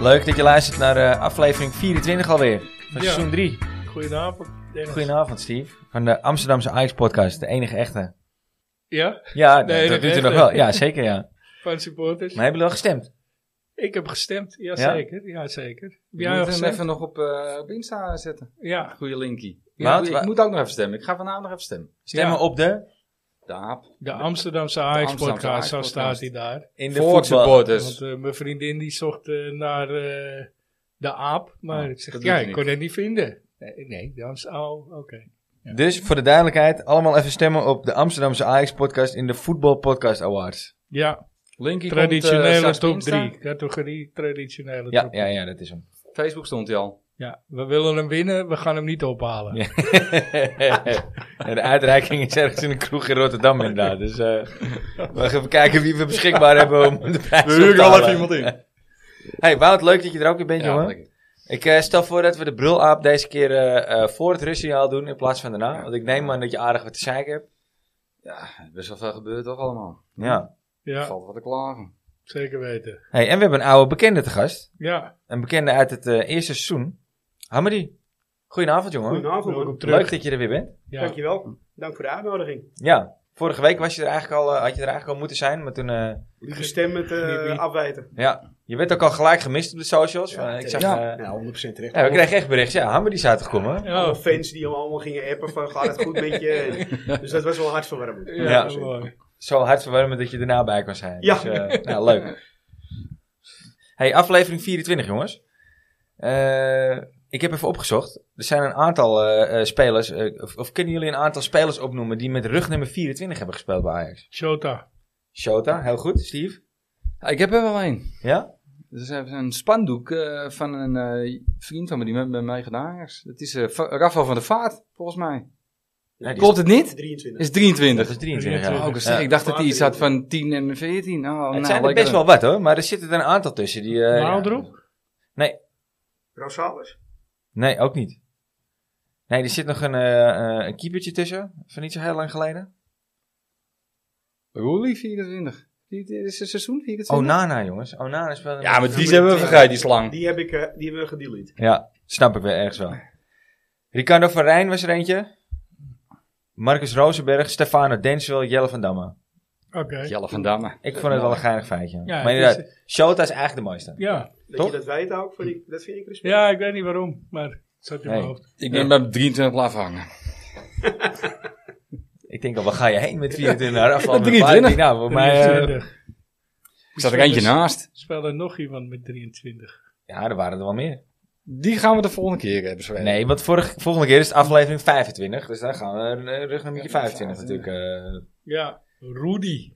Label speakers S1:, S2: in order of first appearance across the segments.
S1: Leuk dat je luistert naar eh, aflevering 24 alweer. Van
S2: Ja.
S1: seizoen 3.
S2: Goedenavond. Dennis.
S1: Goedenavond, Steve. Van de Amsterdamse Ajax podcast. De enige echte.
S2: Ja,
S1: Ja,
S2: De enige
S1: dat doet er
S2: echte.
S1: nog wel. Ja, zeker ja.
S2: van supporters.
S1: Maar hebben jullie al gestemd?
S2: Ik heb gestemd, jazeker. Ja? Jazeker. Heb
S3: Je
S2: jij al
S3: moet hem
S2: gestemd?
S3: even nog op, eh, op Insta zetten.
S2: Ja.
S3: Goeie linkie.
S1: Wat?
S3: Ja, ik
S1: Wa-
S3: moet ook nog even stemmen. Ik ga vanavond nog even stemmen.
S1: Stemmen
S2: Ja.
S1: op de...
S3: De aap.
S2: De Amsterdamse Ajax-podcast, zo
S3: Ajax-podcast.
S2: staat hij daar.
S1: In de
S3: Voor
S1: voetbal.
S3: supporters.
S2: Want eh, mijn vriendin die zocht eh, naar eh, de aap, maar
S3: Ah,
S2: ik zeg,
S3: dat
S2: ja,
S3: doet hij
S2: ik kon het niet vinden. Nee, nee de Amst- oh, oké.
S1: Dus voor de duidelijkheid, allemaal even stemmen op de Amsterdamse Ajax podcast in de Voetbal Podcast Awards.
S2: Ja,
S3: Linkie komt, eh,
S2: traditionele
S3: straks op
S2: top
S3: Insta.
S2: 3. Categorie traditionele
S1: Ja,
S2: top
S1: ja, ja, dat is hem.
S3: Facebook stond hij al.
S2: Ja, we willen hem winnen, we gaan hem niet ophalen.
S1: Ja. Ja, de uitreiking is ergens in een kroeg in Rotterdam inderdaad. Dus eh, we gaan even kijken wie we beschikbaar hebben om de prijs op te halen.
S3: in.
S1: Hey Wout, leuk dat je er ook weer bent,
S3: eh, Ja,
S1: jongen.
S3: lekker.
S1: Ik eh, stel voor dat we de brulaap deze keer eh, eh, voor het rustsignaal doen in plaats van daarna. Want ik neem aan dat je aardig wat te zeiken hebt.
S3: ja, best wel veel gebeurt toch allemaal.
S1: Ja.
S3: Er
S2: Ja,
S3: Valt wat te klagen.
S2: zeker weten.
S1: Hey, en we hebben een oude bekende te gast.
S2: Ja,
S1: Een bekende uit het eh, eerste seizoen. Hamadi. Goedenavond, jongen.
S4: Goedenavond.
S2: welkom terug.
S1: Leuk dat je er weer bent.
S2: Ja.
S4: Dankjewel. Dank voor de uitnodiging.
S1: Ja. Vorige week was je er eigenlijk al, eh, had je er eigenlijk al moeten zijn, maar toen... eh,
S4: Lieve stem met eh,
S2: Lieve- Oh.
S4: afwijten.
S1: ja, je werd ook al gelijk gemist op de socials.
S4: Ja,
S1: Eh, ik zag,
S3: ja.
S1: eh,
S4: Ja, 100% terecht.
S1: ja, we kregen echt bericht. Ja, Hamadi zou toch komen? hè?
S2: Ja,
S4: Alle fans die hem allemaal gingen appen van gaat het goed met je. En- dus dat was wel hartverwarmend.
S2: ja,
S1: Ja.
S2: mooi.
S1: Zo hartverwarmend dat je erna bij kan zijn.
S4: Ja.
S1: Dus, eh, nou, leuk. Hey, aflevering 24, jongens. Eh, ik heb even opgezocht. Er zijn een aantal eh, eh, spelers. eh, of, of kunnen jullie een aantal spelers opnoemen die met rugnummer 24 hebben gespeeld bij Ajax?
S2: Shota.
S1: Shota, heel goed. Steve?
S3: Ja, ik heb er wel een.
S1: Ja?
S3: Er is even een spandoek eh, van een eh, vriend van me die met, met mij gedaan is. Dat is eh, Va- Rafael van der Vaart, volgens mij.
S1: Nee, die
S3: Klopt het niet?
S4: 23.
S3: Is 23.
S1: Dat is 23, ja.
S3: Oh, ik,
S1: Ja.
S3: zeg, ik dacht dat hij iets had van 10 en 14. Oh, nou,
S1: Het zijn er
S3: lekker.
S1: best wel wat hoor, maar er zitten er een aantal tussen. Die, eh,
S2: Waaldrop?
S4: Rosales?
S1: Nee, ook niet. Nee, er zit nog een, eh, eh, een keepertje tussen, van niet zo heel lang geleden.
S3: Roelie 24. Dit is een seizoen 24.
S2: Oh, nou.
S1: Onana, jongens. Onana speelde...
S3: Ja, maar die
S4: Nummer
S3: hebben we
S4: 10.
S3: vergeten, die slang.
S4: Die, heb ik, eh, die hebben we gedelete.
S1: Ja, snap ik weer ergens wel. Ricardo van Rijn was er eentje. Marcus Rosenberg, Stefano Denswil, Jelle van Damme.
S2: Oké.
S3: Jelle van Damme.
S1: Ik vond het wel een geinig feitje.
S2: Ja,
S1: maar
S2: het is-
S1: inderdaad, Shota is eigenlijk de mooiste.
S2: Ja.
S4: Dat
S1: Toch?
S4: je dat weet ook, vind ik, dat vind ik respect.
S2: ja, ik weet niet waarom, maar het zat in mijn
S1: Nee.
S2: hoofd.
S3: Ik ben bij 23 laf hangen.
S1: Ik denk al, waar ga je heen met 24 jaar afval?
S3: Met 23.
S1: Nou, voor mij... eh,
S2: 23.
S3: Ik zat er eentje
S2: Spelers-
S3: naast.
S2: Speelde nog iemand met 23.
S1: ja, er waren er wel meer.
S3: Die gaan we de volgende keer hebben. Sven.
S1: Nee, want vorig, volgende keer is het aflevering 25. Dus dan gaan we eh, rug naar beetje
S3: Ja,
S1: 25 natuurlijk. eh.
S2: Ja, Rudy.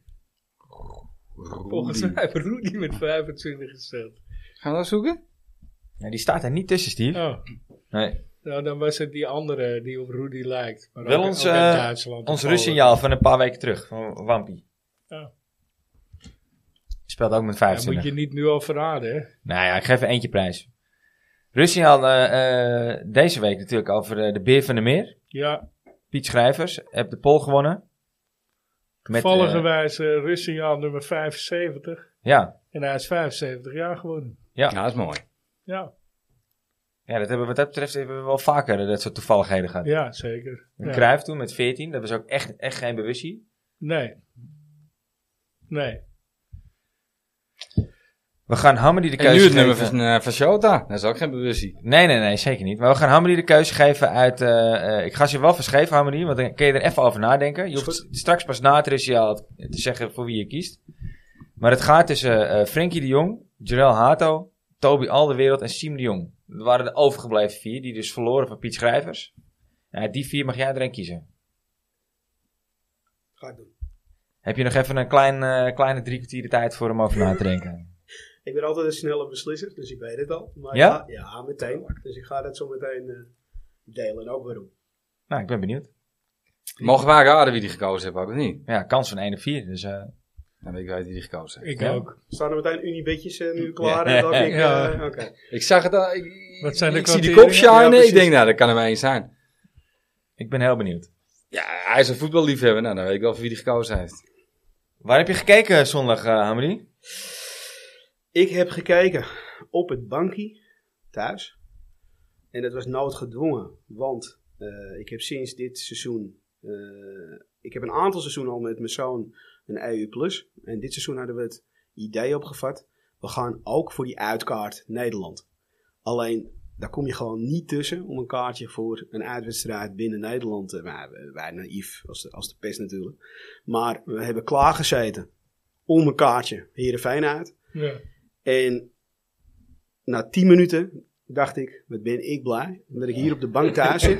S2: Volgens mij heeft Rudy met 25 gespeeld.
S3: Gaan we dat zoeken?
S1: eh. Ja, die staat er niet tussen, Steve.
S2: Oh,
S1: Nee.
S2: nou dan was het die andere die op Rudy lijkt. Maar
S1: Wel
S2: ook-
S1: ons,
S2: ook uit
S1: eh,
S2: Duitsland
S1: Ons
S2: of Polen.
S1: rustsignaal van een paar weken terug, van Wampie.
S2: Ja.
S1: Speelt ook met
S2: Dat
S1: 25.
S2: moet je niet nu al verraden, hè?
S1: Nou ja, ik geef er eentje prijs. Russie had eh, eh, deze week natuurlijk over eh, de Beer van de Meer.
S2: Ja,
S1: Piet Schrijvers heeft de pol gewonnen. Met, eh,
S2: toevalligerwijs uh, Russiaal nummer 75.
S1: ja.
S2: En hij is 75 jaar geworden.
S1: Ja.
S3: Ja, dat is mooi.
S2: Ja,
S1: ja, dat hebben we wat dat betreft hebben we wel vaker eh, dat soort toevalligheden gehad.
S2: ja zeker.
S1: Een
S2: Ja.
S1: Cruijff toen met 14, dat was ook echt, echt geen bewustzijn.
S2: Nee. Nee.
S1: We gaan Hammer die de
S3: En
S1: keuze
S3: nu het
S1: geven.
S3: nummer van, eh, van Shota. Dat is ook geen bewustzijn.
S1: Nee, nee, nee, zeker niet. Maar we gaan Hammer die de keuze geven uit... eh, eh, ik ga ze je wel verschrijven, Hammer die, want dan kun je er even over nadenken. Je
S4: Is
S1: hoeft straks pas na het ritueel te zeggen voor wie je kiest. Maar het gaat tussen eh Frenkie de Jong, Jarel Hato, Toby Alderwereld en Siem de Jong. Dat waren de overgebleven vier, die dus verloren van Piet Schrijvers. En uit die vier mag jij er een kiezen.
S4: Ga ik doen.
S1: Heb je nog even een klein, eh, kleine drie kwartier de tijd voor om over na te denken?
S4: Ik ben altijd een snelle beslisser, dus ik weet het al. Maar
S1: Ja?
S4: ja? Ja, meteen. Dus ik ga dat zo meteen eh, delen en ook waarom.
S1: Nou, ik ben benieuwd.
S3: Mogen wij raden wie die gekozen heeft ook of niet?
S1: Ja, kans van 1 op 4. Dus, eh,
S3: Dan weet ik wel wie die gekozen heeft.
S2: Ik
S1: Ja.
S2: ook.
S4: Staan er meteen uniebedjes eh, nu klaar?
S1: Ja.
S4: En dat ik, eh,
S2: Ja.
S4: oké.
S3: Ik zag het al. Ik,
S2: Wat zijn de
S3: ik zie die kop
S2: kwarteringen?
S4: Ja,
S3: shinen.
S4: precies.
S3: ik denk, nou, dat kan er maar één zijn.
S1: ik ben heel benieuwd.
S3: Ja, hij is een voetballiefhebber. Nou, dan weet ik wel wie die gekozen heeft.
S1: Waar heb je gekeken zondag, eh Hamri?
S4: Ik heb gekeken op het bankje thuis. En dat was noodgedwongen, want eh, ik heb sinds dit seizoen, eh, ik heb een aantal seizoenen al met mijn zoon een EU+. Plus. En dit seizoen hadden we het idee opgevat, we gaan ook voor die uitkaart Nederland. Alleen, daar kom je gewoon niet tussen om een kaartje voor een uitwedstrijd binnen Nederland eh, te wij, wij naïef, als de, als de pest natuurlijk. Maar we hebben klaargezeten om een kaartje Heerenveen uit.
S2: Ja.
S4: En na 10 minuten dacht ik, wat ben ik blij dat ik hier op de bank thuis zit.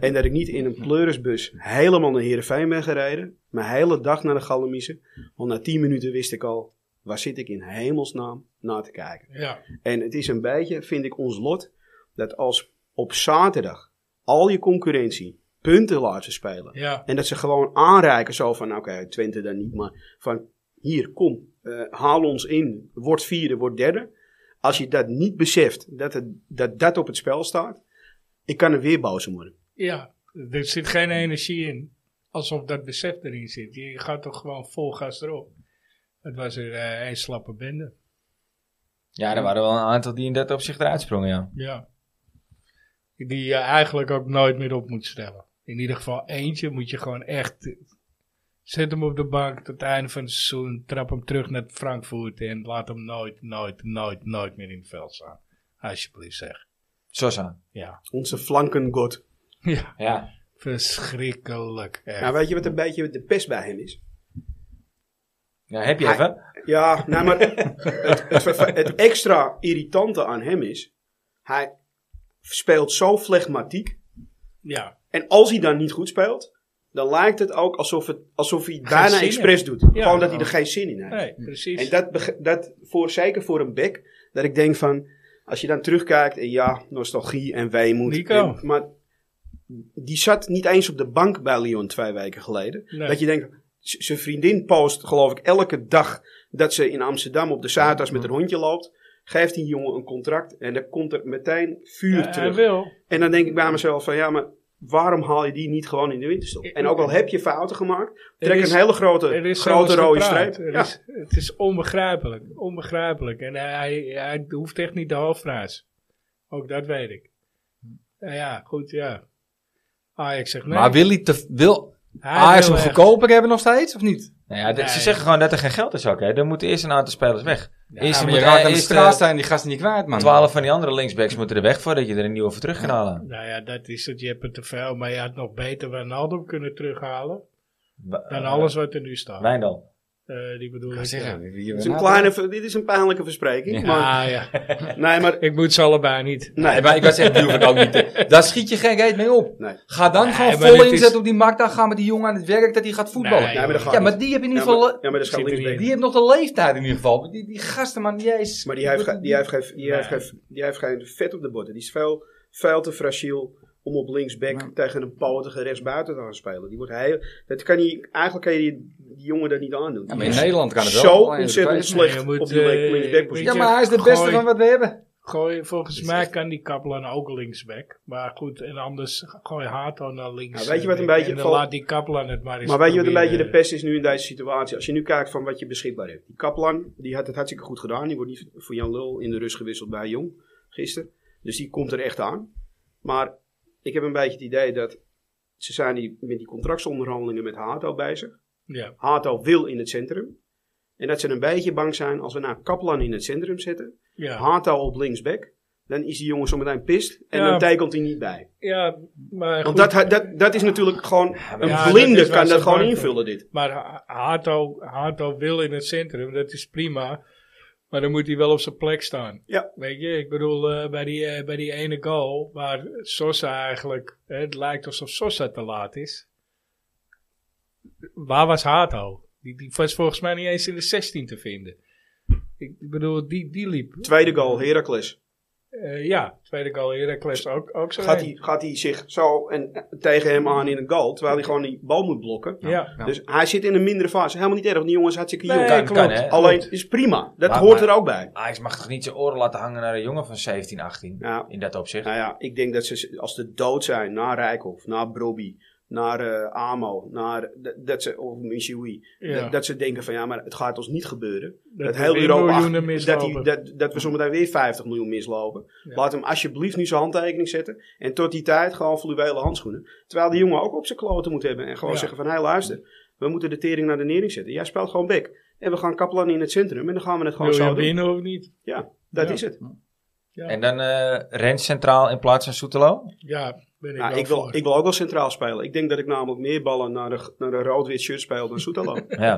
S4: en dat ik niet in een pleurisbus helemaal naar Heerenveen ben gereden. Mijn hele dag naar de Gallemiezen. Want na 10 minuten wist ik al, waar zit ik in hemelsnaam naar te kijken.
S2: Ja.
S4: En het is een beetje, vind ik, ons lot dat als op zaterdag al je concurrentie punten laten spelen.
S2: Ja.
S4: En dat ze gewoon aanreiken zo van, nou, oké, Twente dan niet, maar van hier, kom, eh, haal ons in, word vierde, word derde. Als je dat niet beseft, dat het, dat, dat op het spel staat, ik kan er weer boos om worden.
S2: Ja. Er zit geen energie in. Alsof dat besef erin zit. Je gaat toch gewoon vol gas erop. Het was er eh, een slappe bende.
S1: Ja, er waren wel een aantal die in dat opzicht eruit sprongen, ja.
S2: Ja. Die je eigenlijk ook nooit meer op moet stellen. In ieder geval eentje moet je gewoon echt. eh, Zet hem op de bank tot het einde van het seizoen. Trap hem terug naar Frankfurt. En laat hem nooit, nooit, nooit, nooit meer in het veld staan. Alsjeblieft zeg.
S1: Sosa.
S2: Ja.
S4: Onze flankengod.
S2: Ja.
S1: Ja.
S2: Verschrikkelijk. Echt.
S4: Nou, weet je wat een beetje de pest bij hem is?
S1: ja. Heb je
S4: Hij-
S1: even?
S4: Ja, nou, maar het, het, verva- het extra irritante aan hem is, hij speelt zo flegmatiek.
S2: ja.
S4: En als hij dan niet goed speelt, dan lijkt het ook alsof, het, alsof hij het bijna
S2: zin in.
S4: expres doet.
S2: Ja,
S4: gewoon dat hij er
S2: gewoon.
S4: geen zin in heeft.
S2: Nee, precies.
S4: En dat, beg- dat voor, zeker voor een bek, dat ik denk van, als je dan terugkijkt, en ja, nostalgie en weemoed.
S2: Nico.
S4: en- maar die zat niet eens op de bank bij Lyon twee weken geleden.
S2: Nee.
S4: Dat je denkt, z- zijn vriendin post geloof ik elke dag dat ze in Amsterdam op de Zuidas met een hondje loopt. Geeft die jongen een contract en dan komt er meteen vuur
S2: Ja, hij
S4: terug.
S2: wil.
S4: En dan denk ik bij mezelf van ja, maar waarom haal je die niet gewoon in de winterstop? En ook al heb je fouten gemaakt, trek
S2: is-
S4: een hele grote, grote
S2: zelfs
S4: rode
S2: gepraat.
S4: streep.
S2: Er
S4: Ja.
S2: is, het is onbegrijpelijk. Onbegrijpelijk. En hij, hij hoeft echt niet de halfraas. Ook dat weet ik. Nou ja, goed, ja. Ajax zegt nee.
S5: Maar wil, hij te, wil
S2: Hij
S5: Ajax
S2: wil
S5: hem
S2: echt-
S5: goedkoper hebben nog steeds, of niet?
S1: Nou ja, de- ze
S2: Nee.
S1: zeggen gewoon dat er geen geld is ook, hè. Er moeten eerst een aantal spelers weg.
S5: Ja,
S1: eerst
S5: maar
S1: moet
S5: je raakt aan de
S1: eerst,
S5: straat
S1: eh,
S5: staan, die gasten niet kwijt, man.
S1: 12 van die andere linksbacks moeten er weg voordat je er een nieuwe voor terug kan halen.
S2: Nou ja, dat is het. Je hebt het te veel. Maar je had nog beter Wijnaldum kunnen terughalen.
S1: Wa-
S2: Dan
S1: eh,
S2: alles wat er nu staat.
S1: Wijndal.
S2: Eh, die bedoel
S5: Ga
S2: ik.
S5: zeggen,
S2: Ja.
S5: wie- wie-
S4: Dit is
S5: wie-
S4: een kleine, ver- dit is een pijnlijke verspreking. Maar,
S2: Ah ja.
S4: nee, maar.
S2: Ik moet ze allebei niet.
S4: Nee,
S5: Nee, maar ik was echt, die hoef ik ook niet. te- Daar schiet je geen reet mee op.
S4: Nee.
S5: Ga dan
S2: Nee,
S5: gewoon
S2: maar
S5: vol
S2: dit is-
S5: inzetten op die markt. Dan gaan we die jongen aan het werk dat hij gaat voetballen.
S2: Nee,
S4: maar dat gaat
S5: ja,
S4: niet.
S5: maar die heb in ieder
S4: Ja, maar-
S5: geval...
S4: ja, maar dat is
S2: Zit
S4: geen
S2: er niet
S4: linksback.
S2: in.
S5: Die heeft nog de leeftijd in ieder geval. Die, die gasten, man, jezus.
S4: Maar die heeft, ge- die, heeft geen, die,
S2: Nee.
S4: heeft geen, die heeft geen vet op de botten. Die is veel, veel te fragiel om op linksback
S5: Nee.
S4: tegen een potige rechtsbuiten te gaan spelen. Die wordt heel, dat kan hij, eigenlijk kan je die, die jongen dat niet aandoen.
S5: Ja,
S4: Die
S5: maar in
S4: is
S5: Nederland kan het wel.
S4: zo
S5: Alleen in de
S4: ontzettend
S5: tweede-
S4: slecht
S2: Nee, je moet,
S4: op die link-
S2: eh,
S4: linksbackpositie.
S5: Ja, maar hij is de beste
S2: Gooi.
S5: van wat we hebben.
S2: Gooi, volgens mij kan die Kaplan ook linksback. Maar goed, en anders gooi Hato naar links. eh,
S4: Nou, weet je wat een
S2: En
S4: beetje
S2: dan
S4: valt-
S2: laat die Kaplan het maar eens
S4: Maar weet je wat een beetje
S2: proberen.
S4: de pest is nu in deze situatie? Als je nu kijkt van wat je beschikbaar hebt. Die Kaplan, die had het hartstikke goed gedaan. Die wordt niet voor Jan Lul in de rust gewisseld bij Jong gisteren. Dus die komt er echt aan. Maar ik heb een beetje het idee dat ze zijn die, met die contractsonderhandelingen met Hato bezig.
S2: Ja,
S4: Hato wil in het centrum. En dat ze een beetje bang zijn als we nou Kaplan in het centrum zetten.
S2: ja.
S4: Hato op linksback. Dan is die jongen zometeen pist. En
S2: Ja.
S4: dan tekent hij niet bij.
S2: ja maar goed.
S4: Want dat, dat, dat is natuurlijk gewoon... Een
S2: Ja, dat
S4: blinde
S2: is waar
S4: kan
S2: ze
S4: dat gewoon
S2: bang voor.
S4: invullen dit.
S2: Maar Ha- Hato, Hato wil in het centrum, dat is prima. Maar dan moet hij wel op zijn plek staan.
S4: Ja.
S2: Weet je, ik bedoel, eh, bij, die, eh, bij die ene goal, waar Sosa eigenlijk, hè, het lijkt alsof Sosa te laat is. Waar was Hato? Die, die was volgens mij niet eens in de 16 te vinden. Ik bedoel, die, die liep.
S4: Tweede goal, Heracles.
S2: Eh, ja, tweede goal Heracles ook, ook zo.
S4: gaat
S2: heen.
S4: hij, gaat hij zich zo en, eh, tegen hem aan in een goal, terwijl hij gewoon die bal moet blokken.
S2: Ja.
S4: Dus hij zit in een mindere fase. Helemaal niet erg, want die jongens hartstikke jong.
S2: Nee,
S1: kan,
S2: klopt.
S1: kan, hè.
S4: Alleen, is prima. Dat
S1: Maar-
S4: hoort
S1: maar-
S4: er ook bij.
S1: Ajax mag toch niet zijn oren laten hangen naar een jongen van 17, 18?
S4: Nou,
S1: In dat opzicht.
S4: nou ja, ik denk dat ze als de dood zijn na Rijkoff, na Brobby, naar eh, AMO, naar, dat, dat ze, of Missouri.
S2: Ja.
S4: Dat, dat ze denken van ja, maar het gaat ons niet gebeuren. Dat,
S2: we
S4: heel
S2: weer
S4: Europa,
S2: miljoenen
S4: ach- dat,
S2: mislopen.
S4: die- dat, dat we zometeen weer 50 miljoen mislopen.
S2: Ja.
S4: Laat hem alsjeblieft nu zijn handtekening zetten. En tot die tijd gewoon fluwele handschoenen. Terwijl die jongen ook op zijn kloten moet hebben. En gewoon
S2: Ja.
S4: zeggen van, hé luister, we moeten de tering naar de nering zetten. Jij speelt gewoon bek. En we gaan Kaplan in het centrum. En dan gaan we het gewoon
S2: Wil
S4: zo
S2: je
S4: doen.
S2: winnen of niet?
S4: Ja, dat
S2: Ja.
S4: is het.
S2: Ja,
S1: En dan eh Rens centraal in plaats van Soetelo.
S2: ja ben ik
S5: Nou,
S2: wel
S4: Ja, Nou, ik, wil,
S2: voor.
S4: ik wil ook wel centraal spelen. Ik denk dat ik namelijk meer ballen naar een, naar een rood-wit shirt speel dan Soetalo.
S1: Ja.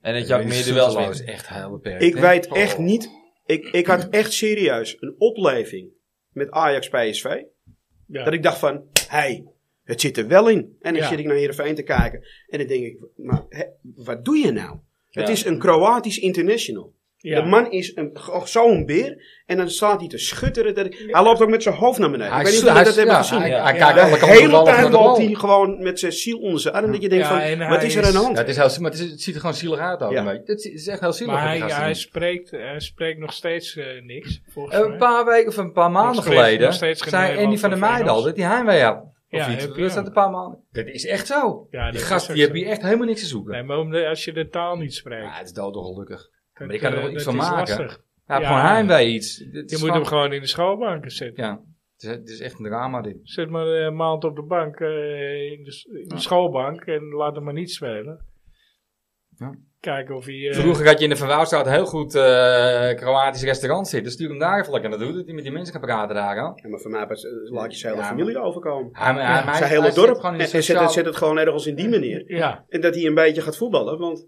S1: En dat je ook meer duels
S3: Soetelo is
S1: wint.
S3: echt heel beperkt.
S4: ik
S3: hè?
S4: weet
S3: Oh.
S4: echt niet... Ik, ik had echt serieus een opleving met Ajax PSV.
S2: Ja.
S4: Dat ik dacht van, hé, hey, het zit er wel in. En dan
S2: Ja.
S4: zit ik naar Heerenveen te kijken. En dan denk ik, maar hè, wat doe je nou? Het
S1: Ja.
S4: is een Kroatisch international.
S2: Ja.
S4: De man is een- goh, zo'n beer. En dan staat hij te schutteren. Dat ik, hij loopt ook met zijn hoofd naar beneden.
S3: Hij
S4: ik weet niet
S3: is-
S4: of jullie
S3: hij
S4: dat
S3: is- ja,
S4: hebben gezien.
S3: Hij
S2: Ja.
S3: hij
S2: Ja,
S3: kijkt
S4: de
S3: elke
S4: hele
S3: bal
S4: tijd
S3: naar de
S4: loopt
S3: bal.
S4: hij gewoon met zijn ziel onder zijn arm. Dat je denkt
S2: Ja, en
S4: van, wat
S2: hij
S4: is er aan de
S2: is-
S4: hand?
S3: Ja, het is heel zielig, maar het is, het ziet er gewoon zielig uit. ook
S4: Ja.
S3: een beetje. Het is, het is echt heel zielig.
S2: maar
S3: wat
S2: hij,
S3: die gasten
S2: hij,
S3: doen.
S2: spreekt, hij spreekt nog steeds eh, niks, volgens
S5: Een
S2: mij.
S5: paar weken of een paar maanden
S2: Nog steeds-
S5: geleden
S2: nog steeds geen
S5: zei Andy
S2: Nederland
S5: van der
S2: of
S5: Meijden
S2: Engels.
S5: al dat hij heimwee had. Of
S2: Ja,
S5: iets.
S2: heb-
S5: Dat
S2: ja.
S5: staat een paar maanden. Dat is echt zo.
S2: Ja,
S5: die
S2: dat is
S5: gast
S2: ook
S5: die heeft
S2: zo.
S5: hier echt helemaal niks te zoeken.
S2: Nee, maar om de- als je de taal niet spreekt.
S3: Ja, het is doodongelukkig.
S2: dat,
S5: maar je kan er
S2: eh,
S5: wel iets
S2: dat
S5: van
S2: is
S5: maken.
S2: lastig.
S5: Hij heeft
S2: Ja.
S5: gewoon heimwee iets. Dit
S2: Je
S5: is
S2: moet hem
S5: gewoon-
S2: gewoon in de schoolbanken zetten.
S5: Ja, het is, het is echt een drama dit.
S2: Zet maar eh, een maand op de bank, eh, in, de, s- in de schoolbank en laat hem maar niet spelen.
S5: Ja.
S2: Kijken of hij... eh,
S5: Vroeger had je in de Verwouwstraat een heel goed eh, Kroatisch restaurant zitten. Dus Stuur hem daar even lekker naartoe, dat hij met die mensen kan praten daar al.
S4: Ja, maar voor mij pas, eh, laat je zijn hele
S5: Ja,
S4: familie overkomen.
S5: Hij, hij, hij-
S4: Zijn
S5: hij
S4: hele
S5: zit
S4: dorp.
S5: Gewoon
S4: En
S5: in de
S4: en zet het-
S5: sociale-
S4: zet het gewoon ergens in die manier.
S2: ja,
S4: En dat hij een beetje gaat voetballen. Want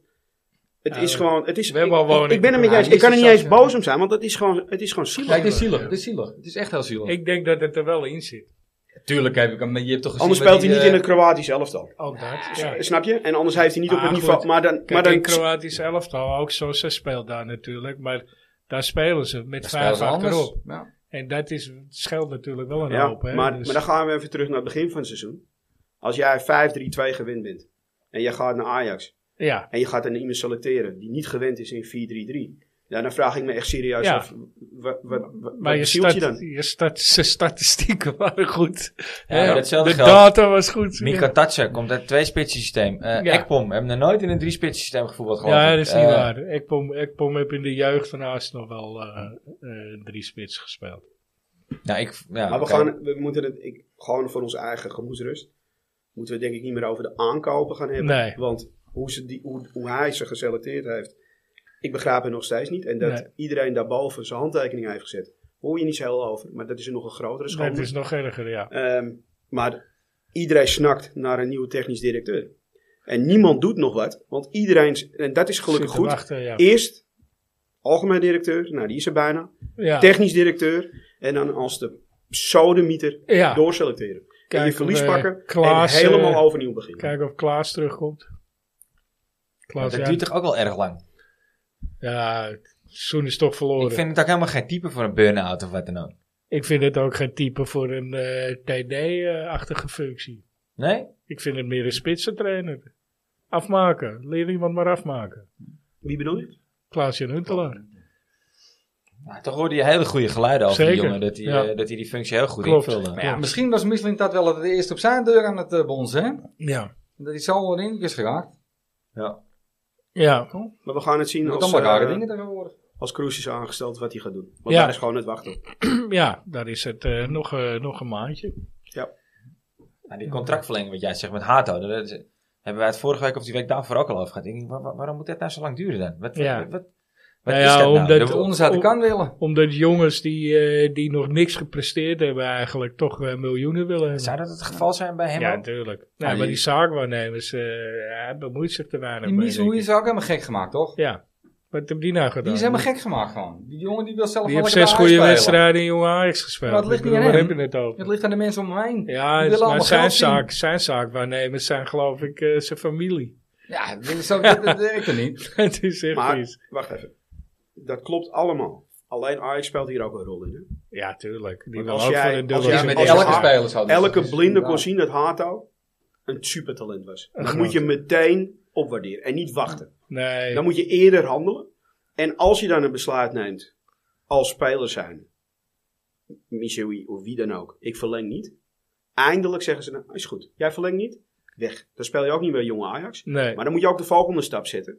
S4: het
S2: Ja,
S4: is
S2: we-
S4: gewoon. Het is,
S2: we hebben al
S4: ik-
S2: woning.
S4: ik, ben er met
S3: Ja,
S4: je eens.
S3: die
S4: Ik kan er
S3: is
S4: niet
S3: zo-
S4: eens boos om zijn, want het is gewoon, het is gewoon
S5: Nee,
S4: zielig.
S5: het is zielig. Het is zielig. Het is echt heel zielig.
S2: ik denk dat het er wel in zit.
S5: tuurlijk heb ik hem, maar je hebt toch gezien...
S4: Anders
S5: wat
S4: speelt hij niet
S5: eh,
S4: in het Kroatisch elftal.
S2: Ook dat, ja.
S4: Snap je? En anders heeft hij niet op
S2: Maar
S4: het niveau.
S2: goed,
S4: Maar dan. Maar
S2: Kijk, in
S4: dan
S2: Kroatisch elftal, ook zo, ze speelt daar natuurlijk, maar daar spelen ze met
S5: dat
S2: vijf
S5: speelt anders.
S2: achterop.
S5: Ja.
S2: En dat is, scheelt natuurlijk wel een
S4: ja,
S2: hoop. Hè?
S4: maar,
S2: Dus-
S4: maar dan gaan we even terug naar het begin van het seizoen. Als jij 5-3-2 gewend bent. En je gaat naar Ajax.
S2: ja,
S4: En je gaat dan iemand selecteren die niet gewend is in 4-3-3. Ja, dan vraag ik me echt serieus
S2: Ja.
S4: af. Wat, wat, wat,
S2: maar je,
S4: wat zielt je
S2: stat-
S4: dan?
S2: je stat- zijn statistieken waren goed.
S1: Ja,
S2: Hè,
S1: hetzelfde
S2: de
S1: geldt.
S2: data was goed.
S1: Mika Tatsen komt uit het twee-spitsensysteem. Eh
S2: Ja.
S1: Ekpom, hebben we nog nooit in een drie-spitsensysteem gevoetbald, geloof
S2: ja,
S1: ik.
S2: dat is niet
S1: Eh,
S2: waar. Ekpom, Ekpom heb in de jeugd van Aas nog wel eh, eh, drie spits gespeeld.
S1: Nou, ik, ja,
S4: Maar we,
S1: oké.
S4: gaan, we moeten het ik, gewoon voor onze eigen gemoedsrust. Moeten we het denk ik niet meer over de aankopen gaan hebben.
S2: Nee.
S4: Want hoe, ze die, hoe, hoe hij ze geselecteerd heeft. Ik begrijp het nog steeds niet. En dat
S2: Nee.
S4: iedereen daarboven zijn handtekening heeft gezet. Hoor je niet zo heel over. Maar dat is een nog een grotere
S2: Dat
S4: schande.
S2: is nog erger, ja.
S4: Ehm, maar iedereen snakt naar een nieuwe technisch directeur. En niemand doet nog wat. Want iedereen... s- En dat is gelukkig
S2: Zit te
S4: goed.
S2: wachten, ja.
S4: Eerst algemeen directeur. Nou, die is er bijna.
S2: Ja.
S4: Technisch directeur. En dan als de sodemieter
S2: Ja.
S4: doorselecteren. en
S2: Kijk
S4: je
S2: of,
S4: verlies
S2: eh,
S4: pakken
S2: Klaas,
S4: en helemaal
S2: eh,
S4: overnieuw beginnen.
S2: Kijk of Klaas terugkomt. Klaas,
S1: Dat
S2: ja.
S1: duurt toch ook wel erg lang.
S2: Ja, het seizoen is toch verloren.
S1: Ik vind het ook helemaal geen type voor een burn-out of wat dan ook.
S2: het ook geen type voor een TD-achtige functie.
S1: Nee?
S2: Ik vind het meer een spitsentrainer. Afmaken. Leer iemand maar afmaken.
S4: Wie bedoel je?
S2: Klaas-Jan Huntelaar.
S1: Nou, toch hoorde je hele goede geluiden over die
S2: Zeker,
S1: jongen. Dat hij
S2: ja.
S1: eh, dat hij die functie heel goed
S2: Klopt.
S1: invulde.
S5: Maar ja, misschien was Misling dat wel het eerst op zijn deur aan het eh, bonzen, hè?
S2: Ja.
S5: Dat hij zo erin is geraakt.
S2: Ja.
S4: Maar we gaan het zien
S5: Dat
S4: als,
S5: allemaal rare
S4: eh,
S5: dingen tegenwoordig.
S4: als Kroes is aangesteld wat hij gaat doen. Want
S2: Ja.
S4: daar is gewoon het wachten op.
S2: ja, daar is het eh, nog, eh, nog een maandje.
S1: Maar Nou, die contractverlenging, wat jij zegt met Hato, dat, dat- hebben wij het vorige week of die week daarvoor ook al over gehad. Ik denk, waar- waar- waarom moet dit nou zo lang duren dan? Wat, wat,
S2: Ja.
S1: wat, wat,
S2: Nou
S1: is
S2: ja,
S1: dat nou?
S2: omdat-
S1: Dat-
S5: De onderste uit de
S2: om-
S5: kan willen.
S2: Omdat jongens die, eh, die nog niks gepresteerd hebben eigenlijk toch eh, miljoenen willen hebben.
S1: zou dat het geval zijn bij hem?
S2: ja,
S1: ook?
S2: natuurlijk.
S5: Ah,
S2: Nee, maar
S5: die-
S2: die zaakwaarnemers, eh hij bemoeit zich te weinig
S5: Die
S2: mee, denk
S5: Misling
S2: ik.
S5: is ook helemaal gek gemaakt, toch?
S2: Ja. Wat heb die nou gedaan?
S5: Die is helemaal gek gemaakt gewoon. Die jongen die wil zelf
S2: Die
S5: wel
S2: heeft
S5: lekker
S2: zes
S5: bij
S2: goede
S5: Ajax spelen.
S2: wedstrijden in Jong Ajax gespeeld.
S5: Maar dat nou ligt
S2: Ik bedoel,
S5: niet aan
S2: Waar
S5: hem.
S2: heb je het over?
S5: Het ligt aan de mensen om hem heen. Die
S2: Ja, het-
S5: willen
S2: maar
S5: allemaal
S2: zijn,
S5: geld zien.
S2: zaak, zijn zaakwaarnemers zijn geloof ik eh, zijn familie.
S5: Ja, dat is zo, dat, dat werkt er niet.
S2: het is echt
S4: Maar,
S2: iets.
S4: wacht even. Dat klopt allemaal. Alleen Ajax speelt hier ook een rol in. hè?
S2: Ja, tuurlijk. Die
S4: Want
S2: wil ook
S4: als
S2: voor een
S4: jij- als
S2: dubbel.
S4: jij
S5: Ja,
S2: zitten.
S5: met
S4: als
S5: elke
S4: je-
S5: speler zou dat-
S4: Elke
S5: dus-
S4: blinde kon
S5: ja.
S4: zien dat Hato een supertalent was. Dat
S2: groot.
S4: moet je meteen opwaarderen en niet wachten.
S2: Nee,
S4: Dan moet je eerder handelen. En als je dan een besluit neemt, als speler zijn, Michoui of wie dan ook, ik verleng niet. Eindelijk zeggen ze, nou is goed, jij verlengt niet. weg. Dan speel je ook niet meer jonge Ajax.
S2: Nee.
S4: Maar dan moet je ook de volgende stap zetten.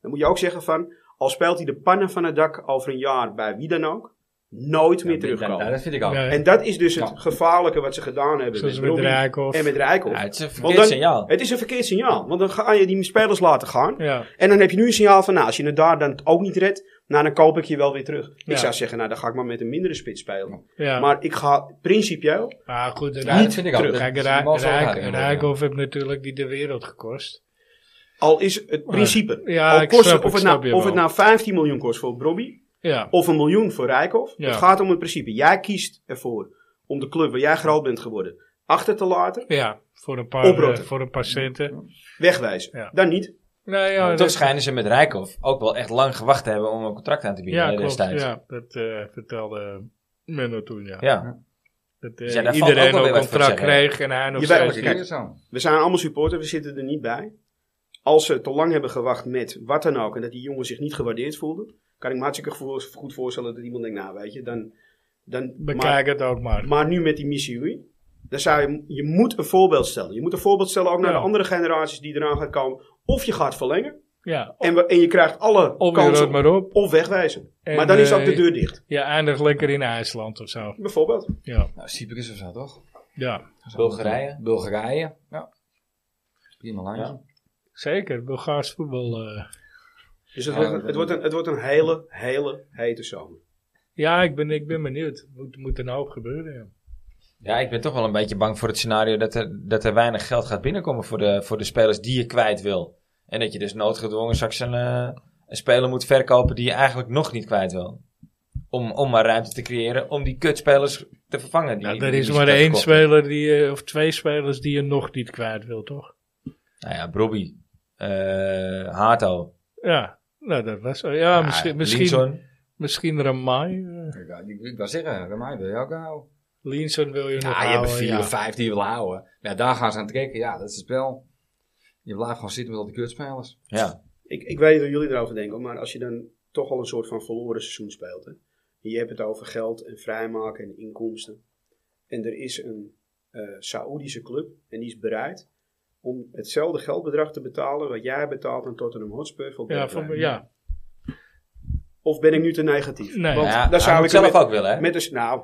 S4: Dan moet je ook zeggen van, al speelt hij de pannen van het dak over een jaar bij wie dan ook, nooit meer terugkomen.
S3: Ja, dat vind ik ook.
S2: Nee.
S4: en dat is dus
S3: Ja.
S4: het gevaarlijke wat ze gedaan hebben
S2: Zoals
S4: met
S2: met
S4: Robbie
S2: Rijkoff.
S4: en met Rijkoff.
S1: Ja, het is een verkeerd
S4: Want dan-
S1: signaal.
S4: Het is een verkeerd signaal, want dan ga je die spelers laten gaan.
S2: Ja.
S4: En dan heb je nu een signaal van, nou, als je het daar dan ook niet redt, nou, dan koop ik je wel weer terug.
S2: Ja.
S4: Ik zou zeggen, nou, dan ga ik maar met een mindere spits spelen.
S2: Ja. Maar,
S4: Maar ik ga principieel,
S2: goed,
S3: Ja, dat vind ik ook.
S4: Terug.
S3: Dat-
S2: Kijk,
S3: dat is
S2: Rij-
S3: een bal zo
S2: Rijk-
S3: raak, ja.
S2: Rijkoff heeft natuurlijk die de wereld gekost.
S4: al is het principe.
S2: Ja,
S4: al
S2: ik
S4: kost
S2: snap-
S4: het- of,
S2: ik
S4: het
S2: snap
S4: nou,
S2: je
S4: of het
S2: wel.
S4: nou 15 miljoen kost voor Bobby,
S2: Ja.
S4: of een miljoen voor Rijkoff.
S2: Ja.
S4: Het gaat om het principe. Jij kiest ervoor om de club waar jij groot bent geworden achter te laten,
S2: Ja. Voor een paar, eh,
S4: Oprotten.
S2: voor een paar centen.
S4: wegwijzen.
S2: Ja.
S4: Dan niet.
S2: Nou ja,
S1: Toch
S2: dat-
S1: schijnen ze met Rijkoff ook wel echt lang gewacht te hebben om een contract aan te bieden
S2: ja,
S1: hè,
S2: klopt.
S1: destijds. Ja.
S2: Ja, dat eh, vertelde Menno toen, ja. Dat eh,
S1: Dus ja, daar valt ook
S2: iedereen
S1: wel
S2: ook
S1: weer
S2: een
S1: wat voor te
S2: contract
S1: zeggen.
S2: kreeg en hij nog
S4: Je bent-
S2: steeds
S3: Dat is
S2: niet.
S3: weer zo.
S4: We zijn allemaal supporter, we zitten er niet bij. Als ze te lang hebben gewacht met wat dan ook en dat die jongen zich niet gewaardeerd voelde, kan ik me hartstikke voor- goed voorstellen dat iemand denkt, nou weet je, dan... dan maar,
S2: Bekijk het ook maar.
S4: maar nu met die missie, dan zou je, je moet een voorbeeld stellen. Je moet een voorbeeld stellen ook naar
S2: Ja.
S4: de andere generaties die eraan gaan komen. Of je gaat verlengen
S2: Ja,
S4: en, we- en je krijgt alle
S2: op je
S4: kansen
S2: rood maar op.
S4: of wegwijzen.
S2: En,
S4: maar dan is ook
S2: eh,
S4: de deur dicht.
S2: Je eindigt lekker in IJsland of zo.
S4: Bijvoorbeeld.
S2: Ja,
S3: Nou, Cyprus of zo, toch?
S2: ja.
S1: Bulgarije.
S3: Bulgarije, ja. Prima lijntje.
S1: Ja.
S2: zeker. Bulgaars voetbal. eh.
S4: Dus het,
S3: Ja,
S4: wordt,
S3: dat-
S4: het, wordt een, het wordt een hele, hele hete zomer.
S2: Ja, ik ben, ik ben benieuwd. Moet, moet een hoop gebeuren. Ja.
S1: Ja, ik ben toch wel een beetje bang voor het scenario dat er, dat er weinig geld gaat binnenkomen voor de, voor de spelers die je kwijt wil. En dat je dus noodgedwongen straks een, eh, een speler moet verkopen die je eigenlijk nog niet kwijt wil. Om, om maar ruimte te creëren om die kutspelers te vervangen. Die,
S2: Nou,
S1: die-
S2: er
S1: die
S2: is
S1: ze
S2: maar
S1: net
S2: één
S1: verkochten.
S2: speler die, je- of twee spelers die je nog niet kwijt wil, toch?
S1: Nou ja, Brobbey, eh, Hato.
S2: Ja, nou, dat was. Ja, ja misschien, misschien,
S1: Linson.
S2: misschien Ramai. eh.
S3: Ik, wou- ik, ik wou zeggen, Ramai wil je ook houden.
S2: Linson wil je nog.
S3: Oh, Ja, je hebt er
S2: houden,
S3: vier
S2: ja.
S3: of vijf die je wil houden. Ja, daar gaan ze aan trekken. Ja, dat is het spel. Je blijft gewoon zitten met al die kutspelers.
S1: Ja.
S4: Ik, ik weet hoe jullie erover denken, maar als je dan toch al een soort van verloren seizoen speelt. Hè? En je hebt het over geld en vrijmaken en inkomsten. En er is een eh Saoedische club en die is bereid om hetzelfde geldbedrag te betalen wat jij betaalt aan Tottenham Hotspur. Voor
S2: Ja,
S4: Bergwijn.
S2: van, ja.
S4: Of ben ik nu te negatief?
S2: Nee.
S1: Nou ja,
S4: daar
S1: hij
S4: zou
S1: moet
S4: ik
S1: zelf
S4: met-
S1: ook willen, hè?
S4: Met dus, nou,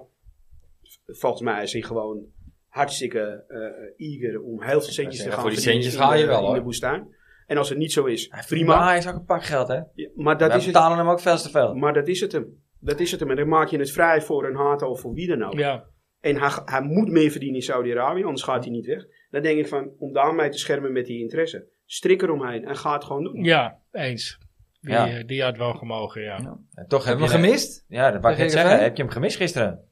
S4: volgens mij is hij gewoon hartstikke eh eager om heel veel centjes te
S1: zeggen,
S4: gaan
S1: voor die
S4: verdienen
S1: centjes
S4: in
S1: ga je
S4: de-
S1: wel,
S4: in
S1: hoor.
S4: de woestijn. En als het niet zo is,
S1: Hij verdient- maar
S4: prima.
S1: Hij is ook een pak geld, hè?
S4: Ja, Maar dat,
S1: Wij
S4: is het,
S1: betalen hem ook veel te veel.
S4: maar dat is het hem. Dat is het hem. En dan maak je het vrij voor een haat of voor wie dan ook.
S2: ja.
S4: En hij, hij moet meer verdienen in Saudi-Arabië, anders gaat hij niet weg. Dan denk ik van, om daarmee te schermen met die interesse. Strik eromheen en ga het gewoon doen.
S2: Ja, eens. Die,
S1: Ja.
S2: eh, die had wel gemogen, ja.
S1: En toch
S3: Hebben we
S1: hem
S3: gemist?
S1: Ja, dat wou ik net
S3: Tegen
S1: zeggen.
S3: Veen?
S1: Heb je hem gemist gisteren?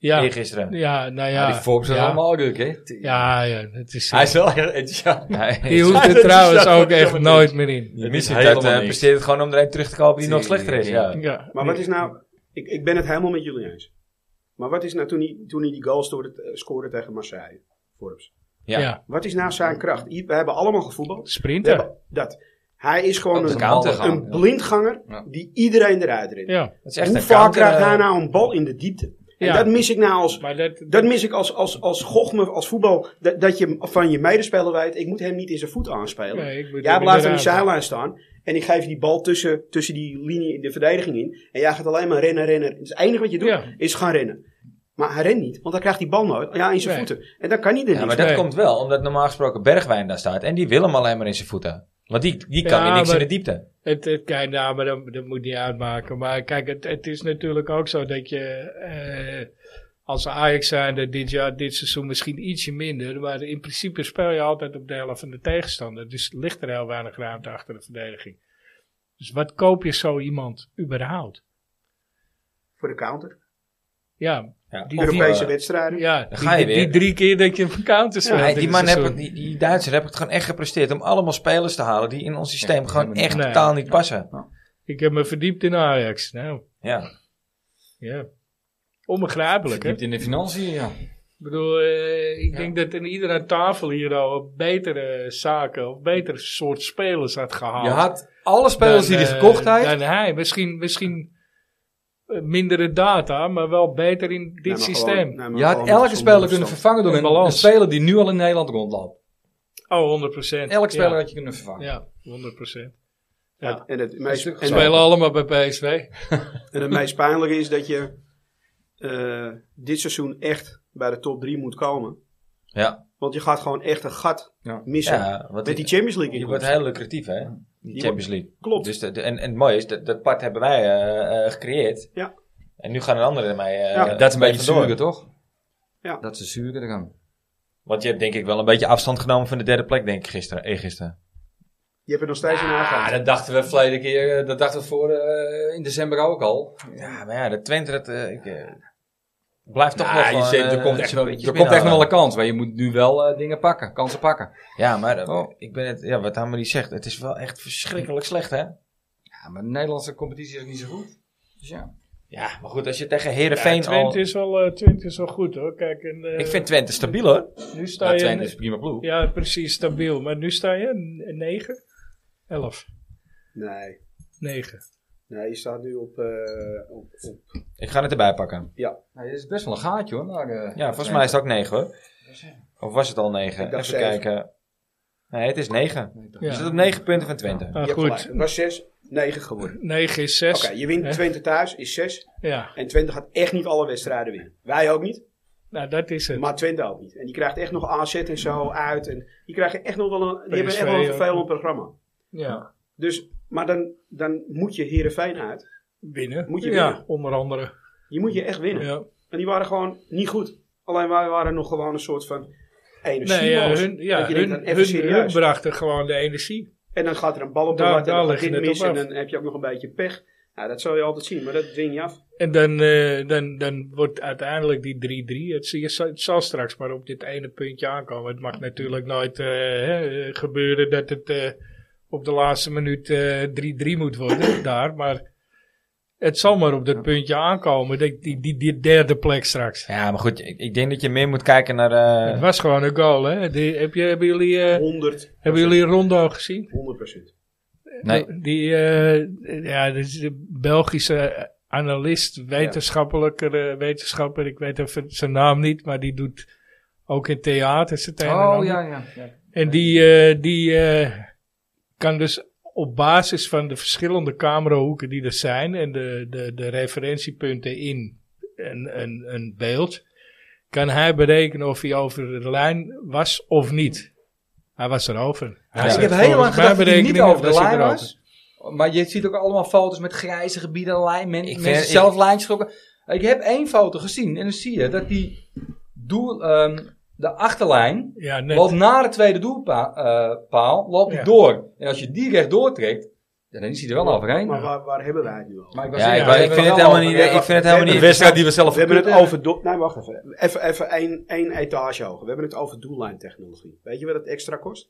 S2: Ja, ja,
S1: Eergisteren.
S2: nou
S3: Ja,
S2: ja.
S3: die Forbes zijn
S2: ja.
S3: allemaal druk, hè?
S2: Ja, ja, het is. eh,
S3: Hij is wel heel enthousiast.
S1: Nee,
S2: die
S1: het-
S2: hoeft
S3: Ja,
S2: er
S3: dat is
S2: trouwens
S3: dat
S2: ook
S3: wat ik
S2: echt
S3: allemaal denk.
S2: nooit meer in.
S1: Je
S3: Het
S1: mist
S3: is
S1: het, dat
S3: helemaal
S1: eh,
S3: niks.
S1: presteert het gewoon om er een terug te kopen die nog slechter is. Ja.
S2: Ja.
S4: Maar wat is nou, ik, ik ben het helemaal met jullie eens. Maar wat is nou toen hij, toen hij die goal stoorde- eh, scoorde tegen Marseille, Forbes?
S1: Ja.
S2: Ja.
S4: Wat is nou zijn kracht? I- We hebben allemaal gevoetbald. We
S2: Sprinter.
S4: hebben dat. Hij is gewoon
S1: Op de
S4: een,
S1: counter
S3: gaan,
S4: een
S3: ja.
S4: blindganger
S3: Ja.
S4: die iedereen eruit rent.
S2: Ja.
S1: Dat is echt
S4: Hoe
S1: een
S4: vaak
S1: counter,
S4: krijgt
S1: eh,
S4: hij nou een bal in de diepte? En
S2: Ja.
S4: dat mis ik nou als...
S2: Maar dat,
S4: Dat mis ik als, als, als gochme, als voetbal, dat, dat je van je medespeler weet, ik moet hem niet in zijn voet aanspelen.
S2: Nee, ik moet
S4: jij
S2: hem
S4: blijft aan de
S2: inderdaad-
S4: zijlijn staan en ik geef je die bal tussen, tussen die linie in de verdediging in. En jij gaat alleen maar rennen, rennen. Dus het enige wat je doet
S2: Ja.
S4: is gaan rennen. Maar hij rent niet, want hij krijgt die bal nooit ja, in zijn
S2: Nee.
S4: voeten. En dan kan hij er
S1: Ja,
S4: niet.
S1: maar dat
S2: Nee.
S1: komt wel omdat normaal gesproken Bergwijn daar staat. En die wil hem alleen maar in zijn voeten. Want die, die kan
S2: Ja,
S1: weer niks
S2: maar-
S1: in de diepte.
S2: Het, het, kijk, nou, maar dat, dat moet niet uitmaken. Maar kijk, het, het is natuurlijk ook zo dat je eh, als Ajax zijnde dit jaar, dit seizoen misschien ietsje minder. Maar in principe speel je altijd op de helft van de tegenstander. Dus ligt er heel weinig ruimte achter de verdediging. Dus wat koop je zo iemand überhaupt?
S4: Voor de counter.
S2: Ja,
S1: Ja,
S2: Die-
S1: of,
S4: Europese
S1: eh,
S4: wedstrijden.
S2: ja
S1: Dan
S2: die,
S1: ga je
S2: die- die
S1: weer.
S2: drie keer dat je een counter speelt.
S1: nee,
S2: in
S1: die
S2: het
S1: man
S3: dus
S1: heb
S2: seizoen.
S1: het, die, die Duitser heb het gewoon echt gepresteerd om allemaal spelers te halen die in ons systeem
S3: Ja,
S1: gewoon
S3: helemaal
S1: echt
S2: niet.
S1: totaal niet passen.
S2: Ik heb me verdiept in Ajax. Nou,
S1: Ja.
S2: ja. Onbegrijpelijk, hè?
S3: Verdiept in de financiën, ja.
S2: Ik bedoel, eh, ik denk dat in iedere tafel hier al betere zaken of betere soort spelers had gehaald.
S3: Je had alle spelers die hij gekocht heeft.
S2: Dan hij. Misschien, misschien eh, mindere data, maar wel beter in dit
S4: Nee, Nou, maar
S2: systeem.
S4: gewoon- nee, maar
S3: Je had
S4: gewoon
S3: elke
S4: zonder
S3: speler kunnen
S4: verstand.
S3: vervangen door
S2: Een
S3: een, een
S2: balans.
S3: speler die nu al in Nederland rondloopt.
S2: Oh, 100%.
S3: Elk speler
S2: Ja,
S3: had je kunnen vervangen.
S2: ja 100%. Ja.
S4: En,
S3: Dat
S4: het meest,
S3: is
S4: en,
S3: natuurlijk
S2: We
S3: zo.
S2: spelen allemaal bij PSV.
S4: en het meest pijnlijke is dat je eh, dit seizoen echt bij de top 3 moet komen.
S1: Ja.
S4: Want je gaat gewoon echt een gat
S3: Ja.
S4: missen.
S1: Ja, want
S4: Met
S1: die-
S4: die Champions League
S1: je
S4: in
S1: wordt heel lucratief, hè? Die
S4: wordt-
S1: Champions League.
S4: Klopt.
S1: Dus de, de- en, en het mooie is, dat, dat pad hebben wij eh, eh, gecreëerd.
S4: Ja.
S1: En nu gaan er anderen ermee. eh,
S4: Ja,
S3: Dat is een beetje
S1: vandoor.
S3: zuurder, toch?
S4: Ja.
S3: Dat is de zuurder dan.
S1: Want je hebt denk ik wel een beetje afstand genomen van de derde plek, denk ik, gisteren. Eergisteren.
S4: Je hebt er nog steeds
S1: Ah.
S4: in
S3: Ja,
S4: aangehaald.
S3: Ah, dat dachten we verleden keer, eh, dat dachten we voor eh, in december ook al.
S1: Ja, maar ja, de Twente, dat eh, ik, eh, blijft toch wel
S3: Nou, je
S1: gewoon,
S3: zegt, er
S1: eh,
S3: komt echt,
S1: zo'n
S3: wel-
S1: beetje
S3: er komt echt nog wel
S1: binnenhalen.
S3: een kans, maar je moet nu wel eh, dingen pakken, kansen pakken.
S1: Ja, maar eh,
S3: Oh.
S1: ik ben het, ja, wat Hamadi zegt, het is wel echt verschrikkelijk slecht, hè?
S3: Ja, maar de Nederlandse competitie is niet zo goed. Dus ja.
S1: Ja, maar goed, als je tegen
S2: Ja,
S1: Herenveen al...
S2: Twente is wel, eh, Twente is wel goed hoor. Kijk, en, eh,
S1: Ik vind Twente stabiel, hoor.
S2: nu sta
S3: Ja,
S2: je
S3: Twente is een prima ploeg.
S2: Ja, precies, stabiel. Maar nu sta je 9, 11,
S4: Nee.
S2: 9.
S4: nee, je staat nu op, eh, op, op
S1: Ik ga het erbij pakken.
S3: Nou, dit is best wel een gaatje hoor. naar, eh,
S1: Ja, volgens mij is het ook 9, hoor. Of was het al 9?
S4: Ik
S1: Even
S4: dacht zeven.
S1: kijken. Nee, het is 9. Je zit
S2: Ja.
S1: op 9 punten van Twente.
S2: Ah,
S4: je hebt gelijk.
S2: goed,
S4: Het was 6, 9 geworden.
S2: 9 is
S4: Oké,
S2: 6.
S4: je wint Twente thuis, is 6.
S2: Ja,
S4: En Twente gaat echt niet alle wedstrijden winnen. Wij ook niet,
S2: nou dat is het.
S4: maar Twente ook niet. En die krijgt echt nog AZ en zo uit. En die krijgen echt nog wel een, die hebben echt
S2: PSV
S4: wel een
S2: ook.
S4: vervelend programma.
S2: Ja,
S4: Dus, maar dan, dan moet je Heerenveen uit.
S2: winnen.
S4: Moet je
S2: ja,
S4: winnen.
S2: onder andere.
S4: Die moet je echt winnen.
S2: Ja.
S4: En die waren gewoon niet goed. Alleen wij waren nog gewoon een soort van energie.
S2: Nee, ja, hun, ja,
S4: dat Dus je
S2: hun,
S4: denkt, even
S2: hun, hun
S4: serieus.
S2: brachten gewoon de energie.
S4: En dan gaat er een bal op de
S2: Daar-
S4: lat en
S2: daar
S4: dan gaat
S2: ligt
S4: dit
S2: het net
S4: mis
S2: op
S4: en
S2: af.
S4: dan heb je ook nog een beetje pech. Nou, dat zal je altijd zien, maar dat dwing je af.
S2: En dan, eh, dan, dan wordt uiteindelijk die 3-3. Het, zie je zo- het zal straks maar op dit ene puntje aankomen. Het mag natuurlijk nooit eh, hè, eh, gebeuren dat het eh, op de laatste minuut eh, 3-3 moet worden daar. Maar het zal maar op dat puntje aankomen. Die, die, die, die derde plek straks.
S1: Ja, maar goed, ik, ik denk dat je meer moet kijken naar... eh,
S2: Het was gewoon een goal, hè? Die, heb je, hebben, jullie, eh,
S4: 100,
S2: hebben jullie Rondo gezien?
S4: 100 procent.
S1: Nee.
S2: Oh, Die, eh, ja, dat is de Belgische analist, wetenschappelijke eh, wetenschapper, ik weet even zijn naam niet, maar die doet ook in theater zijn een en
S3: Oh
S2: ander.
S3: ja, ja. ja.
S2: En die, eh, die eh, kan dus op basis van de verschillende camerahoeken die er zijn en de, de, de referentiepunten in een, een, een beeld, kan hij berekenen of hij over de lijn was of niet. Hij was erover. Hij
S1: Ja.
S2: zegt,
S3: Ik heb heel lang
S2: volgens
S3: gedacht
S2: mijn
S3: dat hij niet
S2: berekeningen
S3: over de
S2: was hij
S3: lijn
S2: erover.
S3: was. Maar je ziet ook allemaal foto's met grijze gebieden, lijn, men,
S1: Ik
S3: mensen
S1: vind-
S3: zelf lijntjes trokken. Ik heb één foto gezien en dan zie je dat die doel, ehm, de achterlijn
S2: Ja, net.
S3: loopt na de tweede doelpaal eh, loopt die
S2: Ja.
S3: door. En als je die recht doortrekt, ja, dan is hij er wel overheen.
S4: Maar waar, waar hebben wij het nu al?
S3: Maar ik, was
S1: Ja,
S3: er-
S1: ik,
S2: wou-
S3: we
S1: ik vind
S3: hebben
S1: het
S3: wel
S1: helemaal niet...
S3: over-
S1: Ik vind het helemaal
S4: De
S1: niet...
S3: wedstrijd die we zelf
S4: We hebben het
S3: verkloten.
S4: over... doel- Nee, wacht even. Even, even één, één etage hoger. We hebben het over doellijntechnologie. Weet je wat het extra kost?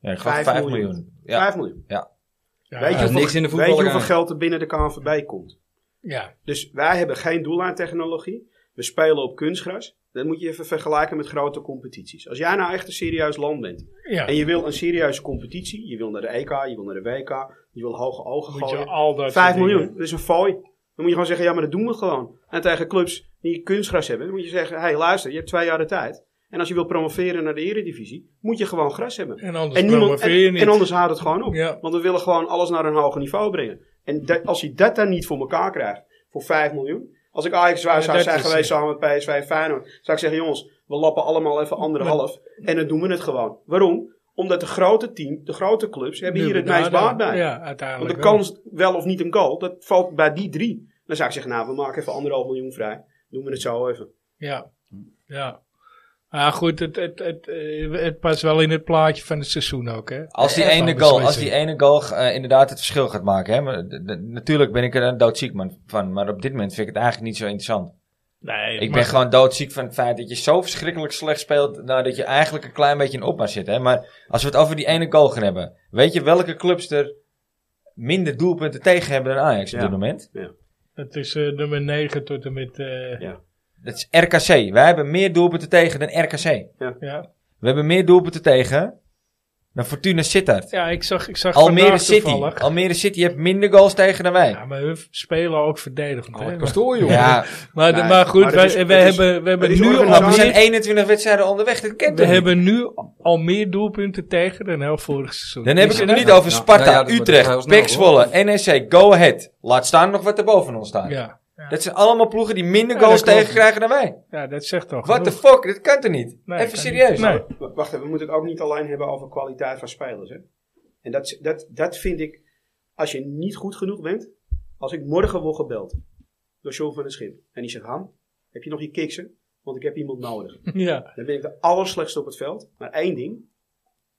S1: Ja, ik geloof
S4: Vijf
S1: 5
S4: miljoen.
S1: miljoen. Ja.
S4: 5 miljoen.
S2: Ja,
S4: weet je,
S3: niks in
S4: hoeveel,
S3: de
S4: weet je hoeveel
S3: voetballerij.
S4: geld er binnen de KNVB komt?
S2: ja.
S4: Dus wij hebben geen doellijntechnologie. We spelen op kunstgras. Dat moet je even vergelijken met grote competities. Als jij nou echt een serieus land bent,
S2: ja.
S4: En je wil een serieuze competitie. Je wil naar de EK, je wil naar de WK, je wil hoge ogen
S2: Moet je
S4: gooien.
S2: al dat
S4: 5
S2: soort
S4: miljoen,
S2: dingen-
S4: dat is een fooi. Dan moet je gewoon zeggen, ja, maar dat doen we gewoon. En tegen clubs die kunstgras hebben, dan moet je zeggen, hé, hey, luister, je hebt twee jaar de tijd. En als je wil promoveren naar de eredivisie, moet je gewoon gras hebben.
S2: En anders
S4: En, niemand,
S2: promoveer je
S4: en,
S2: niet.
S4: en anders houdt het gewoon op.
S2: Ja.
S4: Want we willen gewoon alles naar een hoger niveau brengen. En dat- als je dat dan niet voor elkaar krijgt, voor 5 miljoen. Als ik
S2: Ja,
S4: Ajax zou
S2: dat
S4: zijn
S2: is-
S4: geweest samen met PSV en Feyenoord, zou ik zeggen, jongens, we lappen allemaal even anderhalf. En dan doen we het gewoon. Waarom? Omdat de grote team, de grote clubs, hebben
S2: Nu
S4: hier het
S2: benaderen.
S4: meest baat bij.
S2: Ja,
S4: Want
S2: uiteindelijk
S4: de
S2: wel.
S4: kans wel of niet een goal, dat valt bij die drie. Dan zou ik zeggen, nou, we maken even anderhalf miljoen vrij. Doen we het zo even.
S2: Ja, ja. Maar goed, het, het, het, eh, het past wel in het plaatje van het seizoen ook, hè?
S1: Als die,
S2: Ja,
S1: ene
S2: van
S1: goal, als
S2: beslissing.
S1: die ene goal eh, inderdaad het verschil gaat maken. Hè? Maar, de- de- natuurlijk ben ik er een doodziek man van. Maar op dit moment vind ik het eigenlijk niet zo interessant.
S2: Nee,
S1: Ik
S2: maar-
S1: ben gewoon doodziek van het feit dat je zo verschrikkelijk slecht speelt. Nou, dat je eigenlijk een klein beetje in opmars zit. Hè? Maar als we het over die ene goal gaan hebben. Weet je welke clubs er minder doelpunten tegen hebben dan Ajax op
S4: Ja.
S1: dit moment?
S2: Het is eh, nummer 9 tot en met... eh, ja.
S1: Dat is RKC. Wij hebben meer doelpunten tegen dan RKC.
S2: Ja.
S1: We hebben meer doelpunten tegen dan Fortuna Sittard.
S2: Ja, ik zag, ik zag
S1: Almere
S2: vandaag
S1: City.
S2: toevallig.
S1: Almere City heeft minder goals tegen dan wij.
S2: Ja, maar hun spelen ook
S4: Oh,
S2: verdedigend.
S3: Oh,
S2: hè.
S3: Pastoor, joh.
S1: Ja,
S2: Maar,
S4: Nee,
S2: maar goed,
S4: maar dat
S2: wij,
S4: is-
S2: wij
S4: dat is-
S2: hebben, we hebben
S4: is
S2: nu
S4: organisatie.
S1: maar
S2: al
S1: Nou, we zijn
S2: meer,
S1: 21 wedstrijden onderweg. Dat kent toch
S2: we
S1: niet?
S2: hebben nu al meer doelpunten tegen dan heel vorig seizoen.
S1: Dan heb ik
S2: Is
S1: het
S2: er-
S1: niet over
S3: Ja,
S1: Sparta,
S3: nou ja, dat wordt heel
S1: Utrecht,
S3: snel,
S1: PEC Zwolle, NEC, Go Ahead. Laat staan nog wat er boven ons staat.
S2: Ja.
S1: Dat zijn allemaal ploegen die minder
S2: Ja,
S1: goals
S2: dat klopt.
S1: tegenkrijgen dan wij.
S2: ja, dat zegt toch.
S1: What the fuck, dit kan toch niet?
S2: Nee,
S1: Even
S2: kan
S1: serieus.
S2: niet. Nee.
S4: W- Wacht even, we moeten het ook niet alleen hebben over kwaliteit van spelers. Hè? En dat, dat, dat vind ik, als je niet goed genoeg bent, als ik morgen word gebeld door John van der Schip en die zegt, Ham, heb je nog je kiksen? Want ik heb iemand nodig.
S2: Ja,
S4: Dan ben ik de allerslechtste op het veld. Maar één ding,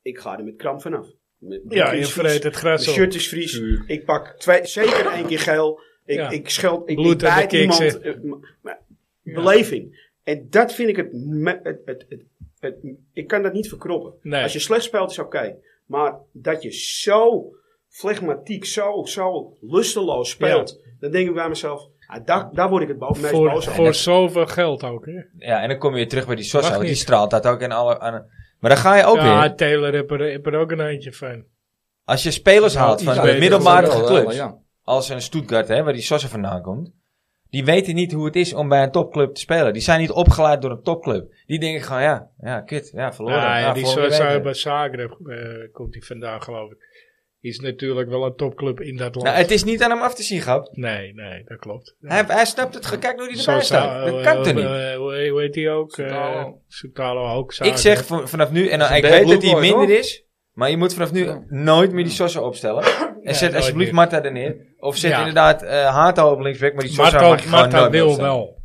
S4: ik ga er met kramp vanaf. Mijn- mijn
S2: ja
S4: knie
S2: je
S4: is vies,
S2: vreet het
S4: Mijn
S2: gras op.
S4: shirt is vries. Ik pak twee, zeker één keer geel. Ik,
S2: Ja.
S4: ik scheld, ik,
S2: Bloed
S4: ik
S2: en de
S4: bijt
S2: kiksen.
S4: iemand. eh, maar- maar Beleving. En dat vind ik het, me- het, het, het, het- Ik kan dat niet verkroppen.
S2: Nee.
S4: Als je slecht speelt is oké. Maar dat je zo flegmatiek, zo, zo lusteloos speelt. Dan denk ik bij mezelf, ah, daar, daar word ik het bo- meest
S2: Voor,
S4: boos over.
S2: voor zoveel geld ook. Hè?
S1: Ja, en dan kom je weer terug bij die Sosa.
S2: Mag
S1: want Die
S2: niet.
S1: straalt dat ook in alle... aan- maar dan ga je ook
S2: ja,
S1: weer...
S2: Taylor heb er, heb er ook een eindje van.
S1: Als je spelers
S2: Ja,
S1: haalt
S2: iets
S1: van
S2: beter.
S1: de middelmatige
S3: Dat is wel,
S1: clubs...
S3: ja.
S1: Als een Stuttgart, hè, waar die Sosa vandaan komt... Die weten niet hoe het is om bij een topclub te spelen. Die zijn niet opgeleid door een topclub. Die denken gewoon, ja, ja, kut, ja, verloren.
S2: Ja,
S1: Ja,
S2: ja, die
S1: volgende week
S2: Sosa
S1: weer.
S2: bij Zagreb eh, komt hij vandaan, geloof ik. Is natuurlijk wel een topclub in dat land.
S1: Nou, het is niet aan hem af te zien, Gap.
S2: Nee, nee, dat klopt.
S1: Hij, hij snapt het. ge- Kijk hoe hij erbij
S2: Sosa,
S1: staat.
S2: eh,
S1: Dat kan toch
S2: eh,
S1: niet?
S2: eh, Hoe hoe heet hij ook? Eh,
S3: Soutalo.
S2: Soutalo ook.
S1: Ik
S2: Zagreb.
S1: zeg van- vanaf nu, en
S3: Dat is
S1: ik
S3: een
S1: weet
S3: blue
S1: dat hij
S3: boy,
S1: minder
S3: toch?
S1: is, maar je moet vanaf nu
S3: Ja.
S1: nooit meer die Sosa opstellen. En
S2: nooit
S1: zet alsjeblieft
S2: meer.
S1: Marta er neer. Of zet
S2: Ja.
S1: inderdaad eh Hato op linksback, maar die Sosa
S2: Marta,
S1: mag je gewoon nooit meer
S2: wil
S1: opstellen.
S2: wel.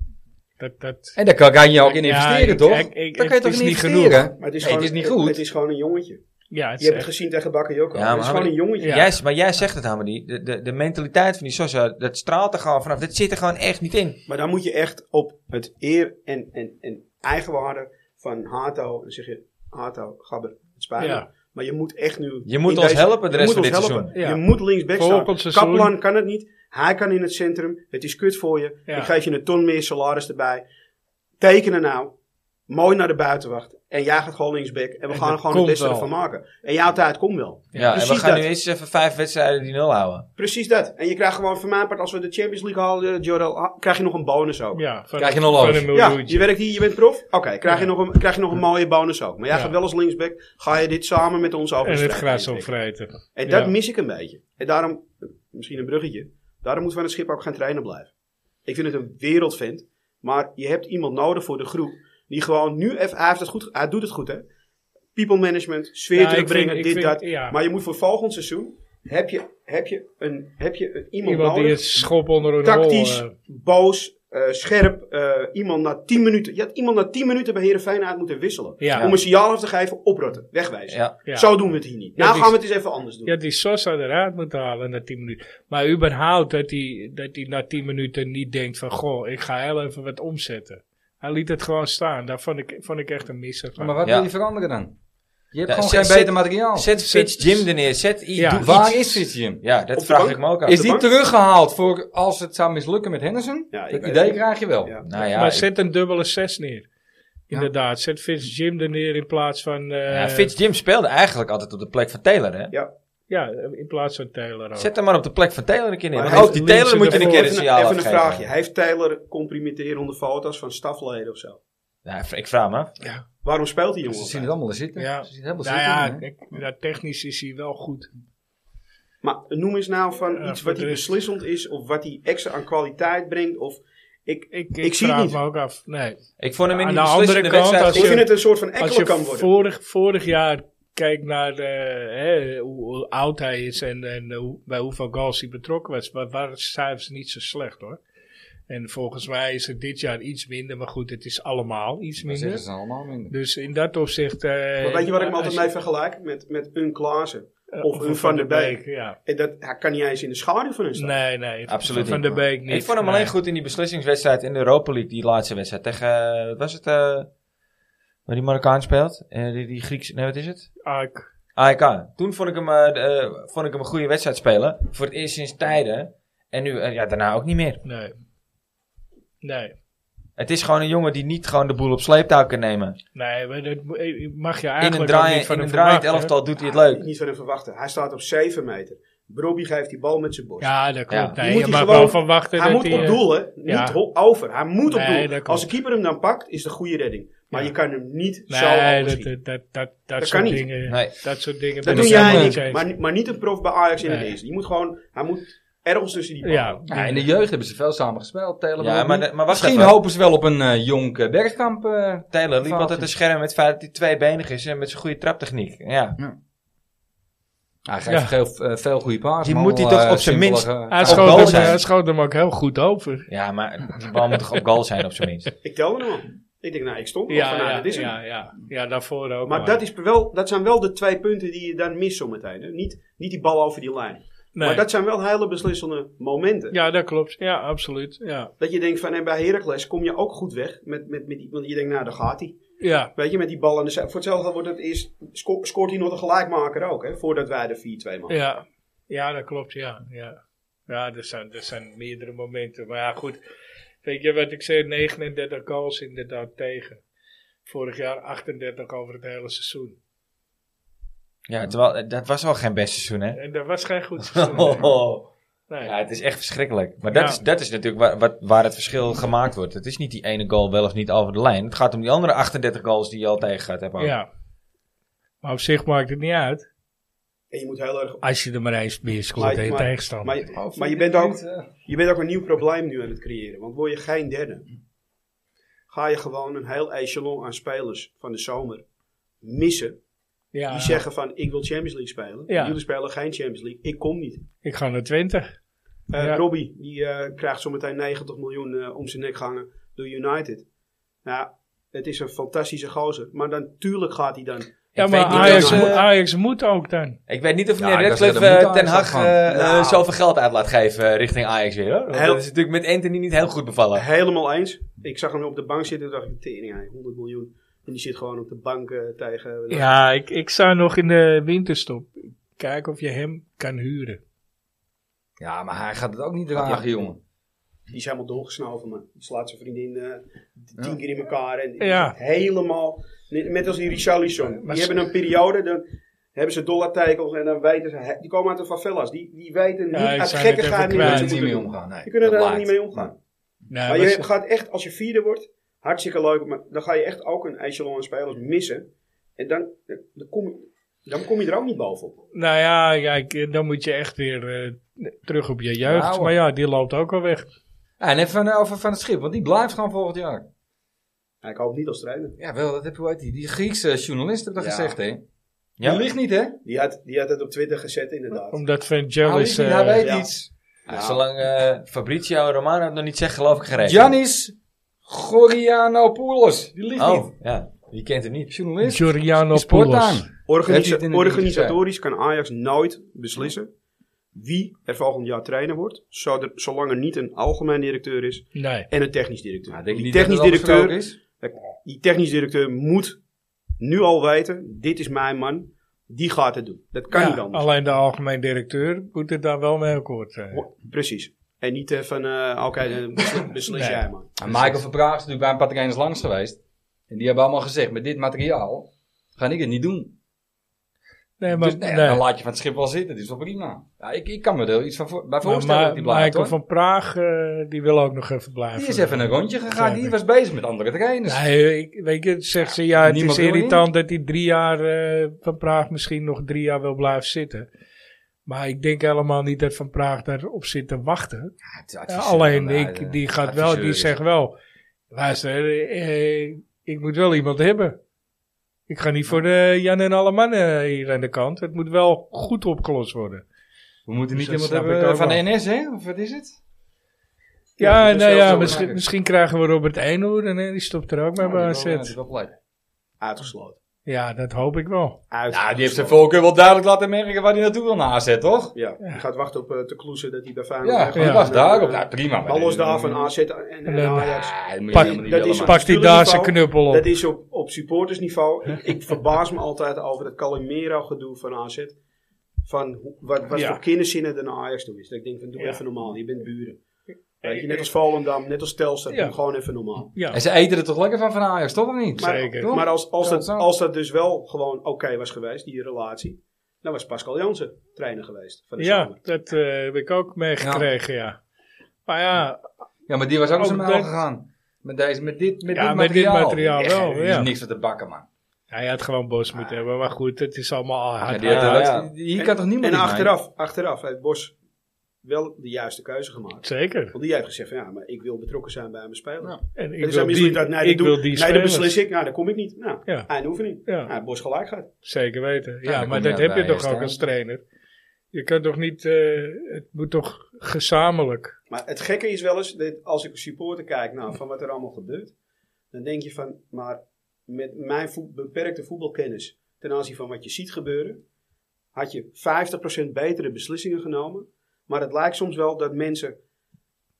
S2: Dat, dat,
S3: En daar kan kan je ook in
S2: Ja,
S3: investeren,
S2: ik-
S3: toch?
S2: ik- ik-
S3: daar kan
S2: het
S3: je toch
S2: is
S3: in
S2: niet
S3: investeren?
S4: Maar het
S3: Nee,
S4: is, gewoon,
S3: het is niet goed.
S4: Het, is gewoon een jongetje.
S2: ja, het
S4: Je hebt het
S2: zegt-
S4: gezien tegen Bakayoko.
S1: Ja, maar
S4: het is gewoon
S1: Hammer-
S4: een jongetje.
S2: Ja.
S1: Jij- maar jij zegt het, Hamadi. De, de, de mentaliteit van die Sosa, dat straalt er gewoon vanaf. Dat zit er gewoon echt niet in.
S4: Maar dan moet je echt op het eer en, en, en eigenwaarde van Hato. En zeg je, Hato, Gabber, het spijt me.
S2: Ja.
S4: Maar je moet echt nu...
S1: Je moet
S4: in
S1: ons
S4: deze-
S1: helpen de
S4: je
S1: rest van
S4: moet
S1: dit
S4: ons
S1: seizoen.
S4: helpen.
S2: Ja.
S4: Je moet linksback staan.
S2: Volgend seizoen.
S4: Kaplan kan het niet. Hij kan in het centrum. Het is kut voor je.
S2: Ja.
S4: Ik geef je een ton meer salaris erbij. Tekenen nou. Mooi naar de buitenwacht. En jij gaat gewoon linksback. En we
S2: En
S4: gaan er
S2: dat
S4: gewoon het
S2: komt
S4: beste
S2: wel.
S4: ervan maken. En jouw tijd komt wel.
S1: Ja, en we
S4: precies
S1: gaan
S4: dat.
S1: nu eerst eens even vijf wedstrijden die nul houden.
S4: Precies dat. En je krijgt gewoon van mijn part, als we de Champions League halen, eh, Jorel, ha- krijg je nog een bonus ook.
S2: Ja, van,
S3: Krijg je een
S2: van
S3: loos.
S2: een
S4: Ja,
S2: miljoentje.
S4: je werkt hier, je bent prof. Oké, krijg, je nog een- krijg je nog een mooie bonus ook. Maar jij
S2: Ja.
S4: gaat wel als linksback, ga je dit samen met ons over
S2: en
S4: de
S2: het
S4: streep
S2: gras
S4: heen trekken.
S2: opvreten.
S4: En dat
S2: Ja.
S4: mis ik een beetje. En daarom, misschien een bruggetje, daarom moet Van het Schip ook gaan trainen blijven. Ik vind het een wereldvent, maar je hebt iemand nodig voor de groep die gewoon nu even, hij, heeft het goed, hij doet het goed hè. People management, sfeer
S2: Ja, Nou, ik
S4: te
S2: vind-
S4: brengen,
S2: ik
S4: dit,
S2: vind-
S4: dat.
S2: ja.
S4: Maar je moet voor volgend seizoen, heb je, heb je, een, heb je een, iemand,
S2: Iemand die
S4: nodig
S2: het schop onder een
S4: tactisch,
S2: hol... eh,
S4: boos, eh, scherp. eh, iemand na 10 minuten. Je had iemand na 10 minuten bij Herenveen uit moeten wisselen.
S2: Ja.
S4: Om een signaal af te geven, oprotten, wegwijzen.
S1: Ja.
S2: ja.
S4: Zo doen we het hier niet.
S2: Ja,
S4: nou
S2: die-
S4: gaan we het eens even anders doen.
S2: Je had die Sosa eruit moeten halen na 10 minuten. Maar überhaupt dat hij, dat hij na 10 minuten niet denkt van... Goh, ik ga heel even wat omzetten. Hij liet het gewoon staan. Daar vond ik, vond ik echt een misser van.
S3: Maar wat
S1: Ja.
S3: wil je veranderen dan? Je hebt
S1: Ja,
S3: gewoon
S1: zet-
S3: geen
S1: zet-
S3: beter materiaal.
S1: Zet Fitz Jim er neer. Zet i-
S2: Oh, Ja.
S1: doe iets.
S3: Waar is dit, Jim?
S1: Ja, dat
S4: Op de
S1: vraag
S4: bank?
S1: ik me ook af.
S3: Is
S4: de
S3: die
S4: bank?
S3: teruggehaald voor als het zou mislukken met Henderson?
S4: Ja, ik
S3: dat
S4: weet
S3: idee
S4: het.
S3: krijg je wel.
S4: Ja.
S1: Nou ja,
S2: maar
S1: ik-
S2: zet een dubbele 6 neer. Inderdaad, zet Fitz Jim er neer in plaats van... eh,
S1: ja, Fitz Jim speelde eigenlijk altijd op de plek van Taylor, hè?
S2: ja, in plaats van Taylor ook.
S1: Zet hem maar op de plek van Taylor een keer neer.
S4: Maar
S1: Want
S4: hij
S1: ook die
S2: heeft
S1: Taylor moet
S2: links
S1: je een
S2: ervoor.
S1: keer een
S4: even
S1: signaal
S4: even een
S1: afgeven.
S4: vraagje. Heeft Taylor complimenterende foto's van stafleden of zo?
S1: Ja, ik vraag me af.
S4: Waarom speelt die
S3: Ze
S4: jongen?
S3: zien
S4: op?
S3: het allemaal er zitten.
S2: Ja.
S3: Ze zien het helemaal
S2: nou
S3: zitten.
S2: ja,
S3: hè?
S2: kijk, ja, technisch is hij wel goed.
S4: Maar noem eens nou van
S2: Ja,
S4: iets
S2: voor
S4: wat
S2: de
S4: hij
S2: rest.
S4: beslissend is. Of wat hij extra aan kwaliteit brengt. Of ik, ik,
S2: Ik, ik,
S4: zie het
S2: vraag
S4: niet.
S2: me ook af. Nee.
S1: Ik vond hem in
S2: Aan
S1: die
S2: de
S1: beslissende
S2: andere kant,
S1: wedstrijd
S2: als
S1: goed.
S4: vind het een soort van
S2: Als
S4: ekkel
S2: je
S4: kan worden.
S2: vorig, vorig jaar kijkt naar eh, hè, hoe, hoe oud hij is en, en hoe- bij hoeveel goals hij betrokken was, wa- waren de cijfers niet zo slecht hoor. En volgens mij is het dit jaar iets minder, maar goed, het is allemaal iets
S3: Dan zeggen
S2: minder.
S3: ze allemaal minder.
S2: Dus in dat opzicht. eh,
S4: Maar weet je wat ik me
S2: als
S4: altijd mee vergelijk? Met, met een Klaassen.
S2: eh,
S4: of een Van der Beek.
S2: Ja.
S4: En Eh, dat, hij kan niet eens in de schaduw van hem staan.
S2: Nee, nee.
S1: Absoluut
S2: Van
S1: niet,
S2: der Beek niet.
S1: Ik vond hem
S2: nee.
S1: alleen goed in die beslissingswedstrijd in de Europa League, die laatste wedstrijd. Tegen, eh, wat was het? eh, waar die Marokkaan speelt? Eh, die, die Grieks, nee, wat is het?
S2: Ark.
S1: AEK. Toen vond ik, hem, eh, de- eh, vond ik hem een goede wedstrijd spelen. Voor het eerst sinds tijden. En nu, eh, ja, daarna ook niet meer.
S2: Nee. Nee.
S1: Het is gewoon een jongen die niet gewoon de boel op sleeptouw kan nemen.
S2: Nee, maar dat mo- eh, mag je
S1: In een,
S2: eigenlijk ook
S1: draai,
S2: niet van
S1: in een
S2: hem
S1: draaiend
S2: verwachten, hè?
S1: elftal doet hij het leuk.
S4: Niet van hem verwachten. Hij staat op 7 meter. Brobbie geeft die bal met zijn borst.
S2: Ja, dat klopt.
S1: Ja.
S2: Nee,
S4: Je
S2: je,
S4: moet die
S2: mag
S4: gewoon-
S2: wel verwachten
S4: hij
S2: dat
S4: moet
S2: hij...
S4: op
S2: eh,
S4: doel, hè? Niet
S2: ja.
S4: ho- over. Hij moet op
S2: Nee, dat
S4: doel.
S2: klopt.
S4: Als de keeper hem dan pakt, is de goede redding. Maar
S2: Ja.
S4: je kan hem niet zo
S2: Nee, dat,
S4: overschieten.
S2: dat, dat, dat,
S4: Dat
S2: soort
S4: kan niet.
S2: dingen...
S1: Nee.
S2: Dat soort dingen...
S4: Dat
S2: ben
S4: doe
S2: ik helemaal
S4: jij
S2: niet
S4: niet.
S2: eens.
S4: Maar, maar niet een prof bij Ajax in het
S2: Nee.
S4: eerste. Je moet gewoon, hij moet ergens tussen die ballen.
S2: Ja,
S3: Ja, in de jeugd hebben ze veel samen gespeeld. Telen we
S1: Ja,
S3: ook
S1: maar,
S3: niet.
S1: de- maar wacht
S3: Misschien
S1: even.
S3: hopen ze wel op een eh, jonk eh, bergkamp. eh,
S1: Taylor liep
S3: Foutje.
S1: altijd een scherm met het feit dat hij tweebenig is en met zijn goede traptechniek. Ja.
S3: Hij geeft veel, eh, veel goede Eh, paas.
S1: Die moet hij toch op zijn minst-
S2: Hij
S1: Op goal
S2: schoot, hem,
S1: zijn.
S2: hij schoot hem ook heel goed over.
S1: ja, maar de bal moet toch op goal zijn op zijn minst.
S4: Ik telde hem al. Ik denk, nou, ik stond er al
S2: Ja,
S4: van,
S2: ja,
S4: nou,
S2: ja,
S4: dat is hem.
S2: ja, ja. daarvoor ook.
S4: Maar dat, is wel, dat zijn wel de twee punten die je dan mist zometeen. hè. Niet, niet die bal over die lijn.
S2: Nee.
S4: Maar dat zijn wel hele beslissende momenten.
S2: Ja, dat klopt. Ja, absoluut. Ja.
S4: Dat je denkt van, en bij Heracles kom je ook goed weg. Met, met, met die, want je denkt, nou, daar gaat hij.
S2: Ja.
S4: Weet je, met die bal aan de zij- Voor hetzelfde wordt het eerst, sco- scoort hij nog de gelijkmaker ook, hè. Voordat wij de 4-2 maken.
S2: Ja. ja, dat klopt. Ja, ja. ja er, zijn, er zijn meerdere momenten. Maar ja, goed. Weet je wat ik zei? 39 goals inderdaad tegen. Vorig jaar 38 over het hele seizoen.
S1: Ja, terwijl, eh, dat was wel geen best seizoen, hè?
S2: En dat was geen goed seizoen.
S3: Oh.
S2: Nee.
S1: Oh. Ja, het is echt verschrikkelijk. Maar dat,
S2: Ja.
S1: is, dat is natuurlijk waar, wat, waar het verschil gemaakt wordt. Het is niet die ene goal wel of niet over de lijn. Het gaat om die andere 38 goals die je al tegen gaat hebben.
S2: ja. Maar op zich maakt het niet uit.
S4: En je moet heel erg...
S2: Als je er maar eens meer scoort
S4: Maar-
S2: tegen
S4: maar-
S2: tegenstander.
S4: Maar, je- Oh, maar je, bent ook, je bent ook een nieuw probleem nu aan het creëren. Want word je geen derde, ga je gewoon een heel echelon aan spelers van de zomer missen.
S2: ja,
S4: Die zeggen van, ik wil Champions League spelen.
S2: Ja.
S4: Jullie spelen geen Champions League. Ik kom niet.
S2: ik ga naar 20.
S4: Eh
S2: Ja.
S4: Robbie, die eh, krijgt zometeen 90 miljoen eh, om zijn nek gehangen door United. Nou, het is een fantastische gozer. Maar natuurlijk gaat hij dan...
S2: Ja,
S1: Ik
S2: maar
S1: weet niet
S2: Ajax,
S1: of, eh,
S2: moet- Ajax moet ook dan.
S1: Ik weet niet of
S3: Ja,
S1: meneer
S3: ik dacht
S1: Redcliffe
S3: dat er
S1: eh,
S3: moet
S1: Ten
S3: aan
S1: Hag
S3: staan.
S1: eh, eh,
S4: Nou.
S1: zoveel geld uit laat geven eh, richting Ajax weer. Hoor. Want
S4: Heel-
S1: Dat is natuurlijk met Anthony niet heel goed bevallen.
S4: Helemaal eens. Ik zag hem op de bank zitten en dacht ik, tering, hij, 100 miljoen. En die zit gewoon op de bank eh, tegen...
S2: Ja, ik, ik zou nog in de winterstop kijken of je hem kan huren.
S3: Ja, maar hij gaat het ook niet dragen, jongen.
S4: Die is helemaal doorgesnoven, man. Die slaat zijn vriendin eh, tien keer in elkaar. En die
S2: Ja.
S4: zit helemaal... Net als die Richarlison.
S2: Maar
S4: Die
S2: ze-
S4: hebben een periode, dan hebben ze dollartekels en dan weten ze... he- Die komen uit de favelas. Die, die weten niet
S2: Ja, ik
S4: uit
S2: zou net even
S4: gekkigheid niet
S2: kwijt.
S4: wat
S3: Daar
S4: ze
S3: kan niet
S4: moeten
S3: mee
S4: doen.
S3: omgaan. Nee,
S4: Je kunt
S3: dat
S4: er helemaal niet
S3: laat.
S4: mee omgaan.
S2: Nou, maar
S4: Maar je
S2: ze-
S4: gaat echt, als je vierde wordt, hartstikke leuk, maar dan ga je echt ook een echelon aan spelers missen. En dan, dan, kom, dan kom je er ook niet bovenop.
S2: nou ja, kijk, dan moet je echt weer eh, terug op je jeugd.
S3: Nou, hoor.
S2: maar ja, die loopt ook al weg.
S3: Ja, en even van, over van het schip, want die blijft gewoon volgend jaar.
S4: Ja, ik hoop niet als trainer.
S3: Ja, wel, dat heb je, hoe heet die? Die Griekse journalist heeft dat
S4: Ja.
S3: gezegd, hè?
S1: Ja.
S3: Die ligt niet, hè?
S4: Die had, die had het op Twitter gezet, inderdaad.
S2: Omdat Van
S3: Hij
S2: Gel
S3: ligt
S2: is...
S3: niet,
S2: eh,
S3: hij weet
S4: ja.
S3: iets.
S1: Ja, Zolang eh, Fabrizio Romano het nog niet zegt, geloof ik gereed.
S3: Janis Gorianopoulos. Die ligt
S1: Oh,
S3: niet.
S1: ja. Je kent hem niet.
S3: Journalist.
S2: Giuliano
S3: Die sport
S2: Poulos.
S3: aan.
S4: Organisa-
S3: Heeft hij het in de
S4: organisatorisch kan Ajax nooit beslissen wie er volgend jaar trainer wordt, zo- zolang er niet een algemeen directeur is
S2: Nee.
S4: en een technisch directeur.
S3: Nou, denk ik
S4: die,
S3: niet dat
S4: technisch
S3: het al besproken
S4: directeur,
S3: is.
S4: die technisch directeur moet nu al weten, dit is mijn man, die gaat het doen. Dat kan
S2: Ja,
S4: niet anders.
S2: alleen de algemeen directeur moet er daar wel mee akkoord eh. zijn.
S4: Ho- Precies. En niet eh, van, eh, oké, dan beslis, beslis
S2: Nee.
S4: jij maar.
S3: En Michael Verbraag is natuurlijk bij een paar trainers langs geweest. En die hebben allemaal gezegd, met dit materiaal ga ik het niet doen.
S2: Nee, maar,
S3: dus nee,
S2: nee.
S3: dan laat je van het schip wel zitten. Dat is wel prima. Ja, ik, ik kan me er iets van voor, bij
S2: Nou, Maar
S3: voorstellen
S2: Ma-
S3: dat die blijft,
S2: Michael
S3: hoor.
S2: van Praag, eh, die wil ook nog even blijven.
S3: Die is even een rondje gegaan.
S2: Ja,
S3: Die was bezig met andere trainers.
S2: Nee, ik, weet je, zegt ze, ja, het
S3: Niemand
S2: is
S3: wil
S2: irritant dat hij drie jaar eh, Van Praag misschien nog drie jaar wil blijven zitten. Maar ik denk helemaal niet dat Van Praag daarop zit te wachten.
S3: Ja, het is
S2: Eh,
S3: adviseur,
S2: alleen,
S3: ja,
S2: ik,
S3: de
S2: die gaat wel,
S3: adviseur
S2: die
S3: is-
S2: zegt wel, luister, eh, ik moet wel iemand hebben. Ik ga niet voor de Jan en alle mannen hier aan de kant. Het moet wel goed opgelost worden.
S3: We moeten niet
S2: Dus dat
S3: iemand
S2: snap ik
S3: hebben eh,
S2: ook
S3: van de
S2: wel.
S3: NS, hè? Of wat is het?
S2: Ja,
S4: dat is
S2: nou
S4: wel
S2: ja,
S4: zo
S2: misschien,
S3: maken.
S2: misschien krijgen we Robert Einoer en eh, die stopt er ook mee bij AZ.
S3: Ja, die
S4: Uitgesloten.
S2: Ja, dat hoop ik wel.
S4: Uitgesloten.
S3: Nou, heeft zijn voorkeur wel duidelijk laten merken waar hij naartoe wil naar AZ, toch?
S4: Ja, je gaat wachten op eh te kloezen dat hij bij Feyenoord
S3: Ja,
S4: weg
S3: die
S4: gaat.
S3: was
S4: Eh,
S3: daarop. Nou, prima. maar-
S4: Alles daarvan AZ en, en,
S2: Nee.
S4: Ajax.
S3: Ah, dat moet je
S2: Pak-
S3: helemaal niet
S4: dat
S3: willen,
S4: is-
S3: man.
S2: Pakt hij daar zijn
S4: Stuurniveau,
S2: knuppel op.
S4: Dat is op, op supportersniveau. ik, ik verbaas me altijd over dat Calimero-gedoe van AZ. Van hoe- wat, wat
S2: Ja.
S4: voor kinderzinnen er naar Ajax toe is. Dat ik denk van, doe
S2: Ja.
S4: even normaal, je bent buren. Weet je, net als Volendam, net als Telstar,
S2: Ja.
S4: doe gewoon even normaal.
S2: Ja,
S3: En ze eten er toch lekker van van Ajax, toch of niet?
S4: Maar,
S2: Zeker.
S4: maar als, als,
S3: Ja,
S4: dat,
S3: zo.
S4: als dat dus wel gewoon oké was geweest, die relatie, dan was Pascal Jansen trainer geweest van de
S2: ja
S4: zomer.
S2: dat eh, heb ik ook meegekregen, ja. Maar ja,
S3: Ja, maar die was ook
S2: Ook
S3: zijn mijl
S2: dat-
S3: gegaan. Met, deze, met dit, met
S2: Ja,
S3: dit
S2: met dit
S3: materiaal.
S2: materiaal wel,
S3: Er is
S2: ja.
S3: niks van te bakken, man.
S2: hij had gewoon bos moeten hebben. Maar goed, het is allemaal
S3: Ah. Ja,
S2: hard.
S3: die had
S1: ja,
S3: er ook-
S1: ja.
S3: die- Hier kan toch niemand
S4: En
S3: iets mee?
S4: achteraf, achteraf heeft Bos wel de juiste keuze gemaakt.
S2: Zeker.
S4: Want die heeft gezegd van ja, maar ik wil betrokken zijn bij mijn speler.
S3: Ja.
S2: En
S4: Ik
S2: ik
S4: dus hij
S2: wil
S4: besluit
S2: die,
S4: dat, nee,
S2: ik
S4: dat doe,
S2: wil die
S4: nee, dat
S2: spelers.
S4: beslis ik, nou, daar kom ik niet. Nou,
S2: Ja.
S4: einde oefening.
S2: Ja.
S4: Nou, Bos gelijk gaat.
S2: Zeker weten. Ja,
S3: dan
S2: maar
S3: kom je
S2: dat
S3: uit
S2: heb je
S3: bij
S2: toch
S3: Ajax
S2: ook als
S3: dan.
S2: trainer. Je kan toch niet, eh, het moet toch gezamenlijk.
S4: Maar het gekke is wel eens, dat als ik als supporter kijk nou, van wat er allemaal gebeurt, dan denk je van, maar met mijn voet- beperkte voetbalkennis ten aanzien van wat je ziet gebeuren, had je 50% betere beslissingen genomen. Maar het lijkt soms wel dat mensen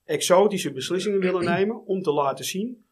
S4: exotische beslissingen willen nemen om te laten zien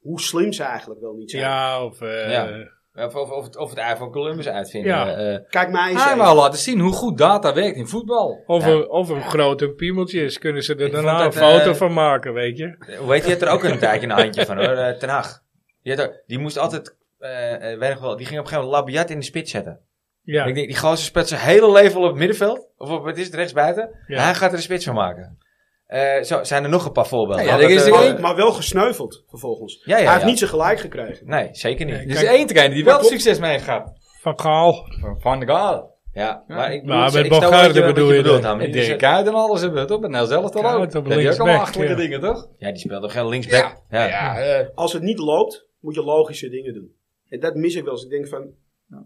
S4: hoe slim ze eigenlijk wel niet zijn.
S2: Ja, of... eh,
S1: Ja. Of, of, of, het- of het ei van Columbus uitvinden.
S2: Ja.
S1: eh,
S4: Kijk mij eens
S3: Hij
S4: even.
S3: wou laten zien hoe goed data werkt in voetbal.
S2: Of,
S1: Ja.
S2: een, of een grote piemeltje is, kunnen ze er
S1: Ik
S2: daarna een
S1: vond dat,
S2: foto
S1: eh,
S2: van maken, weet je?
S1: Hoe heet, die had er ook een tijdje een handje van hoor, eh, Ten Hag. Die, had ook- die moest altijd, eh, eh, weet ik wel, die ging op een gegeven moment Labiat in de spits zetten.
S2: Ja,
S1: Ik denk, die gozer speelt zijn hele leven op het middenveld, of op, het is het rechtsbuiten,
S2: Ja.
S1: en hij gaat er een spits van maken. Eh, zo zijn er nog een paar voorbeelden.
S3: Ja, ja,
S1: Had
S3: er is
S1: het,
S3: er
S1: eh,
S3: één.
S4: Maar, maar wel gesneuveld vervolgens.
S1: Ja, ja,
S4: Hij heeft
S1: ja.
S4: niet zijn gelijk gekregen.
S1: eh, Nee, zeker niet.
S2: Nee.
S3: Er is
S2: Kijk-
S3: één trainer die wel
S4: klopt.
S3: succes mee heeft gehad.
S2: van Gaal.
S3: Van- Van de Gaal.
S1: Ja, maar ik,
S2: Maar
S1: bedoel,
S2: met
S1: ik snap wel wat
S2: Bogarde
S1: je- wat
S2: bedoel je
S1: bedoelt,
S2: dan?
S1: Hamid.
S3: En Dirk Kuyt en alles hebben we toch? En nou zelf toch
S2: Ja,
S3: ook.
S2: het op
S3: Dat die ook allemaal
S2: linksback,
S3: achterlijke
S2: ja.
S3: dingen, toch?
S1: Ja, die speelde geen linksback. Ja.
S3: eh,
S4: als het niet loopt, moet je logische dingen doen. En dat mis ik wel eens. Ik denk van,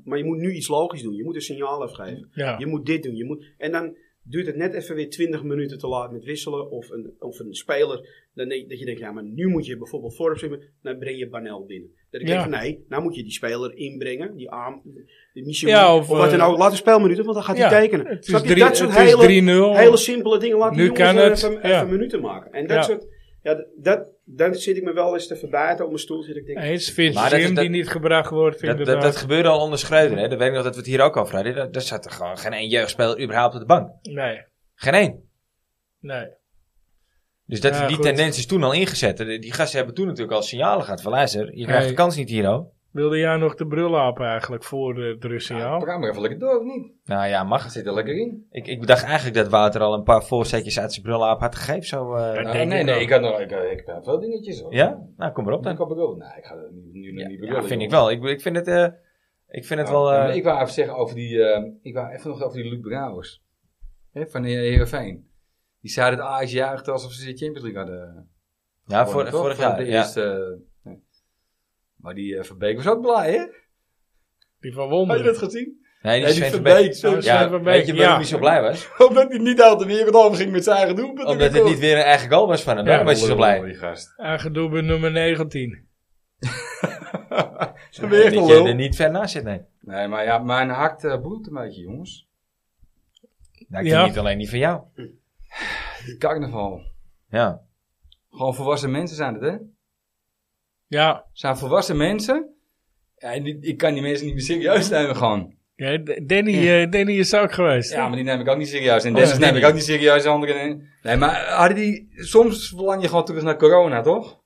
S4: maar je moet nu iets logisch doen. Je moet een signaal afgeven.
S2: Ja.
S4: Je moet dit doen. Je moet, en dan duurt het net even weer 20 minuten te laat met wisselen. Of een, of een speler. Dan denk, dat je denkt, ja, maar nu moet je bijvoorbeeld voorop zitten. Dan breng je Banel binnen. Dat ik
S2: Ja.
S4: denk van, nee, nou moet je die speler inbrengen. Die arm, die Michel,
S2: Ja,
S4: of,
S2: of,
S4: wat dan
S2: eh,
S4: ook. Laat een speelminuten, want dan gaat hij
S2: ja,
S4: tekenen.
S2: het is
S4: Snap je?
S2: drie-
S4: dat soort
S2: het is
S4: hele,
S2: 3-0.
S4: hele simpele dingen. Laat die
S2: Nu
S4: jongens
S2: kan
S4: wel
S2: het,
S4: even, even
S2: ja.
S4: minuten maken. En dat
S2: Ja.
S4: soort ja, d- dat, dan zit ik me wel eens te verbijten op mijn stoeltje. Dat ik denk,
S2: Eens Vince
S1: Maar dat is
S2: Jim
S1: dat-
S2: die niet gebracht wordt,
S1: Dat, dat,
S2: inderdaad.
S1: dat gebeurde al onder Schreuder, hè. Dat weet ik nog dat we het hier ook over hadden. Daar- Daar zat er gewoon geen één jeugdspeler überhaupt op de bank.
S2: nee,
S1: Geen één.
S2: nee.
S1: Dus dat,
S2: Ja,
S1: die
S2: goed.
S1: tendens is toen al ingezet. De- Die gasten hebben toen natuurlijk al signalen gehad. Van luister, je krijgt
S2: Hey.
S1: de kans niet hier al.
S2: Wilde jij nog de brulhaap eigenlijk voor eh, het Russiaal?
S3: Programma even lekker door, of niet?
S1: Nou ja, mag.
S3: Zit er lekker in?
S1: Ik, ik dacht eigenlijk dat Wouter al een paar voorzetjes uit zijn bril had gegeven. Zo, eh,
S2: Ja,
S1: nou.
S3: nee,
S2: denk
S3: nee,
S2: ik
S3: nee.
S2: ook.
S3: Ik had nog ik, eh, ik heb veel dingetjes. Hoor.
S1: ja? Nou, kom erop
S3: Dan
S1: dan.
S3: kan ik ook. Nee, ik ga dat nu, nu nog
S1: Ja,
S3: niet
S1: ja,
S3: bedoelen,
S1: vind ik
S3: joh.
S1: wel. Ik, ik vind het, eh, ik vind het
S3: Ja,
S1: wel... eh,
S3: maar ik wou even zeggen over die. eh, ik wou even nog over die Luc Brouwers. Hè, van de Heerenveen. Die zei dat Ajax juichte alsof ze de Champions League hadden.
S1: ja,
S3: gewonnen,
S1: voor,
S3: toch?
S1: vorig
S3: Van
S1: jaar.
S3: de
S1: Ja.
S3: eerste, eh, nee. Maar die eh, Van Beek was ook blij, hè?
S2: Die van
S3: Had je
S2: Wonder.
S3: dat gezien?
S1: Nee, die
S3: Nee, die
S1: Sven
S3: Van
S1: Verbeek.
S3: Beek. zo-
S2: Ja.
S1: Ja,
S2: Sven Verbeek,
S1: weet je waarom
S2: ja.
S1: hij zo blij was?
S3: Omdat hij niet uit de wereld over ging met zijn eigen doelpunt.
S1: Omdat het niet weer een eigen goal was van hem.
S2: Ja,
S1: Daarom was hij zo blij.
S3: Die gast.
S2: Eigen doelpunt nummer 19.
S3: Ze weer echt een
S1: dat je er
S3: lul.
S1: niet ver naast zit, nee.
S3: Nee, maar ja, mijn hakt eh, bloedt een beetje, jongens.
S1: Nou, ik
S2: Ja.
S1: denk niet alleen die van jou.
S3: Carnaval.
S1: Ja.
S3: Gewoon volwassen mensen zijn het, hè?
S2: Ja,
S3: zijn volwassen mensen. Ja, en die- ik kan die mensen niet meer serieus nemen gewoon.
S2: ja D- Danny, eh, Danny is ook geweest.
S3: Ja, maar die neem ik ook niet serieus. En Dennis neem ik ook niet serieus. Anderen. Nee, maar hadden die, soms verlang je gewoon terug naar corona, toch?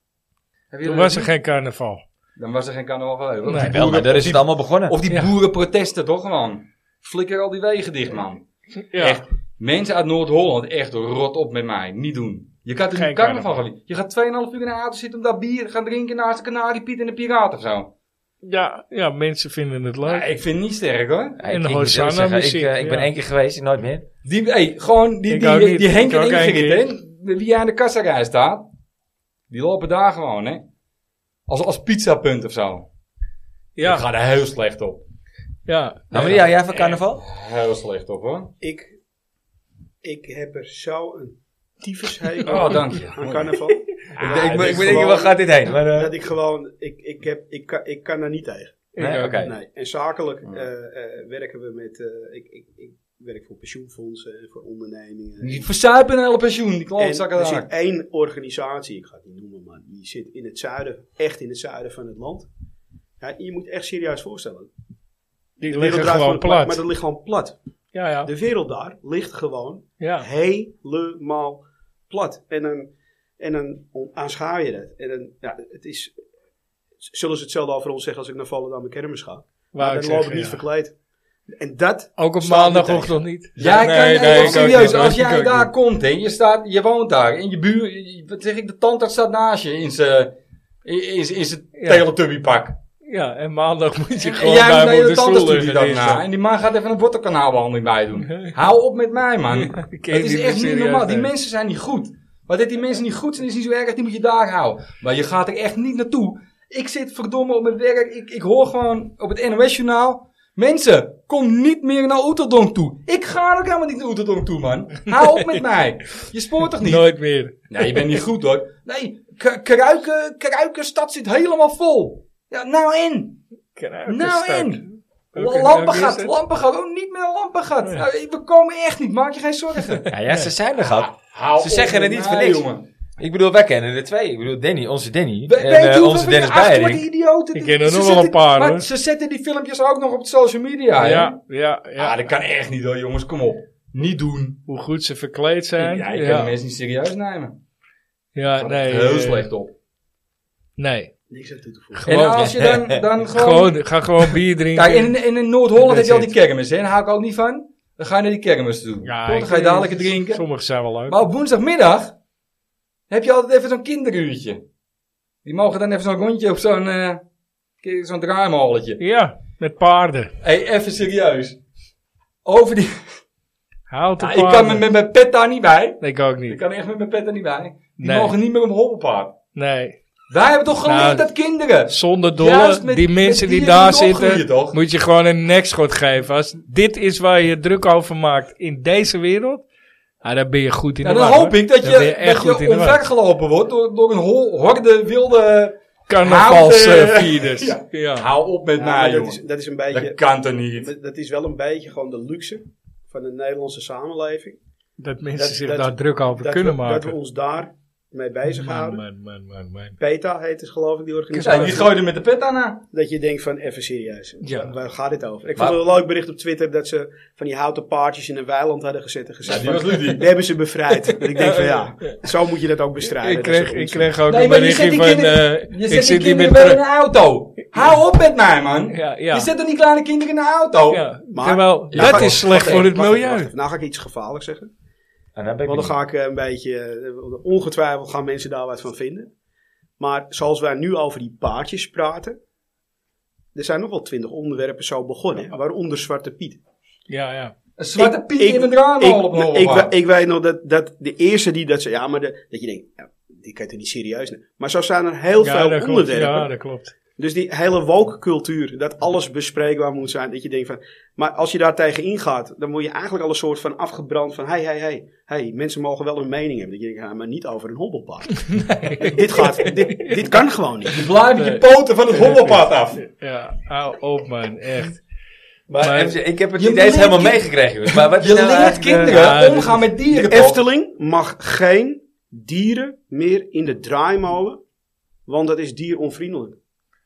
S3: Heb je
S2: Toen
S3: dat
S2: was er
S3: gezien?
S2: geen carnaval.
S3: Dan was er geen carnaval geweest. Of
S2: Nee,
S3: die
S1: Wel, maar
S3: boeren-
S1: daar
S3: of
S1: is
S3: die-
S1: het allemaal begonnen.
S3: Of die
S2: Ja.
S3: boerenprotesten, toch gewoon? Flikker al die wegen dicht, man.
S2: Ja,
S3: Echt. Mensen uit Noord-Holland, echt rot op met mij. Niet doen. Je gaat er
S2: Geen
S3: niet carnaval
S2: carnaval.
S3: gaan. Je gaat 2,5 uur in de auto zitten om daar bier te gaan drinken naast de Canariepiet en de Piraat of zo.
S2: ja, ja, mensen vinden het
S3: Ja,
S2: leuk.
S3: ik vind het niet sterk hoor.
S1: Ja, ik-
S2: En
S1: ik moet eerlijk
S2: Hosanna
S1: zeggen,
S2: muziek,
S1: Ik, eh, ik ben
S2: ja.
S1: één keer geweest, nooit meer.
S3: Die, hey, gewoon die,
S2: Ik
S3: die, eh,
S2: ook
S3: die,
S2: niet.
S3: die Henk
S2: Ik
S3: en
S2: ook
S3: Ingrid,
S2: één
S3: hè? Wie aan de kassarij staat, die lopen daar gewoon, hè? Als, als pizzapunt of zo. Ik
S2: Ja,
S3: ga daar heel slecht op.
S2: ja.
S1: Nou, maar ja, jij van carnaval?
S3: Heel slecht op, hoor.
S4: Ik, ik heb er zo een tyfushekel
S3: Oh, dank
S4: aan
S3: je.
S4: carnaval.
S1: ik ik,
S4: het
S1: moet-
S4: is
S1: ik moet denken,
S4: gewoon-
S1: waar gaat dit heen? Maar, eh,
S4: Dat ik gewoon, ik, ik, heb, ik, kan, ik kan daar niet tegen.
S1: nee, oké.
S4: Nee. En zakelijk
S3: Ja.
S4: eh, eh, werken we met, eh, ik, ik, ik werk voor pensioenfondsen en voor ondernemingen.
S3: Die verzuipen een hele pensioen, die
S4: En
S3: klootzakken
S4: er zit
S3: daar.
S4: één organisatie, ik ga het niet noemen, maar die zit in het zuiden, echt in het zuiden van het land. Ja, je moet echt serieus voorstellen.
S2: Die
S4: De wereld
S2: liggen
S4: draait
S2: gewoon
S4: Maar dat
S2: plat.
S4: ligt gewoon plat.
S2: Ja, ja,
S4: De wereld daar ligt gewoon
S2: ja.
S4: helemaal plat. En dan En dan on- aanschaar je dat. En dan, ja, het is, zullen ze hetzelfde over ons zeggen als ik naar Volendam en Kermis ga.
S2: Wou
S4: Maar
S2: ik
S4: dan loop ik
S2: zeggen, ja.
S4: niet verkleed. En dat,
S2: Ook op
S4: Staan we
S2: maandagochtend niet.
S3: Jij
S2: Nee,
S3: kan,
S2: nee,
S3: nee,
S2: ik ook
S3: serieus,
S2: niet,
S3: als
S2: hoor. Ik
S3: jij
S2: ook
S3: daar
S2: niet.
S3: komt, hè, je, staat, je woont daar, en je buur, je- wat zeg ik, de tandarts staat naast je in zijn in, in zijn
S2: Ja.
S3: teletubby pak.
S2: Ja, en maandag moet je
S3: En
S2: gewoon
S3: jij moet
S2: bij
S3: naar
S2: me op
S3: je
S2: de stoel
S3: tandarts toe die
S2: liggen.
S3: dat
S2: die is
S3: na.
S2: er.
S3: En die man gaat even een wortelkanaalbehandeling bij doen. Hou op met mij, man.
S2: Ik ken
S3: Het is
S2: die eh,
S3: echt niet
S2: serieus,
S3: normaal. Die
S2: nee.
S3: mensen zijn niet goed. Maar dat die mensen niet goed zijn, is niet zo erg. Die moet je daar houden. Maar je gaat er echt niet naartoe. Ik zit verdomme op mijn werk. Ik, ik hoor gewoon op het NOS-journaal. Mensen, kom niet meer naar Oeteldonk toe. Ik ga ook helemaal niet naar Oeteldonk toe, man. Hou op met mij. Je spoort toch niet?
S2: eh, Nooit meer.
S3: Nee, je bent niet goed hoor. Nee, K- Kruiken, Kruikenstad zit helemaal vol. Ja, nou en? Nou en?
S2: Oké,
S3: Lampengat,
S2: nou, is het.
S3: Lampengat. Oh, niet meer Lampengat.
S2: Ja.
S3: Nou, we komen echt niet, maak je geen zorgen.
S1: Ja, ja, ze zijn er gehad.
S3: Hou
S1: Ze zeggen
S3: op
S1: het
S3: met
S1: niet voor
S3: mij,
S1: niks.
S3: jongen.
S1: Ik bedoel, wij kennen er twee. Ik bedoel, Danny, onze Danny.
S3: We,
S1: en
S3: weet
S1: eh,
S3: je hoeveel
S1: onze
S3: van
S1: Dennis
S3: die achterlijke
S1: Beiring.
S3: idioten?
S2: Ik
S3: die-
S2: ken er
S3: ze
S2: nog wel
S3: zetten-
S2: een paar,
S3: maar
S2: hoor.
S3: Ze zetten die filmpjes ook nog op social media. hè?
S2: Ja, ja, ja.
S3: Ah, dat kan echt niet hoor, jongens. Kom op. Niet doen.
S2: Hoe goed ze verkleed zijn.
S3: Ja,
S2: Ja,
S3: je kan de mensen niet serieus nemen.
S2: Ja,
S3: Dat
S2: nee.
S3: nee, heel
S2: eh,
S3: slecht op.
S2: Nee.
S4: niks aan toe te voegen.
S3: En
S2: Gewoon-
S3: als je dan, dan gewoon
S2: Gewoon, ga gewoon bier drinken.
S3: Kijk, in, in, in Noord-Holland
S2: Dat
S3: heb je al die
S2: is
S3: kermis, hè? Daar hou ik ook niet van. Dan ga je naar die kermis toe.
S2: Ja,
S3: Toch?
S2: ik-
S3: dan ga je daar lekker drinken.
S2: Sommige zijn wel leuk.
S3: Maar op woensdagmiddag heb je altijd even zo'n kinderuurtje. Die mogen dan even zo'n rondje op zo'n eh, ke- zo'n draaimolletje.
S2: Ja, met paarden.
S3: Hé, hey, even serieus. Over die...
S2: Houd de
S3: Ja, ik
S2: paarden.
S3: kan met, met mijn pet daar niet bij.
S2: Ik ook
S3: Ik
S2: niet.
S3: kan echt met mijn pet daar niet bij. Die
S2: Nee.
S3: mogen niet meer op een hobbelpaard.
S2: Nee.
S3: Wij hebben toch geleerd
S2: Nou,
S3: dat kinderen...
S2: Zonder
S3: Juist
S2: dolle,
S3: met-
S2: die
S3: met
S2: mensen die
S3: dieren
S2: daar
S3: moet je opgroeien,
S2: zitten,
S3: toch?
S2: moet je gewoon een nekschot geven. Als dit is waar je druk over maakt in deze wereld, ah, dan ben je goed in
S3: Ja,
S2: de
S3: dan
S2: war,
S3: hoop
S2: hoor.
S3: ik dat je,
S2: Dan ben je echt
S3: dat
S2: goed
S3: je
S2: in de war.
S3: omvergelopen wordt door, door een hol- horde wilde... Houten-
S2: Carnavalsvierders. ja. ja.
S3: Hou op met
S4: Ja,
S2: nou,
S3: mij,
S4: maar dat,
S3: jongen.
S4: is, dat is een
S3: Dat
S4: beetje,
S3: kan toch niet?
S4: dat- dat is wel een beetje gewoon de luxe van de Nederlandse samenleving.
S2: Dat mensen
S4: Dat-
S2: zich
S4: dat-
S2: daar druk over
S4: Dat
S2: kunnen
S4: we,
S2: maken. Nou,
S4: dat we ons daar mee bezighouden.
S2: Man, man, man, man.
S4: PETA heet het geloof ik, die
S3: Ja, die
S4: organisatie.
S3: gooide met de pet aan. haar.
S4: dat je denkt van, even serieus,
S2: Ja.
S4: waar gaat dit over? Ik
S1: Maar-
S4: vond het een leuk bericht op Twitter dat ze van die houten paardjes in een weiland hadden gezet en gezegd
S3: Ja, die was
S4: van,
S3: Ludie.
S4: we hebben ze bevrijd. En ik denk van ja, zo moet je dat ook bestrijden.
S2: Ik
S4: dat soort
S2: kreeg, ik
S4: onzin.
S2: kreeg ook
S3: Nee,
S2: een
S3: maar je
S2: berichtje
S3: zet die
S2: van...
S3: kinderen-
S2: eh,
S3: Je
S2: ik
S3: zet die
S2: zit hier
S3: kinderen
S2: met...
S3: wel in
S2: pro-
S3: een auto. Hou op met mij, man.
S2: Ja, ja.
S3: Je zet dan die kleine kinderen in een auto.
S2: Ja,
S4: Oh, Maar-
S2: terwijl,
S4: Ja,
S2: dat
S4: Nou, wacht
S2: is
S4: even,
S2: slecht
S4: wacht
S2: voor
S4: even,
S2: het
S4: wacht even,
S2: milieu.
S4: wacht even. Nou ga ik iets gevaarlijks zeggen.
S1: En dan ben ik
S4: Want dan
S1: niet.
S4: ga ik eh, een beetje, eh, ongetwijfeld gaan mensen daar wat van vinden. Maar zoals wij nu over die paardjes praten, er zijn nog wel twintig onderwerpen zo begonnen, waaronder Zwarte Piet.
S2: Ja, ja.
S3: Een zwarte
S4: Ik-
S3: piet
S4: ik-
S3: in een drama op een
S4: Ik, ik, we-
S3: hobbelpaard.
S4: ik weet nog dat, dat de eerste die dat ze, ja, maar de, dat je denkt, ja, die kan je toch niet serieus nemen. Maar zo zijn er heel
S2: Ja, dat
S4: veel
S2: klopt.
S4: onderwerpen.
S2: Ja, dat klopt.
S4: Dus die hele woke cultuur, dat alles bespreekbaar moet zijn. Dat je denkt van, maar als je daar tegen ingaat, dan word je eigenlijk al een soort van afgebrand van, hey, hey, hey, hey, mensen mogen wel hun mening hebben. Dat je denkt, ja, maar niet over een hobbelpaard. dit gaat, dit, dit kan gewoon niet.
S3: Je blijft met je poten van het hobbelpad af.
S2: Ja, hou op man, echt.
S1: Maar,
S2: Maar-
S1: even- ik heb het
S3: Je
S1: niet eens
S3: leert
S1: helemaal
S3: kind-
S1: meegekregen, jongens. Maar wat is
S3: Je
S1: nou
S3: leert
S1: eigenlijk de-
S3: kinderen
S2: ja, dus dit-
S3: omgaan met dieren.
S4: De
S3: toch?
S4: Efteling mag geen dieren meer in de draaimolen, want dat is dieronvriendelijk.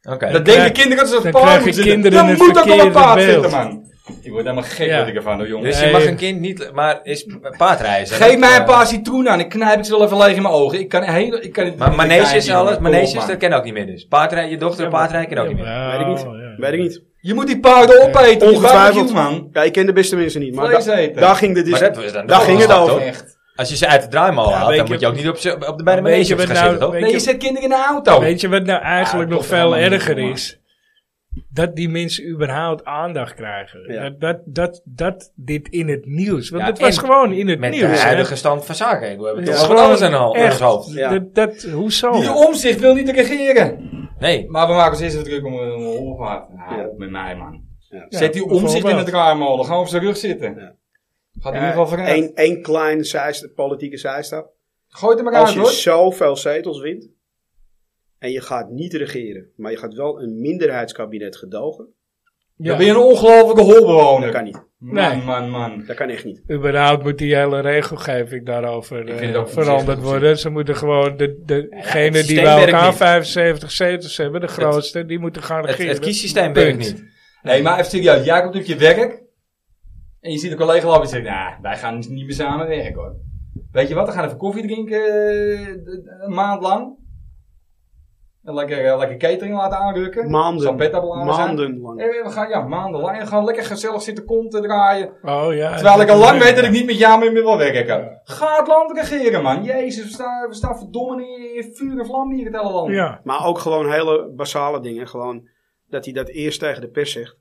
S1: Oké.
S3: Dat denken
S2: krijg-
S3: kinderen dat ze
S2: dan
S3: op een paard
S2: krijg je
S3: moeten zitten.
S2: kinderen
S3: Dan
S2: het
S3: moet ook op een
S2: verkeerde
S3: paard
S2: beeld.
S3: zitten, man. Ik word helemaal gek
S2: Ja.
S3: wat ik ervan doe, jongen.
S1: Dus
S2: Nee.
S1: je mag een kind niet... Maar is
S2: Dus-
S1: paardrijden...
S3: Geef
S1: dat,
S3: mij een
S1: eh,
S3: paar citroenen aan. Ik knijp het ze wel even leeg in mijn ogen. Ik kan heel... Ik kan
S1: Maar maneges en alles, maneges, dat
S3: dat...
S1: ken ook niet meer dus. Paardrijden, je dochter
S2: Ja, maar-
S1: paardrijden ken ook niet meer.
S2: Ja,
S4: Weet ik niet.
S2: ja.
S4: Weet ik niet.
S3: Je moet die paarden opeten. Ongetwijfeld.
S4: Ongetwijfeld.
S3: man.
S4: Ja, ik ken de beste mensen niet, maar
S3: Vlees
S4: da-
S3: eten.
S4: daar ging de dis-
S1: Maar dat was dan
S4: Dus daar
S1: wel
S4: ging het
S1: schat,
S4: over.
S1: toch? Als je ze uit de draaimolen haalt,
S2: weet
S1: dan
S2: je-
S1: moet je ook niet op, ze- op de bij de
S2: Weet
S1: manege
S2: je
S1: op
S2: wat
S1: gaan
S2: nou-
S1: zitten, toch?
S2: weet
S3: Nee, je zet kinderen in een auto.
S2: Weet je wat nou eigenlijk
S3: Ja,
S2: nog
S3: dat klopt
S2: veel
S3: helemaal niet,
S2: erger
S3: maar-
S2: is? Dat die mensen überhaupt aandacht krijgen.
S4: Ja.
S2: Dat, dat, dat, dat dit in het nieuws. Want
S1: Ja,
S2: het was
S1: en
S2: gewoon in het
S1: Met
S2: nieuws.
S1: de
S2: hè.
S1: huidige stand van zaken. We hebben
S2: Het is
S1: toch wel wat
S2: gewoon
S1: anders aan de hand- aan ons
S2: echt,
S1: hoofd.
S4: Ja.
S2: Dat, dat, hoezo?
S3: Die omzicht wil niet regeren.
S1: Nee,
S3: Maar we maken ons eerst even druk om een hobbelpaard. Nou,
S4: Ja.
S3: op met mij, man.
S4: Ja.
S3: Zet die
S2: Ja,
S3: omzicht in
S2: bijvoorbeeld.
S3: het draaimolen. Ga op zijn rug zitten.
S4: Ja.
S3: Gaat in ieder geval vooruit.
S4: Eén één klein zijstap, politieke zijstap.
S3: Gooi het er maar
S4: Als
S3: uit,
S4: je
S3: hoor.
S4: zoveel zetels wint en je gaat niet regeren, maar je gaat wel een minderheidskabinet gedogen,
S3: Dan
S2: Ja.
S3: ben je een ongelofelijke holbewoner.
S4: dat kan niet.
S3: Man,
S2: Nee.
S3: man, man.
S4: Dat kan echt niet.
S2: Überhaupt moet die hele regelgeving daarover
S3: Ik
S2: eh,
S3: vind het ook
S2: veranderd
S3: onzinnig.
S2: worden. Ze moeten gewoon de, degene
S1: het
S2: die
S1: systeem
S2: bij
S1: werkt
S2: elkaar
S1: niet.
S2: 75 zetels hebben, de grootste, die moeten gaan
S1: het,
S2: regeren.
S1: het kiessysteem werkt
S2: Punt.
S1: niet.
S3: Hé, maar even serieus. Jij komt op je werk. En je ziet een collega lopen en zegt, nou, wij gaan niet meer samen werken, hoor. Weet je wat, we gaan even koffie drinken eh, d- d- een maand lang. En lekker, eh, lekker catering laten aanrukken.
S4: Maanden.
S3: Zampetta beladen zijn.
S4: Maanden lang.
S3: En we gaan, ja, maanden lang. En gewoon lekker gezellig zitten konten draaien.
S2: Oh ja.
S3: Terwijl ik al lang weet dat ik
S2: niet...
S3: niet met jou meer wil werken. Ga het land regeren, man. Jezus, we staan, we staan verdomme in, in vuur en vlam hier in het hele land.
S2: Ja,
S4: Maar ook gewoon hele basale dingen. Gewoon dat hij dat eerst tegen de pers zegt.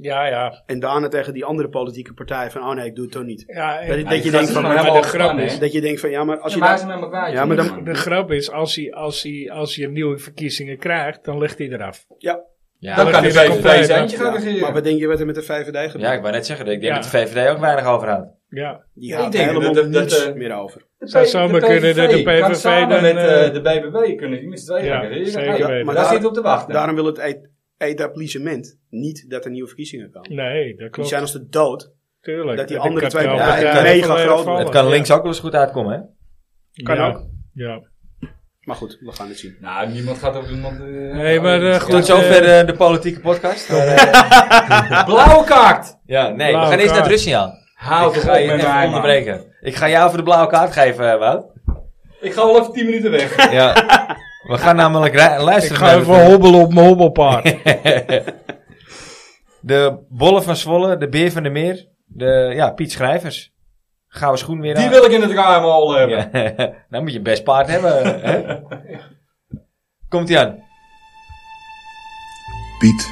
S2: ja, ja.
S4: En daarna tegen die andere politieke partij van, oh nee, ik doe het toch niet.
S2: ja en-
S4: Dat,
S3: Ja,
S4: dat
S3: gaat
S4: je denkt
S3: het
S4: van,
S3: gewoon
S2: maar
S3: helemaal
S2: de grap
S3: afgaan,
S2: is
S3: hè.
S4: dat je denkt van, ja, maar als
S3: Ja,
S4: je
S3: maar hij
S4: dat...
S3: is met me kwijt.
S4: Ja, maar dan-
S2: De grap is, als hij, als, hij, als hij nieuwe verkiezingen krijgt, dan ligt hij eraf.
S1: Ja,
S3: Dan
S1: maar-
S3: kan hij
S2: dat is
S3: bij een
S2: een feit,
S3: vlees eentje
S4: Ja,
S3: gaan regeren.
S4: dus maar wat denk je wat er met de VVD
S1: ja,
S4: gebeurt?
S1: ik wou net zeggen, dat ik denk
S2: Ja.
S1: dat de VVD ook weinig overhoudt.
S2: Ja.
S4: Die
S3: Ja,
S4: houdt
S3: ik denk
S4: helemaal
S3: dat- dat-
S4: niets
S3: dat, eh,
S4: meer over.
S3: De
S2: Zou
S3: P-
S2: zomaar kunnen dat de
S3: kan
S2: PVV
S3: samen
S2: dan,
S3: met
S2: eh,
S3: eh, de BBB kunnen die met z'n tweeën
S2: Ja,
S3: gaan regeren.
S2: zeker
S3: Hey,
S2: weten.
S3: maar
S4: Maar
S3: daar
S4: daar-
S3: zit op te wachten.
S4: Daarom wil het et- etablissement niet dat er nieuwe verkiezingen komen.
S2: Nee, dat
S4: Die
S2: klopt.
S4: zijn als de dood.
S2: Tuurlijk.
S4: dat die
S2: En de
S4: andere twee
S2: kartel-
S1: partijen
S2: partijen volledig
S4: mega groot
S2: vallen.
S4: worden.
S1: Het kan
S2: Oh, Ja.
S1: links ook wel eens goed uitkomen, hè?
S4: Kan
S2: Ja.
S4: ook.
S2: Ja.
S4: Maar goed, we gaan het zien.
S3: Nou, niemand gaat op iemand... eh,
S2: Nee, maar, eh,
S3: ja.
S2: goed.
S1: Tot zover eh, de politieke podcast. Maar, eh,
S3: Blauwe kaart!
S1: ja, nee, we
S2: Blauwe
S1: gaan eerst naar het
S2: kaart.
S1: Russia.
S3: Hou
S1: ik
S3: toch
S1: ga
S3: op
S1: je
S3: met
S1: even
S3: mij, man.
S1: onderbreken. Ik ga jou voor de blauwe kaart geven, eh, Wout.
S3: Ik ga wel even 10 minuten weg.
S1: Ja. We gaan namelijk ri-
S2: Ik
S1: luisteren
S2: ga
S1: naar
S2: even
S1: de-
S2: hobbelen op mijn hobbelpaard.
S1: de bollen van Zwolle, de beer van de meer, de, ja, Piet Schrijvers. Gaan we schoen weer
S3: Die
S1: aan.
S3: wil ik in het ruim al hebben.
S1: Ja. Dan moet je best paard hebben. hè? Komt ie aan.
S6: Piet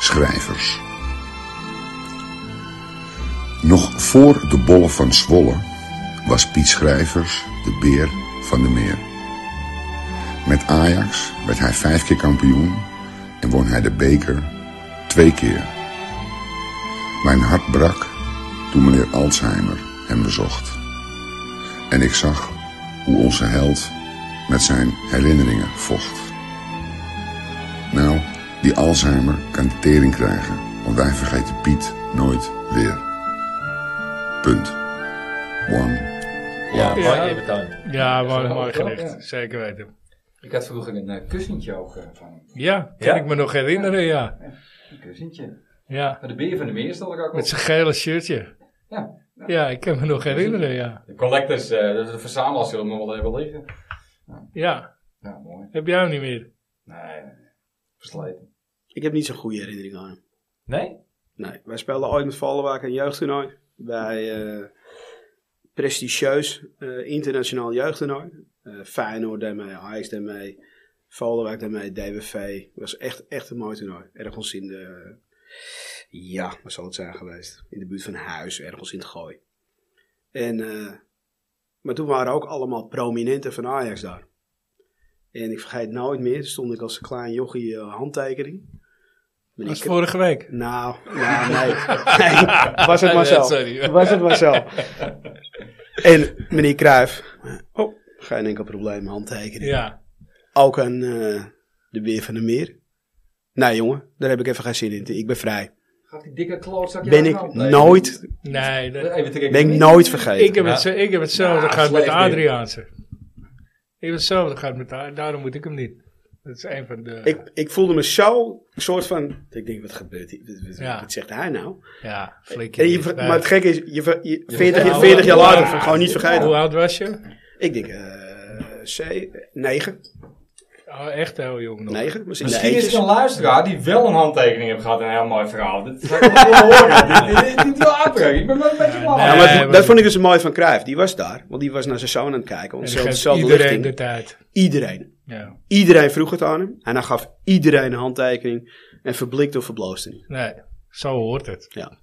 S6: Schrijvers. Nog voor de bollen van Zwolle was Piet Schrijvers de beer van de meer. Met Ajax werd hij vijf keer kampioen en won hij de beker twee keer. Mijn hart brak toen meneer Alzheimer hem bezocht. En ik zag hoe onze held met zijn herinneringen vocht. Nou, die Alzheimer kan de tering krijgen, want wij vergeten Piet nooit weer. Punt. One.
S1: Ja,
S2: Ja.
S1: mooi even toon.
S2: ja, mooi, mooi
S3: wel,
S2: gericht.
S3: ja.
S2: Zeker weten.
S3: Ik had vroeger een eh, kussentje ook eh, van hem.
S2: Ja, kan
S1: Ja?
S2: ik me nog herinneren, ja.
S3: Een kussentje.
S2: Ja.
S3: Maar de beer van de meer stond ik ook op.
S2: Met zijn gele shirtje.
S3: Ja.
S2: Ja, ik kan me nog herinneren, ja.
S3: De collectors, eh, dat is de verzamelaars zullen me wel hebben liggen.
S2: Ja,
S3: Ja, mooi.
S2: heb jij hem niet meer.
S3: Nee, nee, nee. versleten.
S4: Ik heb niet zo'n goede herinnering aan hem.
S1: Nee?
S4: Nee, wij speelden ooit met Vallenwaak een jeugdtoernooi. Bij eh prestigieus eh, internationaal jeugdtoernooi. Eh Feyenoord daarmee, Ajax daarmee, Vallenwaak daarmee, DWV. Het was echt, echt een mooi toernooi. Ergens in de... Ja, waar zal het zijn geweest? In de buurt van Huis, ergens in het Gooi. En, eh, maar toen waren ook allemaal prominenten van Ajax daar. En ik vergeet nooit meer, toen stond ik als een klein jochie eh, handtekening. Maar
S2: Dat
S4: ik-
S2: was vorige week.
S4: nou, nou nee. nee. Was het maar zo.
S2: Sorry.
S4: Was het maar zo. En meneer Cruijff. Oh, geen enkel probleem, handtekenen.
S2: Ja.
S4: Ook aan eh, de Beer van de Meer. Nee jongen, daar heb ik even geen zin in. Ik ben vrij.
S3: Gaat die dikke klootzak jou
S4: Ben
S3: in
S4: ik
S3: de hand nemen?
S4: nooit,
S2: Nee, dat-
S3: Even trekken.
S4: ben ik nooit vergeten.
S2: ik, heb
S1: Ja.
S2: het, zo- ik heb hetzelfde
S3: Ja,
S2: gehad
S3: slecht
S2: met
S3: dit.
S2: Adriaanse. Ik heb hetzelfde gehad met Adriaanse. Daarom moet ik hem niet. Dat is een van de...
S4: ik, ik voelde me zo soort van... Ik denk, wat gebeurt hier? Wat- Wat,
S2: Ja.
S4: wat zegt hij nou?
S2: ja, flink.
S4: En je, ver- maar het gekke is, je, ver- je, 40, jaar-
S3: Ja,
S4: 40 jaar
S3: hoe-
S4: later, van gewoon niet vergeten.
S2: Hoe oud was je?
S4: Ik denk, eh C, 9,
S2: Oh, echt heel jong nog.
S4: 9. Misschien,
S3: Misschien is er
S4: eentjes.
S3: een luisteraar die wel een handtekening heeft gehad en een heel mooi verhaal. Dat zou ik wel horen. Dit- dit- Dit wil aanbrengen. Ik ben wel een beetje bang.
S4: Ja,
S2: Nee,
S4: maar
S2: maar-
S4: dat vond ik dus mooi van Cruijff. Die was daar, want die was naar zijn zoon aan het kijken.
S2: En
S4: Want
S2: dat
S4: zelfde,
S2: geeft
S4: zelfde
S2: iedereen
S4: lichting.
S2: de tijd.
S4: Iedereen.
S2: Ja.
S4: Iedereen vroeg het aan hem. En hij gaf iedereen een handtekening. En verblikte of verbloosde niet.
S2: Nee, zo hoort het.
S4: Ja.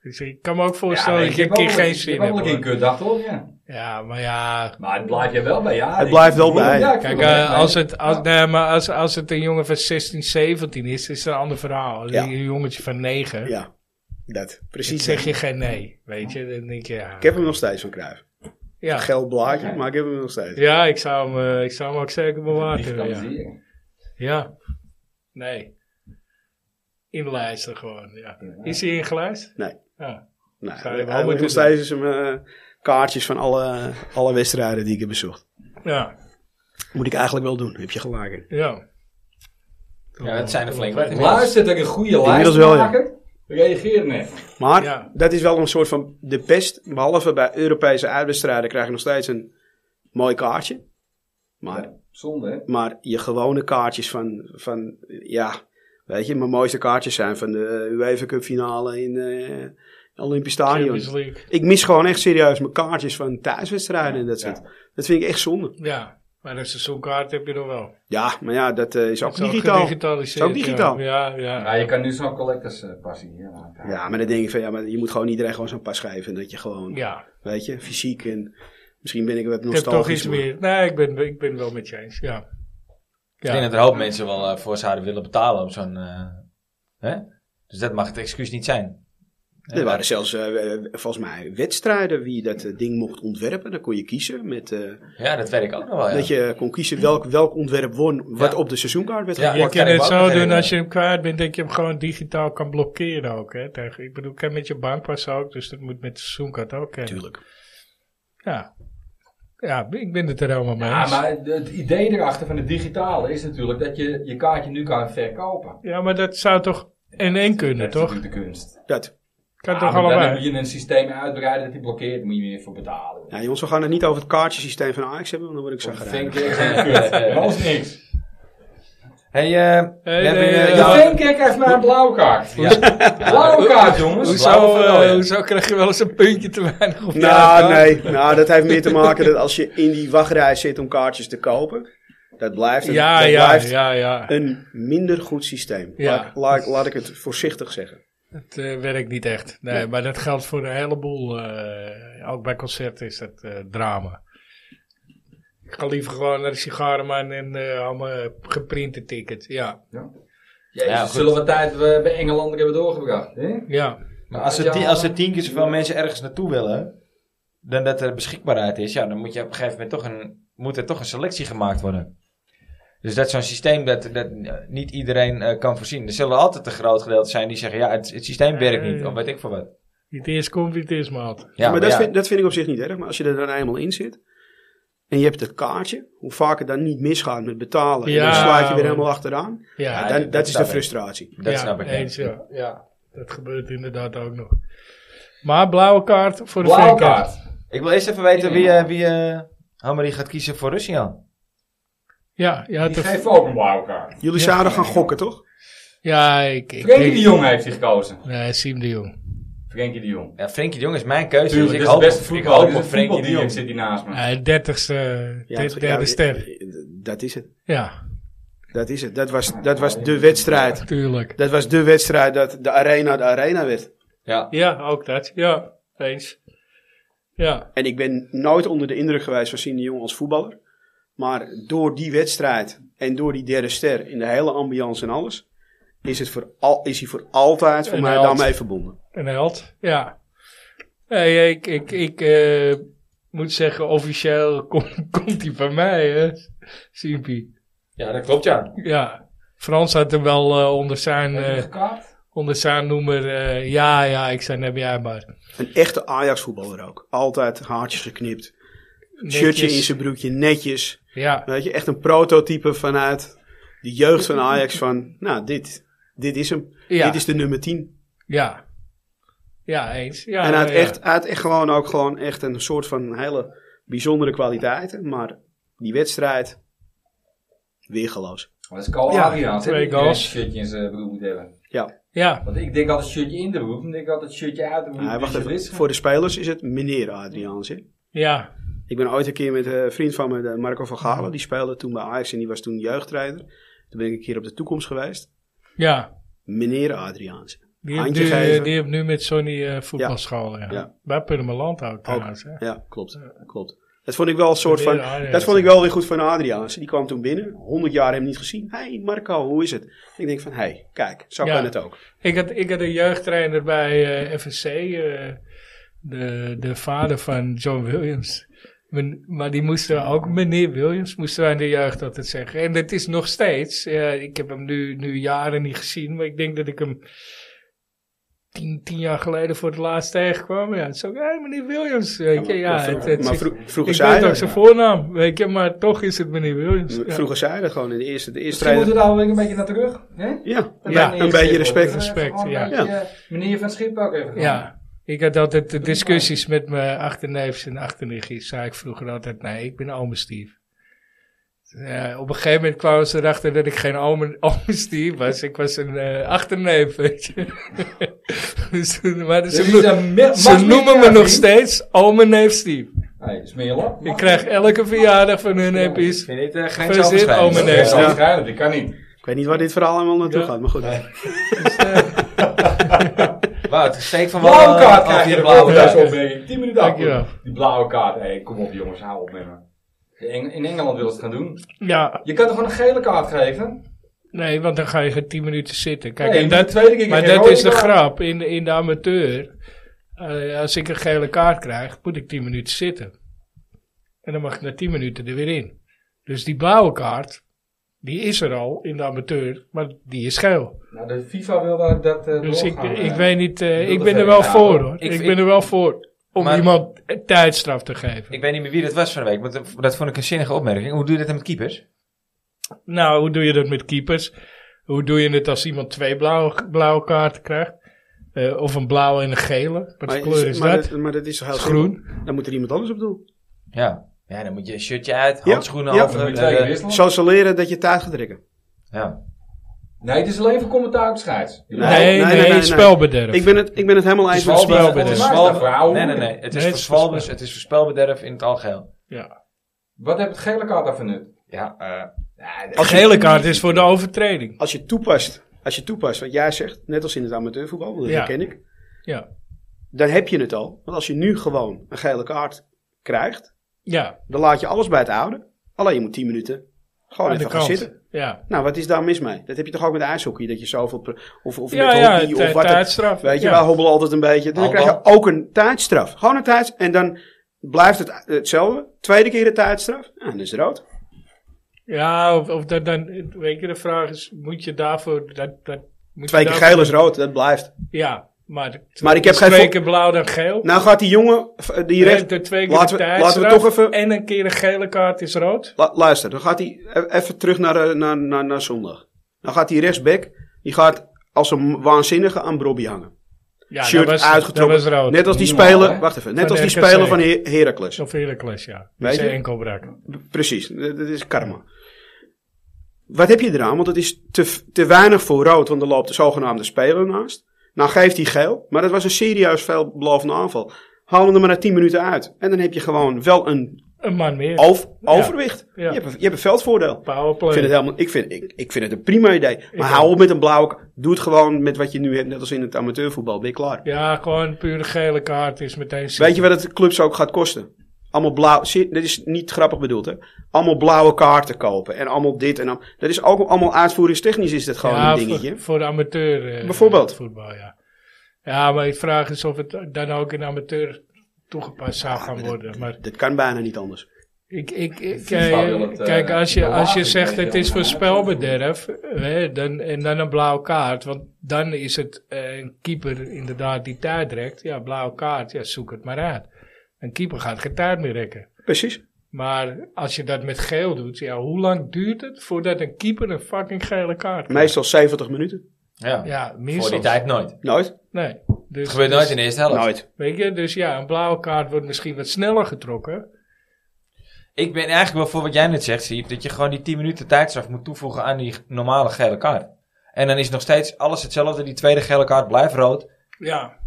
S2: Dus ik kan me ook
S3: Ja,
S2: voorstellen
S3: nee,
S2: dat
S3: ik
S2: je een
S3: heb
S2: keer
S3: wel-
S2: geen
S3: Ik
S2: zin
S3: heb
S2: hebt.
S3: wel een keer een
S2: hoor.
S3: kutdag toch? Ja.
S2: Ja, maar ja.
S3: Maar het blijft je wel bij, ja.
S4: Het blijft wel bij.
S2: Kijk, eh, als, het, als, nee, maar als, als het een jongen van 16, 17 is, is het een ander verhaal.
S4: Ja.
S2: Een jongetje van 9,
S4: Ja, dat.
S2: dan
S4: Precies.
S2: zeg je geen nee. Weet je, dan denk je ja.
S4: Ik heb hem nog steeds van Cruijff.
S2: ja.
S4: Geel blaadje, maar ik heb hem nog steeds.
S2: Ja, ik zou hem, eh, ik zou hem ook zeker
S3: Die
S2: bewaren. Ja.
S3: vertaliseer.
S2: ja. Nee. Inlijsten gewoon, ja. Is hij ingelijst?
S4: Nee.
S2: Ja.
S4: Nou,
S2: Zou je wel
S4: hij moet
S2: moeten
S4: nog steeds eens, eh, kaartjes van alle, alle wedstrijden die ik heb bezocht.
S2: Ja.
S4: Moet ik eigenlijk wel doen. Heb je gelijk in.
S2: ja.
S1: Ja, het zijn er flink wat.
S3: Luistert er een goede
S4: Inmiddels
S3: lijst
S4: wel, ja.
S3: maken? Reageer net.
S4: Maar
S2: Ja.
S4: dat is wel een soort van de pest. Behalve bij Europese uitwedstrijden krijg je nog steeds een mooi kaartje. Maar,
S3: Zonde, hè?
S4: maar je gewone kaartjes van, van, ja, weet je, mijn mooiste kaartjes zijn van de eh, UEFA Cup finale in eh Olympisch Stadion.
S2: Champions League.
S4: Ik mis gewoon echt serieus mijn kaartjes van thuiswedstrijden en dat soort. Dat vind ik echt zonde.
S2: Ja, maar een seizoenkaart heb je nog wel.
S4: Ja, maar ja, dat eh, is ook
S2: Dat is ook
S4: digitaal.
S2: gedigitaliseerd,
S4: Is ook digitaal.
S2: Ja, ja. ja.
S3: Ja, je kan nu zo'n collectors eh, passie hier aankrijgen.
S4: Ja, maar dan denk ik van ja, maar je moet gewoon iedereen gewoon zo'n pas geven. Dat je gewoon,
S2: Ja.
S4: weet je, fysiek en misschien ben ik wat
S2: ik heb
S4: nostalgisch.
S2: toch iets
S4: maar-
S2: meer. Nee, ik ben, ik ben wel met je eens. Ja.
S1: Ik denk dat er een hoop mensen wel eh, voor zouden willen betalen om zo'n... eh, hè? Dus dat mag het excuus niet zijn.
S4: Er waren zelfs eh, eh, volgens mij wedstrijden wie dat eh, ding mocht ontwerpen. Dan kon je kiezen. Met, eh,
S1: Ja, dat werk ook nog wel, ja.
S4: Dat je kon kiezen welk, welk ontwerp won wat
S1: Ja.
S4: op de seizoenkaart werd
S1: Ja,
S4: geplakt.
S2: Je
S1: dat
S2: kan
S1: kan ik
S2: het
S1: me ook
S2: zo
S1: nog
S2: doen
S1: herinneren.
S2: als je hem kwijt bent, dat je hem gewoon digitaal kan blokkeren ook. Hè? Tegen, ik bedoel, ik heb met je bankpas ook, dus dat moet met de seizoenkaart ook. Hè?
S4: Tuurlijk.
S2: Ja. ja, ik ben het er helemaal mee
S3: Ja,
S2: eens.
S3: maar het- het idee erachter van het digitale is natuurlijk dat je je kaartje nu kan verkopen.
S2: Ja, maar dat zou toch in één kunnen,
S3: Dat
S2: toch?
S3: is natuurlijk de kunst.
S4: Dat.
S2: Kan
S3: Ja,
S2: toch
S3: maar dan moet
S2: allebei?
S3: je een systeem uitbreiden dat die blokkeert, moet je meer voor betalen.
S4: Ja, Nou, jongens, we gaan het niet over het kaartjesysteem van Ajax hebben, want dan word ik
S3: Dat
S4: zo
S3: vind
S4: geraakt.
S3: ik echt een kut. Dat is niks.
S1: Hey, eh, we
S2: nee,
S1: hebben, eh,
S2: eh,
S3: De
S1: jou-
S3: Venkerk heeft mij een blauwe kaart. Blauwe kaart, jongens.
S1: Blauwe
S2: Hoezo,
S1: wel,
S2: eh,
S1: ja.
S2: hoezo krijg je wel eens een puntje te weinig op je
S4: Nou, nee. Nou, dat heeft meer te maken dat als je in die wachtrij zit om kaartjes te kopen, dat blijft, een-
S2: Ja,
S4: dat
S2: ja,
S4: blijft
S2: ja, ja.
S4: een minder goed systeem.
S2: Ja.
S4: Laat, laat- laat ik het voorzichtig zeggen.
S2: Het eh, werkt niet echt. Nee, maar dat geldt voor een heleboel. eh, ook bij concerten is dat eh, drama. Ik ga liever gewoon naar de sigarenman en eh, allemaal eh, geprinte tickets. Ja,
S3: Jezus,
S1: Ja, goed.
S3: zullen we tijd eh, bij Engeland hebben doorgebracht, hè?
S2: ja.
S1: Maar als er, tien, als er tien keer zoveel mensen ergens naartoe willen, dan dat er beschikbaarheid is, ja, dan moet, je op een gegeven moment toch een, moet er toch een selectie gemaakt worden. Dus dat is zo'n systeem dat, dat eh, niet iedereen eh, kan voorzien. Er zullen altijd een groot gedeelte zijn die zeggen, ja, het, het systeem werkt niet, of weet ik veel wat.
S2: Wie het eerst komt, wie het eerst maalt.
S1: Ja,
S4: maar dat,
S1: ja.
S4: vind, dat vind ik op zich niet erg. Maar als je er dan eenmaal in zit en je hebt het kaartje, hoe vaak het dan niet misgaat met betalen, en
S2: Ja,
S4: dan slaat je weer
S2: man.
S4: helemaal achteraan.
S2: Ja,
S1: Ja,
S4: dan,
S1: dat
S4: dat, is
S1: snap
S4: de
S1: ik.
S4: frustratie.
S1: Dat
S2: ja,
S1: snap ik. ja.
S2: eens, eh. ja. ja, dat gebeurt inderdaad ook nog. Maar blauwe kaart voor de
S3: Blauwe
S2: Venkaart.
S3: kaart.
S1: Ik wil eerst even weten wie, eh wie eh, Hammery gaat kiezen voor Russia.
S2: Ja, ja,
S3: Die
S2: toch-
S3: geeft ook een blauwe kaart.
S4: Jullie zouden gaan gokken, toch?
S2: ja ik, ik
S3: Frenkie de Jong heeft hij gekozen.
S2: Nee, Siem de Jong.
S3: Frenkie de Jong.
S1: Ja, Frenkie de Jong is mijn keuze,
S3: Tuurlijk,
S1: dus ik
S3: dit is de
S1: hoop,
S3: beste
S1: op, ik
S3: voetballer.
S1: hoop
S3: Dit
S1: op
S3: is Frenkie de Jong
S1: zit.
S3: zit hier naast me.
S2: Eh, dertigste,
S4: Ja,
S2: de-
S4: ja,
S2: derde ster.
S4: Dat is het.
S2: Ja,
S4: Dat is het. Dat was, dat was de wedstrijd.
S2: tuurlijk.
S4: Dat was de wedstrijd dat de arena de arena werd.
S1: Ja,
S2: Ja, ook dat. Ja, eens. Ja,
S4: En ik ben nooit onder de indruk geweest van Sien de Jong als voetballer. Maar door die wedstrijd en door die derde ster in de hele ambiance en alles, is, het voor al, is hij voor altijd voor
S2: Een
S4: mij
S2: held.
S4: daarmee verbonden.
S2: een held. Ja. Nee, ik, ik, ik eh, moet zeggen, officieel kom- komt hij bij mij, hè. Simpie.
S1: ja dat klopt ja.
S2: Ja. Frans had hem wel eh, onder, zijn,
S3: Heb je hem
S2: eh,
S3: gekaapt?
S2: onder zijn noemer. eh, ja, ja, ik zei, heb jij maar.
S4: Een echte Ajax voetballer ook. Altijd haartjes geknipt. Shirtje
S2: Netjes.
S4: in zijn broekje, netjes.
S2: Ja,
S4: Weet je, echt een prototype vanuit de jeugd van Ajax van, nou dit, dit is hem.
S2: Ja.
S4: Dit is de nummer 10.
S2: ja. Ja, eens. Ja,
S4: en hij had,
S2: ja, ja.
S4: echt, hij had echt gewoon ook gewoon echt een soort van hele bijzondere kwaliteiten. Maar die wedstrijd, weergeloos.
S3: Dat is Carl
S2: Ja,
S3: Adriaans. hè,
S2: twee
S3: die een
S2: goals.
S3: shirtje in zijn broek moet hebben.
S4: Ja,
S2: Ja,
S3: Want ik denk altijd shirtje in de broek. En ik denk altijd shirtje uit de broek.
S4: hij
S3: Dus
S4: wacht
S3: je
S4: even.
S3: wist-
S4: Voor de spelers is het meneer Adriaans. hè.
S2: ja.
S4: Ik ben ooit een keer met eh, een vriend van me, de Marco van Galen. Die speelde toen bij Ajax en die was toen jeugdtrainer. Toen ben ik een keer op de toekomst geweest.
S2: Ja.
S4: Meneer Adriaans.
S2: Die heeft,
S4: Handje
S2: nu, eh,
S4: geven.
S2: die heeft nu met Sonny eh, voetbalschool. Ja.
S4: Ja.
S2: Bij Purmerland ook trouwens. Hè.
S4: Ja, klopt. klopt. Dat vond ik wel een soort van.
S2: Meneer Adriaans.
S4: Dat vond ik wel weer goed van Adriaans. Die kwam toen binnen. 100 jaar hem niet gezien. Hé hey Marco, hoe is het? Ik denk van, hé, hey, kijk, zo
S2: Ja.
S4: kan het ook.
S2: Ik had, ik had een jeugdtrainer bij eh FSC, eh, de, de vader van John Williams. Men- maar die moesten we ook, meneer Williams, moesten wij in de jeugd altijd zeggen. En dat is nog steeds, eh, ik heb hem nu, nu jaren niet gezien, maar ik denk dat ik hem tien, tien jaar geleden voor het laatst tegenkwam. Ja, het is ook, hé, meneer Williams. Weet je, ja,
S4: maar
S2: het,
S4: vroeger,
S2: het,
S4: maar
S2: ik
S4: vro- vroeger
S2: weet
S4: zei hij
S2: ook
S4: dat.
S2: zijn voornaam, weet je, maar toch is het meneer Williams.
S4: V-
S2: Ja.
S4: Vroeger zei hij dat gewoon in de eerste, de eerste
S3: Misschien moeten
S4: rijden.
S3: we daar wel weer een beetje naar terug. Hè?
S4: Ja,
S3: Daar
S4: ja,
S3: ben ik
S4: een
S3: niet
S4: beetje
S3: schipperen.
S4: respect.
S3: Dus, eh,
S2: Respect,
S3: gewoon een
S4: ja.
S3: beetje, eh, Meneer van Schip ook even.
S2: Ja, ik had altijd de discussies met mijn achterneefs en achternichtjes. Zei ik vroeger altijd, nee, ik ben ome Steve. Eh, op een gegeven moment kwamen ze erachter dat ik geen ome, ome Steve was. Ik was een eh, achterneef, weet je. dus, toen- maar ze,
S3: Dus
S2: noem-
S3: is een me-
S2: ze
S3: mag-
S2: noemen me nog
S3: Ja,
S2: steeds ome neef Steve.
S3: Hey, smeerlap.
S2: Ik krijg elke verjaardag van hun hippies.
S1: vind dit eh, geen
S2: Gefeliciteerd,
S1: zelfbeschrijving.
S2: ome neef.
S4: Ja.
S3: waarschijnlijk, dat kan niet.
S4: Ik weet niet waar dit verhaal allemaal naartoe
S2: Ja.
S4: gaat, maar goed.
S1: Wout, steek van wel
S3: Blauwe
S1: eh,
S3: kaart
S1: af
S3: krijg je,
S1: je
S3: de
S1: blauwe
S3: blauwe
S1: kaart.
S3: kaart opmerking. 10 minuten
S2: Dankjewel.
S3: af. Die blauwe kaart, hey, kom op jongens, hou op met me. De Eng- In Engeland willen ze het gaan doen.
S2: Ja,
S3: Je kan toch gewoon een gele kaart geven?
S2: nee, want dan ga je geen tien minuten zitten. Kijk,
S3: Nee,
S2: en
S3: je
S2: dat,
S3: moet de tweede keer
S2: Maar
S3: geen
S2: dat
S3: rode
S2: is de
S3: kaart.
S2: grap. In, de- in de amateur, eh, als ik een gele kaart krijg, moet ik 10 minuten zitten. En dan mag ik na 10 minuten er weer in. Dus die blauwe kaart, die is er al in de amateur, maar die is geel.
S3: Nou, de FIFA wil daar dat eh,
S2: Dus ik,
S3: doorgaan,
S2: ik
S3: eh.
S2: weet niet, eh,
S1: wil
S2: ik
S1: dat
S2: ben er
S1: even
S2: wel
S1: na-
S2: voor hoor.
S1: Ik-
S2: Ik,
S1: ik-
S2: ben er wel voor om
S1: Maar-
S2: iemand een tijdstraf te geven.
S1: Ik weet niet meer wie dat was van de week, maar dat- dat vond ik een zinnige opmerking. Hoe doe je dat dan met keepers?
S2: Nou, hoe doe je dat met keepers? Hoe doe je het als iemand twee blauwe, blauwe kaarten krijgt? Eh, of een blauwe en een gele? Wat
S4: Maar,
S2: voor kleur is
S4: maar,
S2: dat?
S4: maar dat is toch heel
S2: Groen.
S4: simpel? Dan moet er iemand anders op doen.
S1: Ja. ja, dan moet je een shirtje uit,
S4: Ja,
S1: handschoenen
S4: ja.
S1: af.
S3: Dan moet je
S1: eh,
S3: twee keer
S1: eh,
S3: wisselen.
S4: Zo zal leren dat je tijd gaat rekken.
S1: ja.
S3: Nee, het is alleen voor commentaar op scheids.
S4: Nee,
S2: Nee, nee,
S4: nee, nee, nee.
S2: spelbederf.
S4: Ik ben het, ik ben het helemaal
S1: Het
S4: eens
S1: is
S4: met
S2: wel-
S4: Steve.
S2: spelbederf.
S1: Het is
S3: Wat is dat voor
S1: spelbederf.
S3: oude
S1: Nee, nee,
S3: hoer?
S1: nee. Het
S2: Nee,
S1: is
S2: het
S1: voor
S2: is
S1: spelbederf,
S2: voorspel-
S1: het is voor spelbederf in het algeheel.
S2: Ja.
S3: Wat heeft het gele kaart daarvan nut?
S1: Ja, eh,
S3: Nee, dat-
S2: Een gele kaart is voor de overtreding.
S4: Als je toepast, als je toepast wat jij zegt, net als in het amateurvoetbal, want dat
S2: Ja.
S4: ken ik,
S2: Ja.
S4: dan heb je het al. Want als je nu gewoon een gele kaart krijgt,
S2: Ja,
S4: dan laat je alles bij het oude. Alleen je moet 10 minuten gewoon
S2: aan de
S4: even gaan
S2: kant.
S4: zitten.
S2: Ja,
S4: Nou, wat is daar mis mee? Dat heb je toch ook met ijshockey, dat je zoveel... pre- Of, of
S2: ja,
S4: met
S2: ja
S4: hockey, of
S2: tij-
S4: wat het-
S2: tijdstraf.
S4: Weet je,
S2: ja.
S4: wij hobbelen altijd een beetje. Dan
S1: Handbal.
S4: krijg je ook een tijdstraf. Gewoon een tijdstraf. En dan blijft het hetzelfde. Tweede keer de tijdstraf. Ja, dan is het rood.
S2: Ja, of, of dat dan... Weet je, de vraag is, moet je daarvoor... Dat, dat, moet
S4: Twee
S2: je
S4: keer
S2: daarvoor-
S4: geel is rood. Dat blijft.
S2: Ja, maar...
S4: Maar ik heb
S2: is
S4: geen
S2: Twee
S4: vo-
S2: keer blauw dan geel.
S4: Nou gaat die jongen eh, die recht...
S2: de twee keer
S4: laten
S2: de
S4: we- laten we
S2: tijdstraf
S4: toch even-
S2: En een keer een gele kaart is rood.
S4: La- luister, dan gaat hij e- even terug naar, eh, naar, naar, naar zondag. Dan gaat die rechtsback, die gaat als een waanzinnige aan Brobby hangen.
S2: Ja,
S4: Shirt
S2: dat was,
S4: uitgetrokken.
S2: Dat was rood.
S4: Net als die
S3: Niet normaal,
S4: speler,
S3: hè?
S4: wacht even, net
S2: Van
S4: als die
S2: RKC.
S4: speler van Her- Heracles.
S2: Of Heracles, ja.
S4: Weet
S2: Met zijn
S4: je?
S2: enkelbrak.
S4: Precies, dat dat is karma. Wat heb je eraan? Want het is te, te weinig voor rood, want er loopt de zogenaamde speler naast. Nou geeft hij geel, maar dat was een serieus veelbelovende aanval. Haal hem er maar na 10 minuten uit. En dan heb je gewoon wel een
S2: Een man meer.
S4: over- overwicht.
S2: Ja.
S4: Je, hebt een, je hebt een veldvoordeel.
S2: Powerplay.
S4: Ik vind, het helemaal, ik, vind, ik, ik vind het een prima idee. Maar
S2: ook.
S4: hou op met een blauwe. ka- Doe het gewoon met wat je nu hebt, net als in het amateurvoetbal. Ben je klaar?
S2: Ja, gewoon puur een gele kaart is meteen...
S4: Weet je wat het clubs ook gaat kosten? Allemaal blauw. zie- Dit is niet grappig bedoeld, hè? Allemaal blauwe kaarten kopen. En allemaal dit en dan. Dat is ook allemaal uitvoeringstechnisch, is dat gewoon
S2: ja,
S4: een dingetje.
S2: Voor, voor de amateur. eh,
S4: Bijvoorbeeld.
S2: Voetbal, ja. Ja, maar de vraag is of het dan ook in amateur toegepast zou gaan worden. Maar
S4: Ah, Dat kan bijna niet anders.
S2: ik, ik, ik,
S3: FIFA
S2: eh,
S3: wil het, eh,
S2: kijk, als je, als je
S3: bewaken,
S2: zegt
S3: weet je
S2: het is
S3: wel.
S2: voor spelbederf hè, dan, en dan een blauwe kaart, want dan is het eh, een keeper inderdaad die tijd rekt. Ja, blauwe kaart, ja, zoek het maar uit. Een keeper gaat geen tijd meer rekken.
S4: Precies.
S2: Maar als je dat met geel doet, ja, hoe lang duurt het voordat een keeper een fucking gele kaart krijgt?
S4: Meestal 70 minuten.
S1: ja.
S2: Ja,
S1: voor die
S2: minstens.
S1: tijd nooit. Het
S4: Nooit.
S2: Nee. Dus,
S1: gebeurt nooit in de eerste helft.
S4: Nooit.
S2: Weet je, dus ja, een blauwe kaart wordt misschien wat sneller getrokken.
S1: Ik ben eigenlijk wel voor wat jij net zegt, Siep. Dat je gewoon die 10 minuten tijdstraf moet toevoegen aan die normale gele kaart. En dan is nog steeds alles hetzelfde. Die tweede gele kaart blijft rood.
S2: Ja.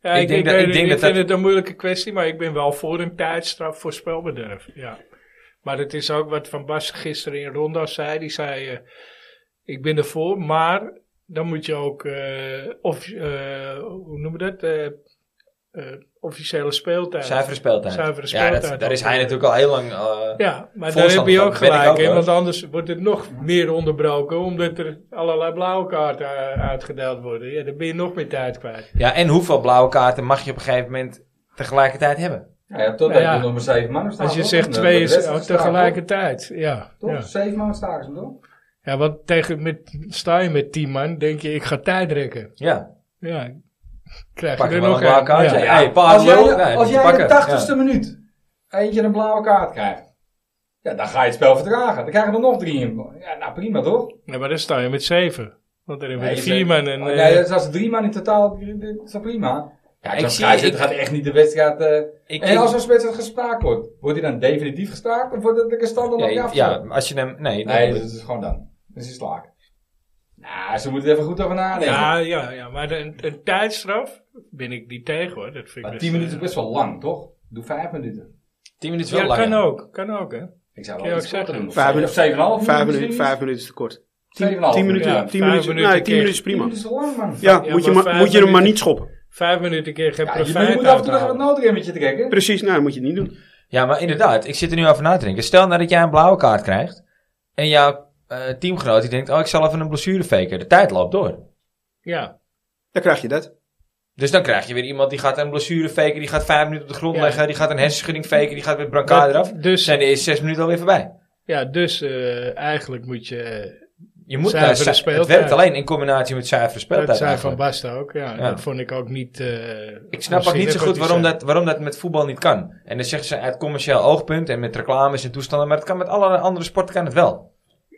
S2: Ja,
S1: Ik
S2: ik,
S1: denk
S2: ik,
S1: dat- ik
S2: ik
S1: denk dat
S2: vind
S1: dat-
S2: het een moeilijke kwestie, maar ik ben wel voor een tijdstraf voor spelbederf. Ja. Maar het is ook wat Van Bas gisteren in Ronda zei. Die zei, eh, ik ben ervoor, maar dan moet je ook, eh, of, eh, hoe noem je dat, Eh, eh, officiële speeltijd.
S1: Zuivere speeltijd.
S2: Zuivere
S1: Ja,
S2: speeltijd.
S1: dat, daar is hij natuurlijk al heel lang... eh,
S2: Ja, maar daar heb
S1: Voorstander
S2: je
S1: van,
S2: ook
S1: ben ik ook,
S2: gelijk in,
S1: hoor.
S2: want anders wordt het nog meer onderbroken, omdat er allerlei blauwe kaarten eh, uitgedeeld worden. Ja, dan ben je nog meer tijd kwijt.
S1: ja, en hoeveel blauwe kaarten mag je op een gegeven moment tegelijkertijd hebben?
S3: Ja, ja, totdat
S2: Ja.
S3: je nog maar zeven mannen staat.
S2: Als je
S3: toch?
S2: zegt
S3: En, eh,
S2: twee
S3: de
S2: is
S3: rest
S2: ook
S3: staat,
S2: tegelijkertijd, ja.
S3: Toch? Toch?
S2: Ja,
S3: Zeven mannen staken ze hem toch?
S2: ja want tegen, met, sta je met tien man, denk je, ik ga tijd rekken.
S1: Ja.
S2: Ja. Krijg
S1: Pak
S2: je
S1: er
S2: er
S1: wel
S2: nog
S1: een blauwe kaart.
S2: Ja.
S1: Ja, een paar
S3: Als jij,
S1: lul- nee,
S3: als
S1: die
S3: jij in
S1: pakken.
S3: de
S1: Ja.
S3: tachtigste minuut eentje een blauwe kaart krijgt, ja, dan ga je het spel verdragen. Dan krijgen er nog drie in. Ja, nou prima toch?
S2: Nee, maar dan sta je met zeven. Want er hebben
S3: Nee,
S2: we vier man en...
S3: Nee,
S2: eh,
S3: dus als er drie man in totaal, is dat prima. Ja,
S1: ik
S3: ik
S1: zie-
S3: zie, het
S1: ik-
S3: gaat echt niet de wedstrijd... eh,
S1: Ik,
S3: en als zo'n wedstrijd gestaakt wordt, wordt hij dan definitief gestaakt of wordt het de gestander nog
S1: ja,
S3: afgezet?
S1: ja, als je hem... Nee,
S3: Nee,
S1: nee.
S3: dat is gewoon dan. Dat is slaak. Nou, ze moeten er even goed over nadenken.
S2: ja, ja, ja, maar een, een tijdstraf ben ik niet tegen hoor. Dat vind ik
S3: maar
S2: best,
S3: 10 minuten is
S2: eh,
S3: best wel lang, toch? Doe 5 minuten.
S1: 10 minuten is
S2: Ja,
S1: wel lang.
S2: kan
S1: hè?
S2: ook. Kan ook hè.
S3: Ik zou
S2: Ja,
S3: wel iets
S2: ik zeg
S3: korter
S2: het.
S3: doen. Of
S4: Vijf
S3: zeven-
S4: minuten.
S3: of 7,5
S4: Vijf minuten, vijf minuten is te kort. Tien, tien minuten,
S2: Ja,
S4: tien
S2: vijf
S4: minuten,
S2: minuten
S4: nee, tien
S2: keer.
S4: minuten is prima.
S3: Dat is al lang, man.
S4: Ja,
S2: Ja,
S4: moet, je
S2: maar
S4: maar,
S2: vijf
S4: moet je hem maar
S2: minuten-
S4: niet schoppen.
S2: Vijf minuten keer geen
S3: Ja, je,
S2: profijt
S3: moet- je moet af en toe nog
S2: uithalen.
S3: wat noodremmetje trekken.
S4: Precies, nou dat moet je het niet doen.
S1: Ja, maar inderdaad, ik zit er nu over na te denken. Stel nou dat jij een blauwe kaart krijgt en jouw eh, teamgenoot die denkt, oh ik zal even een blessure faken. De tijd loopt door.
S2: Ja.
S4: Dan krijg je dat.
S1: Dus dan krijg je weer iemand die gaat een blessure faken, die gaat vijf minuten op de grond
S2: Ja.
S1: leggen, die gaat een hersenschudding faken, die gaat met brancard eraf.
S2: Dus,
S1: Zijn de eerste zes minuten alweer voorbij.
S2: ja, dus eh, eigenlijk moet je... eh,
S1: Je moet
S2: Zuivere
S1: daar zijn- het
S2: speeltijd.
S1: werkt alleen in combinatie met zuivere
S2: Dat
S1: speeltijd
S2: zei Van
S1: eigenlijk.
S2: Basten ook, ja.
S1: Ja.
S2: Dat vond ik ook niet... eh,
S1: Ik snap ook
S2: onzinnig
S1: niet zo
S2: wat
S1: goed
S2: hij
S1: waarom
S2: zei.
S1: dat, waarom dat met voetbal niet kan. En dan zeggen ze uit commercieel oogpunt en met reclames en toestanden, maar het kan met alle andere sporten kan het wel.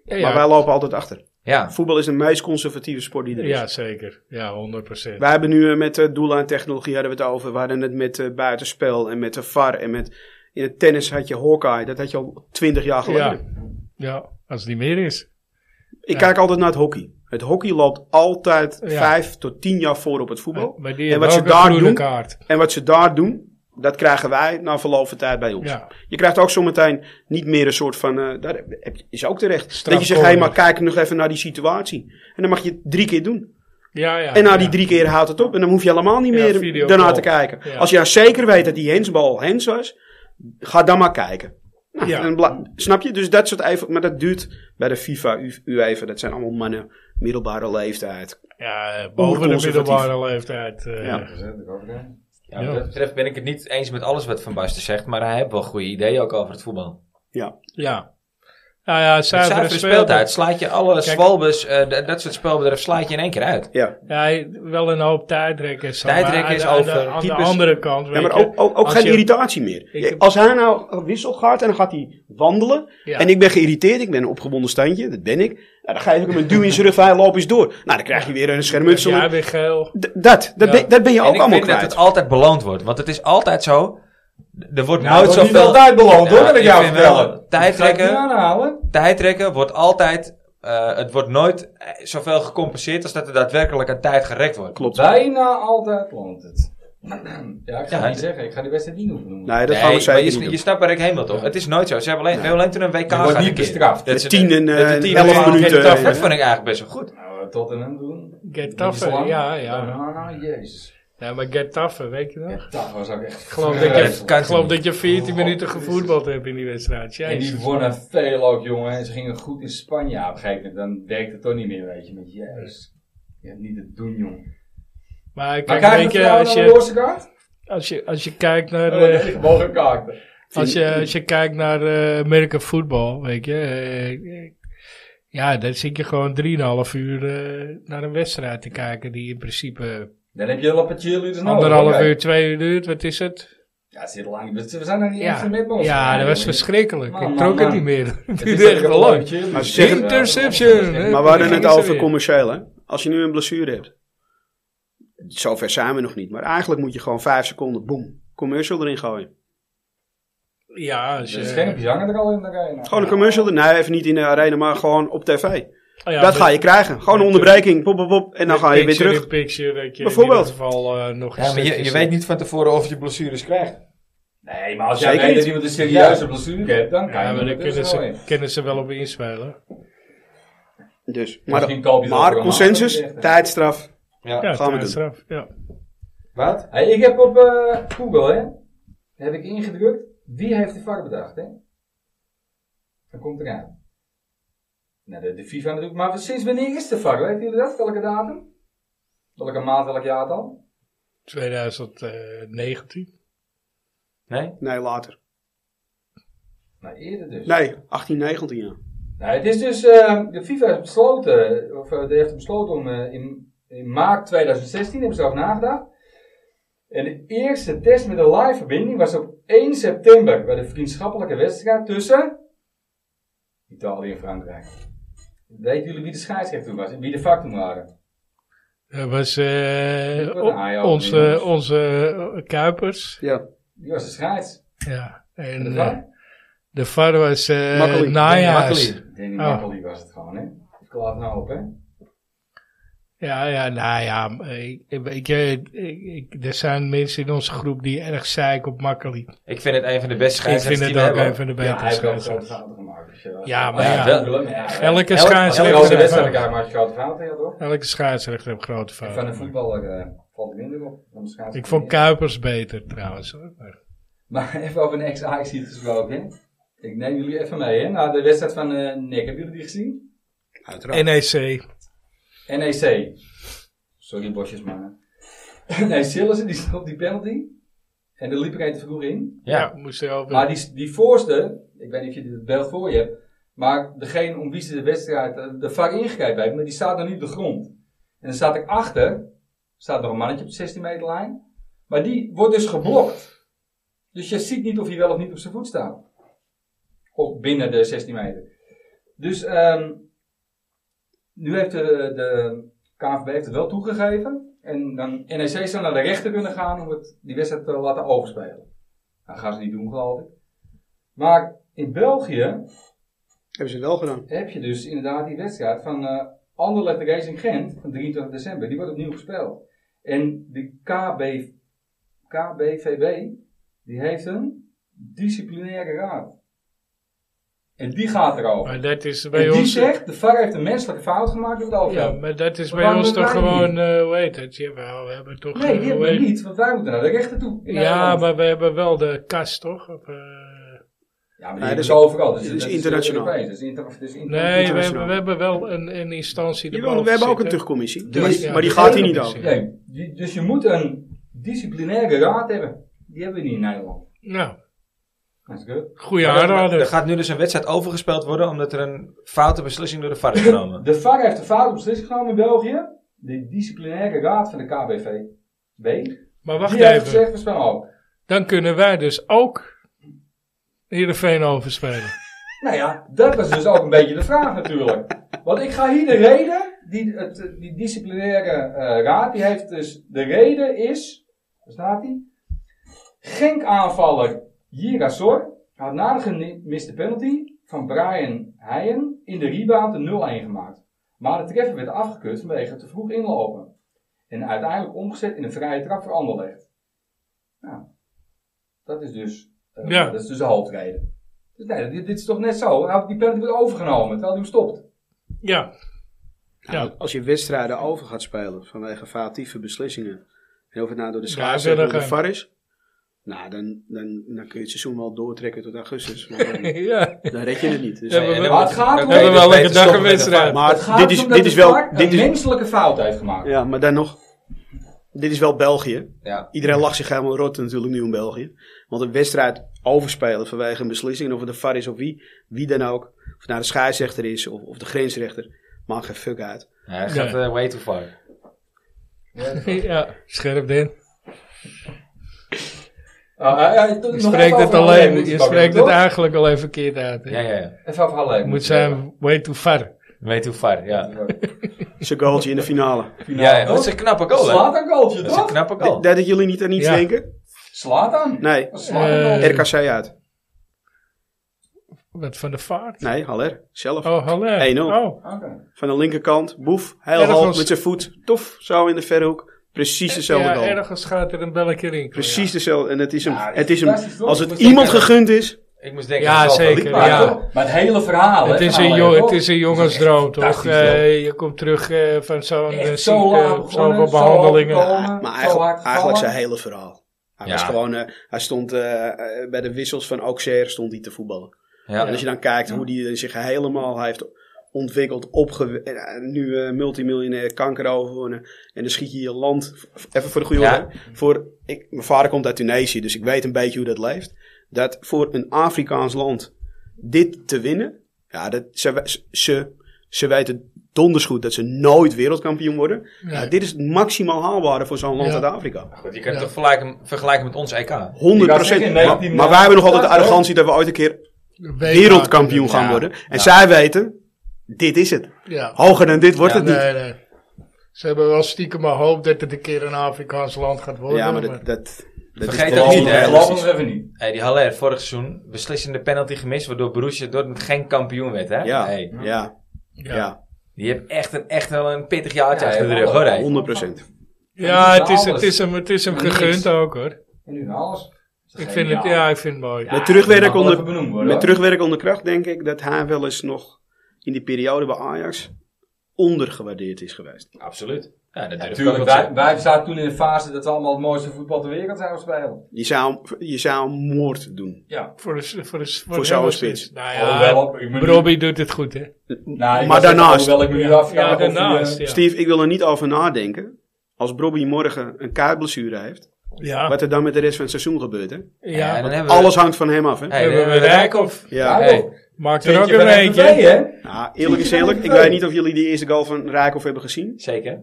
S2: Ja,
S4: Maar wij lopen altijd achter.
S1: Ja,
S4: Voetbal is de meest conservatieve sport die er is.
S2: ja, zeker. Ja, 100 procent.
S4: Wij hebben nu eh, met eh, doelen en technologie hadden we het over. We hadden het met eh, buitenspel en met de VAR en met... In het tennis had je Hawkeye. Dat had je al twintig jaar geleden.
S2: Ja. ja, als het niet meer is.
S4: Ik
S2: Ja.
S4: kijk altijd naar het hockey. Het hockey loopt altijd
S2: Ja.
S4: vijf tot tien jaar voor op het voetbal.
S2: Maar die
S4: en
S2: hebben
S4: wat ze
S2: ook een
S4: daar
S2: groene
S4: doen,
S2: kaart.
S4: en wat ze daar doen, dat krijgen wij na verloop van tijd bij ons.
S2: Ja.
S4: Je krijgt ook zometeen niet meer een soort van, eh, daar heb je- is ook terecht. dat je zegt, hé,
S2: Strafcorner.
S4: maar kijk nog even naar die situatie. En dan mag je het drie keer doen.
S2: Ja, ja.
S4: en na
S2: Ah, ja.
S4: die drie keer houdt het op. En dan hoef je helemaal niet
S2: Ja,
S4: meer
S2: video
S4: daarna
S2: call.
S4: te kijken.
S2: Ja.
S4: Als je nou zeker weet dat die hensbal hens was, ga dan maar kijken. Nou,
S2: Ja.
S4: en bla- snap je? Dus dat soort even, maar dat duurt bij de FIFA, U- UEFA, dat zijn allemaal mannen, middelbare leeftijd.
S2: Ja, eh, boven de
S4: Oerconservatief.
S2: middelbare leeftijd. eh,
S4: Ja.
S1: Ja, wat dat betreft ben ik het niet eens met alles wat Van Basten zegt, maar hij heeft wel goede ideeën ook over het voetbal.
S2: Ja. Nou ja,
S1: Het
S2: zuivere
S1: zuivere
S2: speeltijd.
S1: speeltijd slaat je alle zwalbes, eh, d- dat soort spelbedrijven slaat je in één keer uit.
S4: Ja,
S2: Ja, wel een hoop tijdrekkers. maar
S1: Tijdrekken
S2: aan
S1: is
S2: de- aan de-
S1: over,
S2: Aan de
S1: keepers-
S2: andere kant.
S4: ja
S2: weet
S4: maar
S2: je,
S4: ook, ook, ook
S2: als
S4: geen
S2: je-
S4: irritatie meer.
S2: Ik heb-
S4: Als hij nou wisselt gaat en dan gaat hij wandelen.
S2: Ja.
S4: En ik ben geïrriteerd, ik ben een opgewonden standje, dat ben ik. Nou, dan geef ik hem een duw in zijn rug, hij loopt eens door. Nou, dan krijg je weer een schermutsel.
S2: Ja, weer geel.
S4: D- dat,
S2: Ja.
S4: dat, ben, dat ben je
S1: en
S4: ook
S1: ik
S4: allemaal
S1: vind
S4: kwijt.
S1: dat het altijd beloond wordt, want het is altijd zo. d- Er wordt
S3: Nou,
S1: nooit
S3: dat is niet
S1: zoveel...
S3: altijd beloond hoor,
S1: Ja,
S3: dat ik jou
S1: vind wel,
S3: vertellen.
S1: Tijdrekken,
S3: Ga ik niet aanhalen.
S1: tijdrekken wordt altijd... eh, het wordt nooit eh, zoveel gecompenseerd als dat er daadwerkelijk aan tijd gerekt wordt.
S4: Klopt.
S3: Bijna altijd landt het. Ja, ik ga
S1: Ja,
S3: het niet
S1: d-
S3: zeggen. Ik ga die wedstrijd niet noemen.
S4: Nee, dat
S1: Nee,
S4: gaan we
S1: maar
S4: zeker
S1: je,
S4: niet
S1: je
S4: doen.
S1: snapt waar ik heen wil toch? Het is nooit zo. Ze hebben alleen, we hebben alleen toen een WK
S3: Je wordt
S1: gehad
S3: niet
S1: een keer.
S3: bestraft.
S1: Dat
S4: Met
S1: ze-
S4: tien en,
S1: dat
S4: eh,
S1: de tien-
S4: elf
S1: Ja,
S4: minuten,
S1: Dat
S4: eh,
S1: vond ik eigenlijk best wel goed.
S3: Nou, tot en hem doen.
S2: Get
S3: Niet zo
S2: tougher,
S3: lang.
S2: ja, ja.
S3: Nou, nou, jezus.
S2: Ja, maar get tougher, weet je nog?
S3: Ja, dat was ook echt...
S2: Ik geloof,
S1: Ja,
S2: dat,
S1: dat
S2: je,
S1: kan
S2: ik geloof
S1: niet.
S2: dat je 14
S3: Oh,
S2: minuten
S3: Jezus.
S2: gevoetbald hebt in die wedstrijd.
S3: En die
S2: Jezus.
S3: wonnen veel ook, jongen. En ze gingen goed in Spanje. Ja, op een gegeven moment dan werkt het toch niet meer, weet je. Met jezus. Je hebt niet te doen, jongen.
S2: Maar
S3: Maar
S2: kijk,
S3: kijk,
S2: weet je, als je,
S3: losse kaart?
S2: als je, als je kijkt naar...
S3: Oh,
S2: eh,
S3: nee, gewoon een kaart.
S2: Als je, als je kijkt naar eh American Football, weet je. eh, eh, ja, dan zit je gewoon 3,5 uur eh, naar een wedstrijd te kijken. Die in principe
S3: Dan heb je een lappetje cheerleaders nodig.
S2: anderhalf
S3: Oh, oké.
S2: uur, twee uur duurt. Wat is het?
S3: Ja, het zit lang. We we zijn nog niet eens
S2: Ja,
S3: met ons.
S2: ja dat was verschrikkelijk.
S3: Man,
S2: ik
S3: man,
S2: trok
S3: man.
S2: het niet meer. Het
S3: Het is
S2: duurde echt
S3: een eh,
S2: wel lang.
S3: lappetje
S4: Maar ze
S3: cheerleaders.
S4: zeggen-
S2: Interception, hè?
S4: Maar we hadden
S2: Daar
S4: het
S2: ging ze
S4: over
S2: weer.
S4: commercieel, hè? Als je nu een blessure hebt. Zover zijn we nog niet. Maar eigenlijk moet je gewoon vijf seconden, boem, commercial erin gooien.
S2: Ja, als je,
S3: De schermpjes hangen er al in de nou. arena.
S4: Gewoon een commercial erin. Nee, even niet in de arena, maar gewoon op tv.
S2: oh ja,
S4: dat
S2: met-
S4: ga je krijgen. Gewoon een
S2: met-
S4: onderbreking, pop, pop, pop. En dan
S2: met
S4: ga je weer
S2: picture
S4: terug.
S2: in Picture, dat je
S4: Bijvoorbeeld.
S2: In ieder geval eh, nog
S1: Ja, maar je, je weet niet van tevoren of je blessures krijgt.
S3: Nee, maar als jij
S4: Zeker
S3: weet dat
S4: niet.
S3: iemand een serieuze blessure heeft, dan kan
S2: Ja,
S3: je
S2: maar daar
S3: er
S2: kunnen
S3: dus wel in.
S2: ze, kunnen ze wel op inspelen.
S4: Dus.
S3: Misschien
S4: Maar,
S3: koop je dat
S4: maar
S3: programma.
S4: consensus, tijdstraf.
S1: Ja.
S2: Ja,
S4: gaan we doen.
S2: tijdstraf. Ja.
S1: Wat?
S3: Hey, ik heb op eh, Google, hè, heb ik ingedrukt, wie heeft de VAR bedacht, hè? Dan komt eraan. Nou, de, de FIFA natuurlijk, maar sinds wanneer is de VAR, weten jullie dat? Welke datum? Welke maand, welk jaar dan?
S2: 2019.
S1: Nee?
S4: Nee, later.
S3: Nou, eerder dus.
S4: Nee, 1819 ja.
S3: Nou, het is dus, eh, de FIFA heeft besloten, of eh, die heeft besloten om eh, in eh, in maart 2016 hebben ze over nagedacht. En de eerste test met een live verbinding was op 1 september bij de vriendschappelijke wedstrijd tussen Italië en Frankrijk. Weten jullie wie de scheidsrechter toen was en wie de vak toen waren?
S2: Dat was eh,
S3: Dat wordt
S2: o-
S3: een eye-opener,
S2: onze,
S3: jongens.
S2: onze eh, Kuipers.
S4: Ja.
S3: Die was de scheids.
S2: Ja. En
S3: En de
S2: eh,
S3: VAR?
S2: de VAR was eh
S4: Makkely.
S2: Najaars.
S1: Makkely.
S3: Danny
S2: Oh.
S3: Makkely was het gewoon, hè? Ik klaar nou op, hè?
S2: Ja, ja, nou ja. m- Ik, ik, ik, eh, ik- ik- er zijn mensen in onze groep die erg zeik op Makkely.
S1: Ik vind het een van de beste
S2: Ik vind
S1: scheidsrechters die
S2: het
S1: we
S2: ook
S1: hebben.
S2: een van de
S3: Ja, hij heeft wel
S2: betere
S3: grote
S2: ja,
S3: fouten gemaakt. Dus, eh,
S2: Ja, maar
S1: ja,
S3: dat
S1: wel-
S3: bedoel ik, maar ja,
S2: Elke
S1: Elke-
S2: scheidsrechter
S3: Elke
S2: heeft
S3: wedstrijd
S2: grote-
S3: elkaar maakt grote fouten, ja toch?
S2: elke scheidsrechter heeft grote
S3: En van een
S2: fouten.
S3: voetballer eh, valt er minder op. dan de scheidsrechter.
S2: Ik vond Kuipers beter trouwens. hoor. Maar-
S3: Maar even over een ex-Ajax hier gesproken, hè? Ik neem jullie even mee, hè? Na de wedstrijd van eh NEC, hebben jullie die gezien?
S4: Uiteraard.
S2: NEC.
S3: NEC. Sorry, bosjes, maar. nee, Sillessen die stond op die penalty. En daar liep ik even vroeg in.
S2: Ja,
S1: Ja.
S2: moest er over.
S3: Maar die, die voorste, ik weet niet of je het beeld voor je hebt, maar degene om wie ze de wedstrijd eh, de VAR ingegrepen heeft, maar die staat nog niet op de grond. En dan staat ik achter, staat nog een mannetje op de 16 meter lijn, maar die wordt dus geblokt. Dus je ziet niet of hij wel of niet op zijn voet staat. Of binnen de 16 meter. Dus ehm, nu heeft de, de KNVB heeft het wel toegegeven. En dan NEC zou naar de rechter kunnen gaan om het, die wedstrijd te laten overspelen. Dat Nou, gaan ze niet doen, geloof ik. Maar in België
S4: Hebben ze het wel gedaan.
S3: heb je dus inderdaad die wedstrijd van eh Anderlecht Racing Gent van 23 december. Die wordt opnieuw gespeeld. En de KB, KBVB, die heeft een disciplinaire raad. En die gaat erover.
S2: Maar dat is bij
S3: En die
S2: ons.
S3: zegt, de VAR heeft een menselijke fout gemaakt door het over.
S2: Ja, maar dat is bij
S3: Waarom
S2: ons
S3: doen
S2: toch
S3: wij
S2: gewoon, eh hoe heet het? Jawel, we hebben toch...
S3: Nee,
S2: eh,
S3: die
S2: hoe
S3: hebben we
S2: heet-
S3: niet, want wij moeten naar de rechter toe. in
S2: Ja,
S3: Nederland.
S2: maar we hebben wel de kast, toch? Of, eh,
S3: Ja, maar
S4: Nee,
S3: die hebben
S4: dat
S3: ze
S4: is-
S3: overal. Dus
S4: dit
S3: dat
S4: is
S3: is
S4: internationaal.
S3: Europees, dat is inter- dat is internationaal.
S2: nee, we hebben,
S4: internationaal.
S2: we hebben wel een, een instantie
S4: Jawel,
S2: erboven
S4: we hebben ook een
S2: zitten.
S4: terugcommissie.
S2: Dus-
S4: maar,
S3: ja,
S4: maar die
S3: dus-
S4: gaat hier niet
S2: dus-
S4: over.
S3: Nee, die- dus je moet een disciplinaire raad hebben. Die hebben we niet in Nederland.
S2: Nou,
S3: Dat is goed.
S2: goede
S1: Maar er-
S2: aanrader.
S1: Er gaat nu dus een wedstrijd overgespeeld worden omdat er een foute beslissing door de VAR is genomen.
S3: De VAR heeft de fout op beslissing genomen in België. De disciplinaire raad van de KBVB.
S2: Maar wacht
S3: die heeft
S2: even,
S3: gezegd, we spelen ook.
S2: dan kunnen wij dus ook Heerenveen overspelen.
S3: Nou ja, dat was dus ook een beetje de vraag natuurlijk. Want ik ga hier de reden, die, het, die disciplinaire eh, raad, die heeft dus, de reden is, waar staat die? Genk-aanvaller Jirasor had na de gemiste penalty van Brian Heijen in de rebound de 0-1 gemaakt. Maar de treffer werd afgekeurd vanwege het te vroeg inlopen. En uiteindelijk omgezet in een vrije trap voor Anderlecht. Nou, dat is dus, eh,
S2: Ja.
S3: dat is dus de hoofdreden. Dus nee, dit, dit is toch net zo. Hij had Die penalty wordt overgenomen terwijl hij hem stopt.
S2: Ja,
S4: Nou,
S2: Ja.
S4: Als je wedstrijden over gaat spelen vanwege foutieve beslissingen. En of het nou door de
S2: Ja,
S4: scheidsrechter of de
S2: zullen
S4: VAR is. Nou, dan, dan, dan kun je het seizoen wel doortrekken tot augustus. Maar dan,
S2: ja.
S4: dan red je het niet. Dus,
S2: Ja,
S1: Nee, en dan
S3: maar het
S1: moet-
S3: gaat
S1: dan
S3: om-
S1: kun je
S3: We hebben
S1: dus
S2: wel
S1: beter
S2: elke dag
S1: stoppen
S2: een
S1: met de
S2: wedstrijd.
S1: VAR.
S3: het
S4: maar
S3: gaat
S4: dit is,
S3: omdat
S4: dit is
S3: de VAR
S4: wel...
S3: een
S4: Dit is,
S3: menselijke fout heeft gemaakt.
S4: ja, maar dan nog. Dit is wel België.
S1: Ja.
S4: Iedereen lacht zich helemaal rot natuurlijk nu in België. Want een wedstrijd overspelen vanwege een beslissing. Of het de VAR is of wie. Wie dan ook. Of het nou de scheidsrechter is of, of de grensrechter. Maakt geen fuck uit.
S1: Ja, het gaat eh, way too far.
S2: ja, scherp in.
S3: Ah, ah, ah, nog
S2: Je
S3: even
S2: spreekt het
S3: over
S2: alleen,
S3: moeten
S2: je
S3: pakken,
S2: spreekt het
S3: toch?
S2: eigenlijk alleen verkeerd uit. hè?
S1: Ja, ja, ja.
S3: Even over Halle.
S2: Het moet zijn way too far.
S1: Way too far, ja.
S4: Zijn goaltje in de finale.
S1: Ja, ja, dat is een knappe goal, hè?
S3: Slaat een goaltje,
S1: Dat is een
S3: toch?
S1: knappe goal.
S4: Dat dat jullie niet aan iets
S2: Oh. Ja.
S4: denken?
S3: Slaat aan.
S4: Nee.
S3: Slaat een
S2: Eh,
S3: goaltje.
S4: RKC uit.
S2: Wat van de vaart?
S4: Nee, Haller. Zelf.
S2: Oh, hallo.
S4: 1-0.
S2: Oh,
S3: Oké.
S4: Van de linkerkant. Boef. Heel
S2: Ergens.
S4: hoog met zijn voet. Tof. Zo in de verhoek. Precies dezelfde
S2: ja,
S4: goal.
S2: ergens gaat er een belletje rinkelen.
S4: Precies dezelfde. En het is hem.
S3: Ja,
S4: het is hem
S3: fantastisch, toch?
S4: als
S3: Ik
S4: het
S3: moet
S4: iemand
S3: zeggen-
S4: gegund is.
S1: Ik moest denken,
S2: Ja,
S1: dat is wel
S2: zeker,
S1: verliep,
S3: Maar,
S1: maar-
S2: ja.
S3: toch, maar het hele verhaal.
S2: Het
S3: hè,
S2: is,
S3: van
S2: een
S3: Halle,
S2: jong,
S3: toch?
S2: het is een jongensdroom, toch?
S3: fantastisch,
S2: Eh, je komt terug eh, van zo'n eh,
S3: Echt
S2: ziekte,
S3: zo laag
S2: zoveel
S3: begonnen, zo hoog
S2: behandelingen.
S3: gekomen,
S4: Maar
S3: zo
S4: eigenlijk,
S3: hard
S4: eigenlijk zijn
S3: gevallen.
S4: hele verhaal. Hij,
S1: Ja.
S4: was gewoon, eh, hij stond eh, eh, bij de wissels van Auxerre stond hij te voetballen.
S1: Ja.
S4: En als je dan kijkt hoe hij zich helemaal heeft ontwikkeld, opge eh, nu eh, multimiljonair kanker overwonnen. En dan schiet je je land, v- even voor de goede
S1: Ja.
S4: orde, voor, ik, mijn vader komt uit Tunesië, dus ik weet een beetje hoe dat leeft. Dat voor een Afrikaans land dit te winnen, ja, dat, ze, ze, ze weten donders goed dat ze nooit wereldkampioen worden.
S2: Nee.
S4: Nou, dit is het maximaal haalbare voor zo'n land
S2: Ja.
S4: uit Afrika.
S1: Goed, je kan het
S2: Ja.
S1: toch vergelijken, vergelijken met ons E EK?
S4: 100%.
S3: zeggen,
S4: Maar,
S3: nee, die-
S4: maar wij hebben nog altijd de arrogantie dat we ooit een keer wereldkampioen gaan
S2: Ja.
S4: worden. En zij weten, dit is het.
S2: Ja.
S4: Hoger dan dit wordt
S2: Ja,
S4: het niet.
S2: nee, nee. Ze hebben wel stiekem maar hoop dat het een keer een Afrikaans land gaat worden.
S4: Ja, maar dat... dat dat
S1: Vergeet
S4: is
S1: dat
S4: wel-
S1: niet, hè.
S3: Geloof ons even niet.
S1: Hey, die Haller vorig seizoen beslissende penalty gemist, waardoor Borussia Dortmund geen kampioen werd. Hè?
S4: Ja,
S1: Hey,
S4: ja,
S2: ja. Ja.
S4: ja,
S1: die heeft echt, een, echt wel een pittig jaartje
S3: Ja,
S1: achter de
S3: ja,
S1: rug hoor. hey.
S4: 100%.
S2: het, is, het, is hem, het is hem gegund ook hoor.
S3: En nu alles.
S2: Ik vind het, ja, ik vind het mooi.
S4: Met terugwerk
S3: mag wel
S4: onder,
S3: even benoemd worden,
S4: met
S3: hoor.
S4: terugwerk onder kracht denk ik dat hij wel eens nog in die periode bij Ajax ondergewaardeerd is geweest.
S1: Absoluut. Ja, dat durf ik ook
S3: Natuurlijk,
S1: wel te
S3: wij,
S1: zeggen.
S3: wij zaten toen in de fase dat we allemaal het mooiste voetbal ter wereld zouden spelen.
S4: Je zou, hem- je zou hem moord doen.
S3: Ja.
S2: Voor, de, s- voor, de, s- voor,
S4: Voor
S2: de
S4: zo'n
S2: hele
S4: spits.
S2: Nou
S3: Alhoewel, ik
S2: ja,
S3: me nu-
S2: Robbie doet het goed hè.
S3: Nou, ik
S4: Maar
S3: was echt-
S4: daarnaast.
S3: Alhoewel ik me nu afvraag
S2: Ja,
S3: of hij, eh,
S2: daarnaast. Ja.
S4: Steve, ik wil er niet over nadenken. Als Bobby morgen een kuitblessure heeft,
S2: Ja.
S4: wat er dan met de rest van het seizoen gebeurt. Hè?
S1: Ja,
S2: Ja.
S1: dan hebben we,
S4: Alles hangt van hem af. Hè?
S1: Hey, dan
S2: Hebben we
S1: hebben we
S2: Rijkoff.
S4: Ja.
S3: Ja.
S1: Hey,
S2: Maakt er ook
S3: Puntje
S2: een
S3: van MVV,
S2: beetje.
S3: hè?
S4: Nou, eerlijk is eerlijk, ik weet niet of jullie die eerste goal van Rijkoff hebben gezien.
S1: zeker.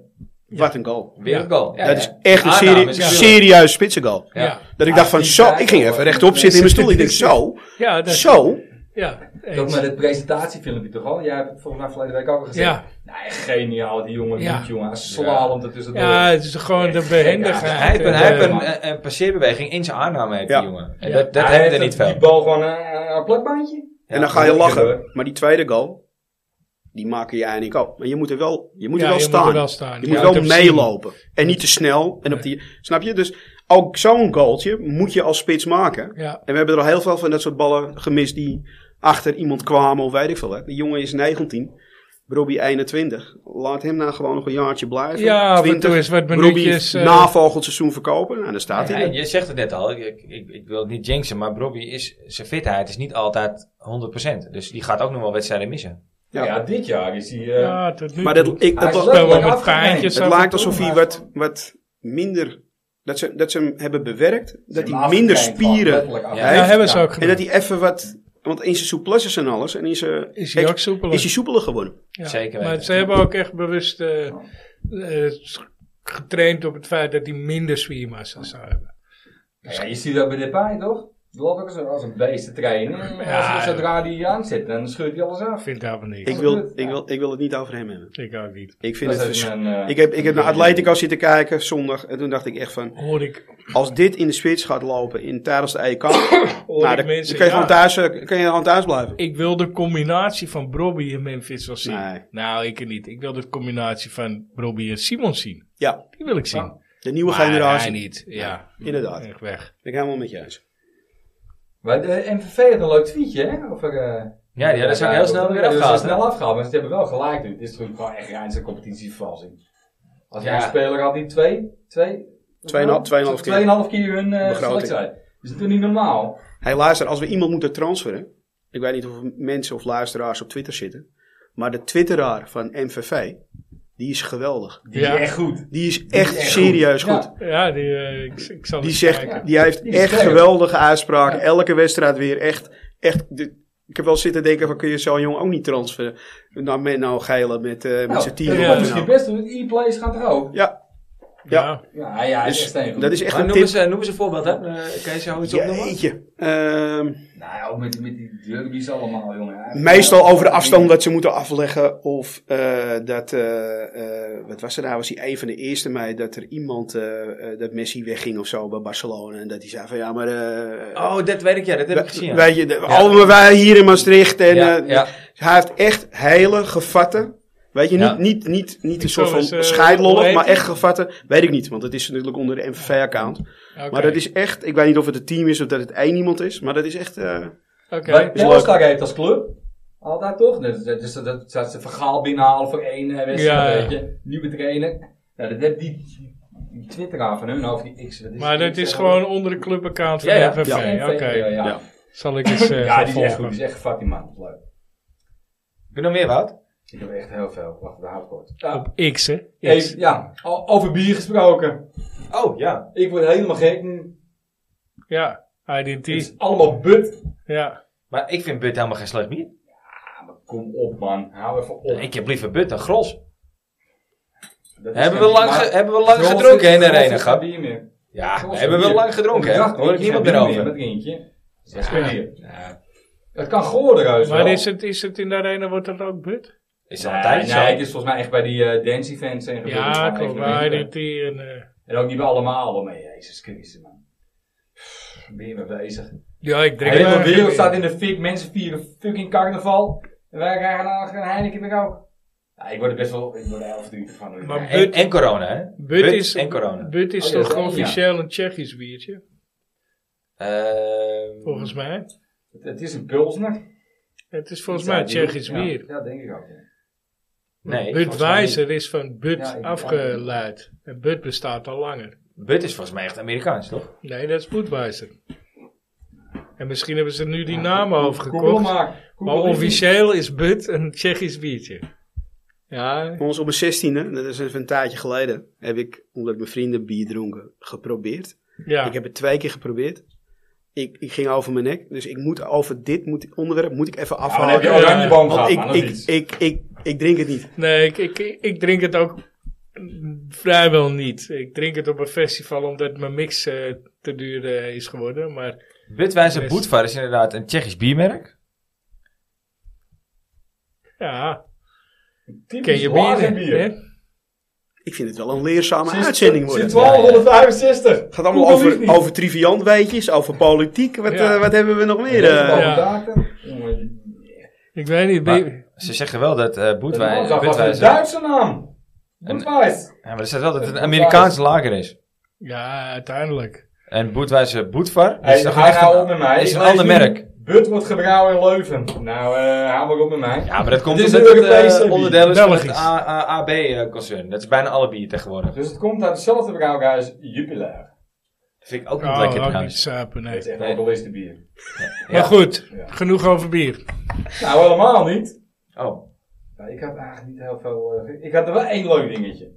S4: Wat een goal.
S1: Weer een goal. Ja,
S4: dat
S1: ja.
S4: is echt een
S1: Aanname
S4: serie,
S1: is wel-
S4: serieus spitsengoal.
S1: Ja.
S2: Ja,
S4: Dat ik dacht van
S3: die
S4: zo,
S3: Rijkoff,
S4: ik ging even
S3: eh,
S4: rechtop zitten in mijn stoel. Ik denk zo,
S2: ja, dat,
S4: zo.
S2: ja,
S3: Dat
S2: eens.
S3: met het presentatiefilmpje toch al? Jij hebt het volgens mij verleden week ook al gezien.
S2: Ja.
S3: Nee, geniaal die jongen.
S2: Ja.
S3: Niet jongen. Slalom ertussen door.
S2: ja, het is gewoon de behendigheid.
S1: Hij heeft, een,
S2: en
S1: hij heeft
S2: de-
S1: een, een, een passeerbeweging in zijn aanname, heeft
S4: Ja.
S1: die jongen. En
S2: Ja.
S1: dat dat
S3: Hij
S1: hebben we er
S3: heeft
S1: niet veel.
S3: Die bal gewoon eh, een plakbandje.
S4: En dan ga je lachen.
S3: hoor.
S4: Maar die tweede goal, die maken jij en ik ook. Maar je moet er wel, je moet er
S2: Ja,
S4: wel,
S2: je moet
S4: staan.
S2: er wel staan.
S4: Je
S2: Je
S4: moet
S2: moet
S4: wel
S2: hem zien.
S4: meelopen. En niet te snel. En op die, snap je? Dus ook zo'n goaltje moet je als spits maken.
S2: Ja,
S4: En we hebben er al heel veel van dat soort ballen gemist die achter iemand kwamen of weet ik veel. Hè. Die jongen is 19. Robbie 21. Laat hem nou gewoon nog een jaartje blijven.
S2: ja af en toe is wat minuutjes.
S4: Robbie
S2: eh,
S4: navolgend seizoen verkopen. Nou, daar staat
S1: Ja,
S4: hij.
S1: en je zegt het net al, ik, ik, ik wil het niet jinxen, maar Robbie is, zijn fitheid is niet altijd 100%. Dus die gaat ook nog wel wedstrijden missen.
S4: Ja.
S3: Ja. dit jaar is hij... eh,
S2: ja, tot nu
S4: Maar
S2: toe.
S4: dat, ik,
S3: Hij
S4: dat,
S3: is
S4: was-
S3: leuk.
S2: Wel wat
S3: wordt
S2: met
S3: afgeleid.
S2: paantjes.
S4: Het
S2: af en
S4: lijkt
S2: toe,
S4: alsof hij
S2: maar-
S4: wat, wat minder. Dat ze, dat ze hem hebben bewerkt. Dat
S3: hem
S4: hij minder
S3: afgekleind gewoon,
S4: spieren
S3: letterlijk
S1: Ja,
S3: afgekleind.
S2: Ja, hebben ze
S3: Ja.
S2: ook
S4: En
S2: gedaan.
S4: dat hij even wat. Want in zijn soeplasses en alles. En in zijn,
S2: Is hij ook
S4: is-
S2: soepeler?
S4: is hij soepeler geworden.
S2: Ja,
S1: Zeker
S2: Maar
S1: weten.
S2: ze hebben ook echt bewust eh, eh, getraind op het feit dat hij minder spiermassa zou hebben.
S3: Ja, je ziet dat bij Depay toch? Die loopt ook als een, als een beest te trainen. En
S2: Ja,
S3: als- Zodra die aanzet, dan scheurt hij alles af.
S2: Vind daar wel niet.
S4: Ik
S2: Ik,
S4: wil, ik, wil, ik wil het niet over hem hebben.
S2: ook niet.
S4: Ik vind
S3: Dat
S4: het.
S3: is
S4: vers-
S3: een, eh,
S4: Ik heb, ik heb naar
S3: een-
S4: Atletico zitten kijken zondag. En toen dacht ik echt van.
S2: Hoor ik.
S4: Als dit in de spits gaat lopen in, tijdens de EK.
S2: Hoor
S4: nou,
S2: ik
S4: dan, dan
S2: mensen,
S4: kun
S2: ja.
S4: je, gewoon thuis, eh, kun je gewoon thuis blijven.
S2: Ik wil de combinatie van Brobbey en Memphis wel zien.
S4: Nee.
S2: Nou, ik niet. Ik wil de combinatie van Brobbey en Simon zien.
S4: Ja,
S2: Die wil ik zien.
S4: de Ah, nieuwe
S2: Maar
S4: generatie.
S2: hij niet. Ja,
S4: Inderdaad.
S2: echt weg.
S4: Ben ik helemaal met je eens.
S3: Maar de MVV had een leuk tweetje, hè? Over, eh,
S1: Ja, die hadden ze ook heel snel weer
S3: Ja, die hadden ze
S1: afgehaald. hè?
S3: snel afgehaald, maar ze hebben wel gelijk. nu. Het is natuurlijk gewoon echt reinste competitievervalsing. Als jij
S1: Ja.
S3: een speler had die twee, twee,
S4: Tweeënhalf- tweeënhalf keer.
S3: tweeënhalf keer hun eh
S4: Begroting.
S3: selectie had. Is het toch niet normaal?
S4: Hey, luister, als we iemand moeten transferen. Ik weet niet of mensen of luisteraars op Twitter zitten. Maar de Twitteraar van MVV, die is geweldig.
S3: Die
S2: Ja.
S3: is echt goed.
S4: Die is echt
S3: echt
S4: serieus goed.
S3: goed.
S2: Ja, die, eh, ik, ik zal
S4: Die,
S2: eens
S4: zegt,
S2: kijken.
S4: die heeft
S3: Die is
S4: echt
S3: scherp.
S4: geweldige uitspraken. Elke wedstrijd weer echt. echt de- ik heb wel zitten denken van kun je zo'n jongen ook niet transferen. Nou, met nou geilen met, eh, met
S3: Nou,
S4: zijn team.
S3: dat
S4: of
S2: ja.
S4: wat
S3: kan
S4: dan
S3: misschien
S4: ook.
S3: best doen. E-plays e gaan er ook.
S4: Ja,
S2: Ja.
S3: Ja, ja, hij is
S4: Dus
S3: echt steengoed.
S4: dat is echt
S1: Maar
S4: een
S1: noem,
S4: tip.
S1: eens, eh, noem eens een voorbeeld, hè? Eh, kan je zo iets opnoemen?
S4: Jeetje. Ehm,
S3: Nou ja, ook met, met die derbies allemaal, jongen. Hij-
S4: meestal over de afstand
S3: Ja,
S4: dat ze moeten afleggen. Of eh, dat, eh, eh, wat was er nou? Was hij een van de eerste mee dat er iemand, eh, eh, dat Messi wegging of zo bij Barcelona. En dat hij zei van ja, maar... eh,
S1: Oh, dat weet ik, ja, dat heb ik gezien. ja.
S4: Weet je, de- allemaal wij hier in Maastricht. En,
S1: Ja,
S4: eh,
S1: ja.
S4: Hij heeft echt hele gevatte. Weet je,
S1: Ja.
S4: niet, niet, niet, niet een
S2: zal
S4: soort van
S2: eens, eh, hoe
S4: scheidlollig,
S2: heet
S4: maar
S2: die?
S4: echt gevatte. Weet ik niet, want het is natuurlijk onder de MVV-account.
S2: Oké.
S4: Maar dat is echt, ik weet niet of het een team is of dat het één iemand is, maar dat is echt. eh,
S2: Oké.
S3: Bij Telstar Dus heeft als club. Altijd toch? Dus dat, dus dat, dat, dat ze vergaal binnenhalen voor één eh,
S2: Ja, ja.
S3: wedstrijd. weet je. Nieuwe trainer. Ja, dat heeft die, die Twitteraar van hun nou over die X. dat
S2: Maar dat
S3: die
S2: is
S3: X,
S2: gewoon onder de clubaccount van
S1: Ja, ja.
S2: FNV.
S3: eh,
S2: Oké.
S3: NV, Ja, ja.
S4: Ja.
S2: Zal ik eens eh,
S3: Ja,
S2: gaan
S3: die is echt goed.
S2: volgen.
S3: Die is echt fucking man. Leuk.
S1: Heb je nog meer, Wout?
S3: Ik heb echt heel veel. Wacht, daar hou ik kort. Ja,
S2: Op X, hè? X.
S3: even, ja. o- over bier gesproken.
S1: Oh, ja.
S3: Ik word helemaal gek nu.
S2: Ja,
S3: Het is
S2: IDT.
S3: allemaal but.
S2: Ja.
S1: Maar ik vind Bud helemaal geen slecht bier.
S3: Ja, maar Kom op, man. Hou even op.
S1: Ik heb liever Butten, Gros.
S3: Dat is
S1: Hebben we
S3: geen-
S1: lang,
S3: maar-
S1: ge- hebben we lang gedronken in de arena, Gab? Ja,
S3: Gros
S1: hebben Ah, we
S3: bier.
S1: lang gedronken, hè?
S3: Dag,
S1: Hoor ik
S3: drinken,
S1: niemand
S3: geen
S1: meer
S3: bier
S1: over.
S3: Met eentje. Dat is geen bier.
S7: Het kan goorder uit.
S2: Maar is het, is het in de arena, wordt dat ook but?
S1: Is dat
S3: Nee,
S1: altijd
S3: nee, het
S1: zo?
S3: is volgens mij echt bij die eh, dance events en gebeurten.
S2: Ja,
S3: Maar
S2: kom
S3: even
S2: bij
S3: drinken.
S2: dit hier. En, eh,
S3: En ook niet bij allemaal, hoor. maar jezus Christus, man. Pff, Ben je mee bezig?
S2: ja, ik
S3: De
S2: drink
S3: hele
S2: maar-
S3: wereld staat in de fik, mensen vieren fucking carnaval. En wij krijgen nou geen Heineken meer ook. Ja, ik word er best wel, ik word er heel verdrietig van.
S2: Maar
S3: Maar
S1: En, en corona, hè?
S2: But
S1: But
S2: is,
S1: en corona.
S2: but is
S3: Oh, ja,
S2: toch
S3: dat- ja.
S2: officieel een Tsjechisch biertje?
S1: Ehm,
S2: Volgens mij.
S3: het, het is een pilsner.
S2: Het is volgens mij Tsjechisch
S3: Ja,
S2: bier.
S3: Ja, denk ik ook. ja.
S1: nee,
S2: But
S1: volgens mij niet.
S2: Weiser is van but
S3: Ja, ik-
S2: afgeleid. En but bestaat al langer.
S1: But is volgens mij echt Amerikaans, toch?
S2: Nee, dat is Budweiser. En misschien hebben ze nu die
S3: Ja,
S2: namen
S3: Google
S2: overgekocht.
S3: maar. Google
S2: Maar
S3: is niet-
S2: officieel is Bud een Tsjechisch biertje. Ja,
S4: Ons op mijn zestiende, dat is even een tijdje geleden, heb ik, omdat mijn vrienden bier dronken, geprobeerd.
S2: ja.
S4: Ik heb het twee keer geprobeerd. Ik, ik ging over mijn nek. Dus ik moet over dit moet, onderwerp moet ik even
S3: Ja, maar Oh, dan heb
S4: afhalen.
S3: je oranje boom
S4: Want
S3: gehad,
S4: ik,
S3: man, dat is
S4: ik,
S3: iets.
S4: ik, ik, ik drink het niet.
S2: nee, ik, ik, ik drink het ook vrijwel niet. Ik drink het op een festival omdat mijn mix eh, te duur eh, is geworden. Maar
S1: Budweiser
S2: Yes.
S1: Boetvar is inderdaad een Tsjechisch biermerk.
S2: ja,
S3: Typisch
S2: ken je
S3: lager
S2: bieren.
S3: bier.
S2: hè?
S4: Ik vind het wel een leerzame
S3: Sinds-
S4: uitzending worden.
S3: Sinds 1265.
S4: Het gaat allemaal
S3: Google is
S4: over,
S3: niet.
S4: over triviant weetjes, over politiek. Wat,
S2: Ja.
S4: eh, wat hebben we nog meer?
S3: Deze
S4: eh?
S3: boom
S2: Ja.
S3: daken. Jongen,
S2: Ik weet niet.
S1: Maar-
S2: bi-
S1: Ze zeggen wel dat eh
S3: dat
S1: Budwei-
S3: was- was een
S1: Budweiser...
S3: Duitse naam.
S1: Een-
S3: Budweiser.
S1: ja, maar er staat wel dat het een
S3: Budweiser.
S1: Amerikaans lager is.
S2: Ja, uiteindelijk.
S1: En Budweiser Boetvar
S3: Hey,
S1: is toch
S3: ga
S1: echt
S3: nou
S1: een-
S3: op met mij.
S1: is
S3: Ik
S1: een
S3: lees
S1: ander
S3: nu,
S1: merk.
S3: Bud wordt gebrouwen in Leuven. Nou, eh hou maar op met mij.
S1: Ja, maar dat komt
S3: Dit is
S1: omdat
S3: een
S1: het
S3: Europese
S1: eh,
S3: bier.
S1: onderdeel is van het
S2: Belgisch.
S1: AB-concern. eh, Dat is bijna alle bier tegenwoordig.
S3: Dus het komt uit hetzelfde brouwhuis Jupiler.
S1: Dat vind ik ook niet
S2: Oh,
S1: lekker
S2: ook niet
S1: trouwens.
S2: sapen, nee.
S3: Dat is echt
S1: Nee.
S3: alcoholisten bier.
S2: Maar goed,
S3: Ja.
S2: genoeg over bier.
S3: Nou, helemaal niet.
S1: Oh,
S3: Nou, ik had eigenlijk niet heel veel... eh, ik had er wel één leuk dingetje.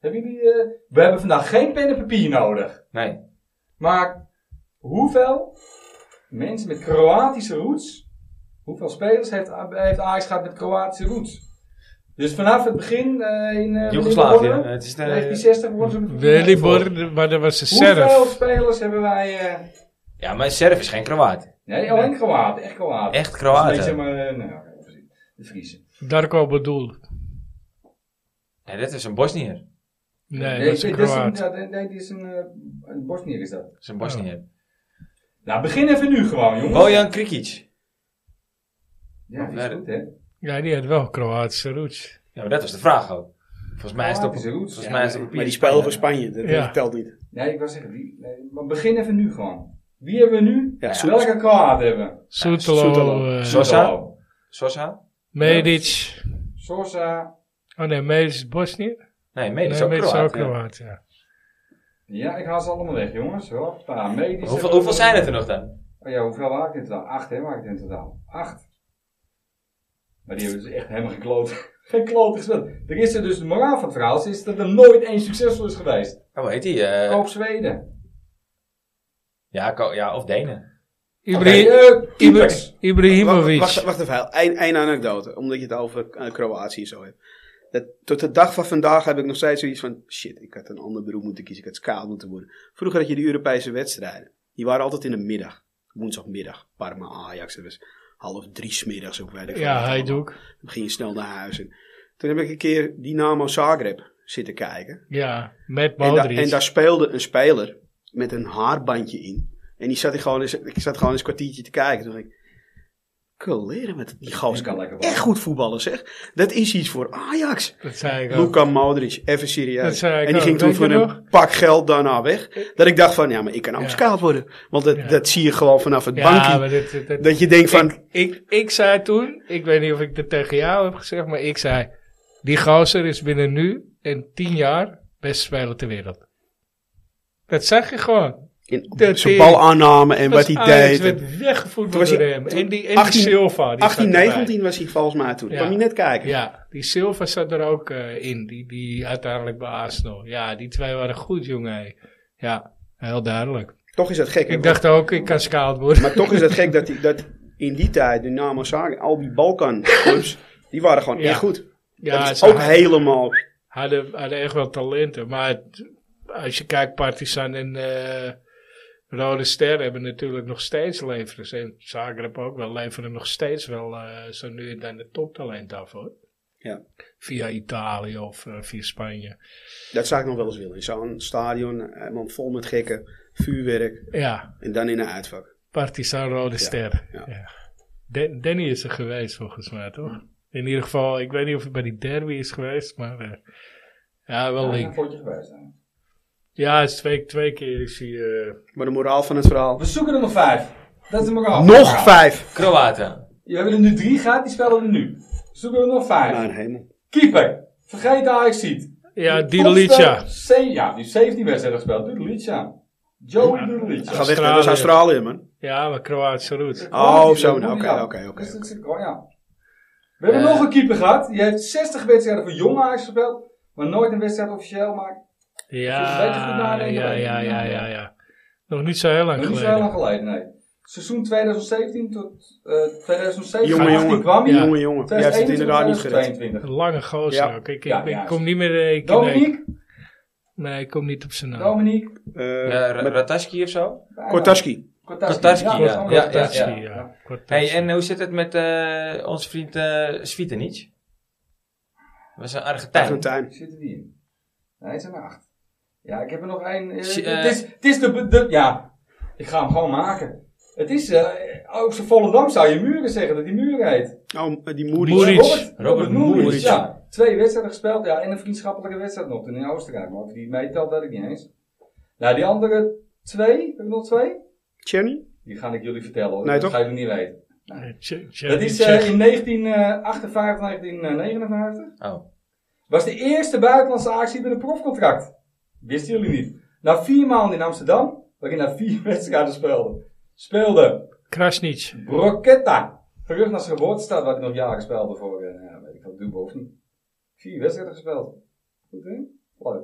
S3: Hebben jullie... eh, we hebben vandaag geen pen en papier nodig.
S1: nee.
S3: Maar hoeveel mensen met Kroatische roots... Hoeveel spelers heeft, heeft Ajax gehad met Kroatische roots? Dus vanaf het begin eh, in... eh,
S1: Joegoslavië.
S3: wanneer
S1: Het is de-
S3: begonnen? 1960 worden ze...
S2: Welibor, maar dat was de
S3: Hoeveel
S2: serf.
S3: spelers hebben wij... eh,
S1: Ja, maar Serf is geen Kroaat.
S3: Nee, alleen Kroaten, echt Kroaten.
S1: Echt
S3: Dat is een beetje,
S1: Kroaten.
S3: maar, eh, nou, ja, precies. de Friese.
S2: Darko bedoel.
S1: Nee, dit is een Bosnier.
S2: Nee, dat is een Kroaat.
S3: ja, nee, nee, dit is een, eh, een Bosnier is dat.
S1: Dat is een Bosnier.
S3: Nou, begin even nu gewoon, jongens.
S1: Bojan Krikic.
S3: Ja, die is
S1: Oh Nee,
S3: goed, hè.
S2: Ja, die had wel Kroatische roots.
S1: Ja, maar dat was de vraag ook. Volgens mij is het op,
S3: Kroatische roots.
S1: volgens
S3: Ja,
S1: mij is het op
S4: Maar die
S1: papier.
S4: spelen voor Spanje, dat
S2: Ja.
S4: dat telt niet.
S3: Nee, ik wou zeggen, die, nee, maar begin even nu gewoon. Wie hebben we nu?
S4: Ja, Soet-
S3: Welke Kroaten hebben we?
S2: Soetelo,
S4: Soetelo.
S2: eh,
S1: Zo- Sosa?
S3: Soetelo,
S1: Sosa?
S2: Medic.
S3: Sosa.
S2: Oh nee, Medic is Bosnië.
S1: Nee,
S2: Nee,
S1: mede is ook
S2: Medic is ook
S1: Kroaat. ja.
S2: Kroaat, ja.
S3: Ja, ik haal ze allemaal weg, jongens. Hoppa, medisch.
S1: Hoeveel, hoeveel zijn het er nog dan?
S3: Oh ja, hoeveel waren het in totaal? Acht, hè, waren het in totaal. Acht. Maar die hebben dus echt helemaal geen kloot, geen kloot gespeeld. Er is er dus, de moraal van het verhaal is, dat er nooit één succesvol is geweest.
S1: Oh, hoe heet die? eh,
S3: Koop Zweden.
S1: ja, Ko- ja, of Denen.
S2: Ibra-
S3: Oké, eh,
S2: Ibra-
S3: keepers.
S2: Ibrahimovic.
S4: Wacht, wacht even, één één anekdote, omdat je het over eh, Kroatië en zo hebt. Dat, tot de dag van vandaag heb ik nog steeds zoiets van, shit, ik had een ander beroep moeten kiezen, ik had scout moeten worden. Vroeger had je de Europese wedstrijden, die waren altijd in de middag, woensdagmiddag, Parma, Ajax, dat was half drie smiddags of weet ik wat
S2: ja,
S4: het
S2: hij
S4: allemaal.
S2: doet. ook.
S4: Dan ging je snel naar huis. En toen heb ik een keer Dynamo Zagreb zitten kijken.
S2: Ja, met
S4: En, da- en
S2: Modric.
S4: daar speelde een speler met een haarbandje in. En die zat ik gewoon eens, ik zat gewoon eens een kwartiertje te kijken. Toen dacht ik, leren met die
S3: Die
S4: gozer.
S3: kan lekker
S4: Echt goed voetballen zeg. Dat is iets voor Ajax.
S2: Dat zei ik ook.
S4: Luka Modric, even
S2: Dat
S4: serieus.
S2: zei ik
S4: En die
S2: ook.
S4: ging toen
S2: Weet je
S4: voor een
S2: nog?
S4: pak geld daarna weg. Dat ik dacht van, ja, maar ik kan ook
S2: Ja.
S4: scout worden. Want dat,
S2: Ja.
S4: dat zie je gewoon vanaf het
S2: Ja,
S4: bankje.
S2: maar dit, dit- dit-
S4: Dat je denkt van,
S2: ik, ik, ik zei toen, ik weet niet of ik dat tegen jou heb gezegd, maar ik zei, die gozer is binnen nu en tien jaar best speler ter wereld. Dat zag je gewoon.
S4: in,
S2: dat
S4: zijn
S2: is-
S4: bal aanname en wat
S2: Was
S4: hij
S2: Ajax
S4: deed.
S2: werd
S4: Toen
S2: weggevoerd
S4: was
S2: door
S4: hij-
S2: hem.
S4: toen-
S2: En die, en
S4: 18
S2: die Silva. Die zat
S4: 18,
S2: erbij.
S4: 19 was hij volgens mij toen.
S2: Ja.
S4: Kwam je net kijken.
S2: Ja, die Silva zat er ook eh, in. Die, die uiteindelijk bij Arsenal. Ja, die twee waren goed, jongen. hé. Ja, heel duidelijk.
S4: Toch is het gek. hè,
S2: Ik dacht ook, ik kan scout worden.
S4: Maar toch is het gek dat, die, dat in die tijd, Dynamo Zagreb, al die Balkan clubs, die waren gewoon
S2: Ja.
S4: echt goed.
S2: Ja,
S4: dat is
S2: ze
S4: ook
S2: had-
S4: helemaal...
S2: hadden, hadden echt wel talenten. Maar het- als je kijkt, Partizan en eh, Rode Ster hebben natuurlijk nog steeds leveren. Ze- Zagreb ook wel, leveren nog steeds wel eh, zo nu en dan de toptalent af hoor.
S4: Ja.
S2: Via Italië of eh, via Spanje.
S4: Dat zou ik nog wel eens willen. In zo'n stadion, eh, helemaal vol met gekken, vuurwerk
S2: Ja,
S4: en dan in een uitvak.
S2: Partizan Rode Ster.
S4: ja.
S2: Ja. Dan- Danny is er geweest volgens mij toch? In ieder geval, ik weet niet of hij bij die derby is geweest, maar eh, ja, wel
S3: Ja,
S2: link.
S3: een potje geweest. hè.
S2: Ja, is twee, twee keer is hij... eh,
S4: Maar de moraal van het verhaal...
S3: We zoeken er nog vijf. Dat is hem ook al.
S4: Nog vijf!
S1: Kroaten.
S3: We hebben er nu drie gehad, die spelen er nu. We zoeken er nog vijf.
S4: Mijn hemel.
S3: Keeper. Vergeet de Ajax ziet.
S2: ja,
S3: Topstel-
S2: Didelica.
S3: Ze- Ja, die heeft 17 wedstrijden gespeeld. Dudelica. Joey Dudelica.
S4: Ga weg, man. dat is Australië, man.
S2: Ja, maar Kroatische roots.
S4: Oh, zo.
S3: Ja,
S4: nou, Oké,
S3: ja.
S4: oké, oké. Eh.
S3: Dus dat is- oh, ja. We hebben nog een keeper gehad. Die heeft 60 wedstrijden voor Jong Ajax gespeeld. Maar nooit een wedstrijd officieel maakt. Dus weet je goed
S2: Ja,
S3: nadenken
S2: ja,
S3: over
S2: ja,
S3: die
S2: ja,
S3: naam,
S2: ja,
S3: ja.
S2: ja. Nog niet zo heel lang
S3: Dat is
S2: geleden.
S3: heel lang geleden, nee. Seizoen 2017 tot eh 2017
S4: Jongen, jongen.
S3: kwam hij.
S4: Jongen, jongen. Jij hebt het inderdaad niet gered.
S3: 2022.
S2: Een lange gozer
S4: Ja.
S2: ook. Ik, ik,
S3: Ja,
S2: ik
S3: juist.
S2: kom niet meer... eh, Ik,
S3: Dominique,
S2: Nee, nee, ik kom niet op zijn naam.
S3: Dominique,
S4: Eh,
S1: Ja, Ra-
S4: met
S1: Ratajski of zo?
S3: bijna.
S4: Kortaski.
S1: Kortaski, ja.
S3: dat is allemaal
S1: Ja,
S2: Dat
S3: Kortaski,
S2: zie
S1: ja.
S2: je, ja. Kort
S1: Hey,
S2: tussen.
S1: en hoe zit het met eh, onze vriend eh Svitenic? Dat is een Argentijn.
S4: Argentijn.
S3: Zitten die in? Nee, het zijn er acht. Ja, ik heb er nog één. eh,
S1: Zie-
S3: het, is, het is de, de- Ja, ik ga hem gewoon maken. Het is. eh ook zijn volle dam zou je muren zeggen dat die muren heet.
S4: Oh, die
S2: Moeric.
S4: Moerie.
S3: Robert, Robert
S1: Robert
S3: Moeric,
S1: Moeric.
S3: Ja, twee wedstrijden gespeeld. Ja, en een vriendschappelijke wedstrijd nog toen in Oostenrijk. Maar of die meetelt, weet ik niet eens. Nou, die andere twee, heb ik nog twee?
S4: Cherny?
S3: Die ga ik jullie vertellen. hoor.
S4: Nee,
S3: dat
S4: toch?
S3: ga je niet weten.
S2: Eh, Tje- Tje-
S3: Dat is
S2: Tje-
S3: eh, in 1958, 1959.
S1: Oh.
S3: Was de eerste buitenlandse actie met een profcontract. Wisten jullie niet. Na vier maanden in Amsterdam, waarin hij vier wedstrijden speelde, speelde
S2: Krasnic.
S3: Broketta. Terug naar zijn geboortestad, waar hij nog jaren speelde voor, eh, nou ja, weet ik wat, Dubo of niet. Vier wedstrijden gespeeld. Goed hè? Leuk.
S1: Hoe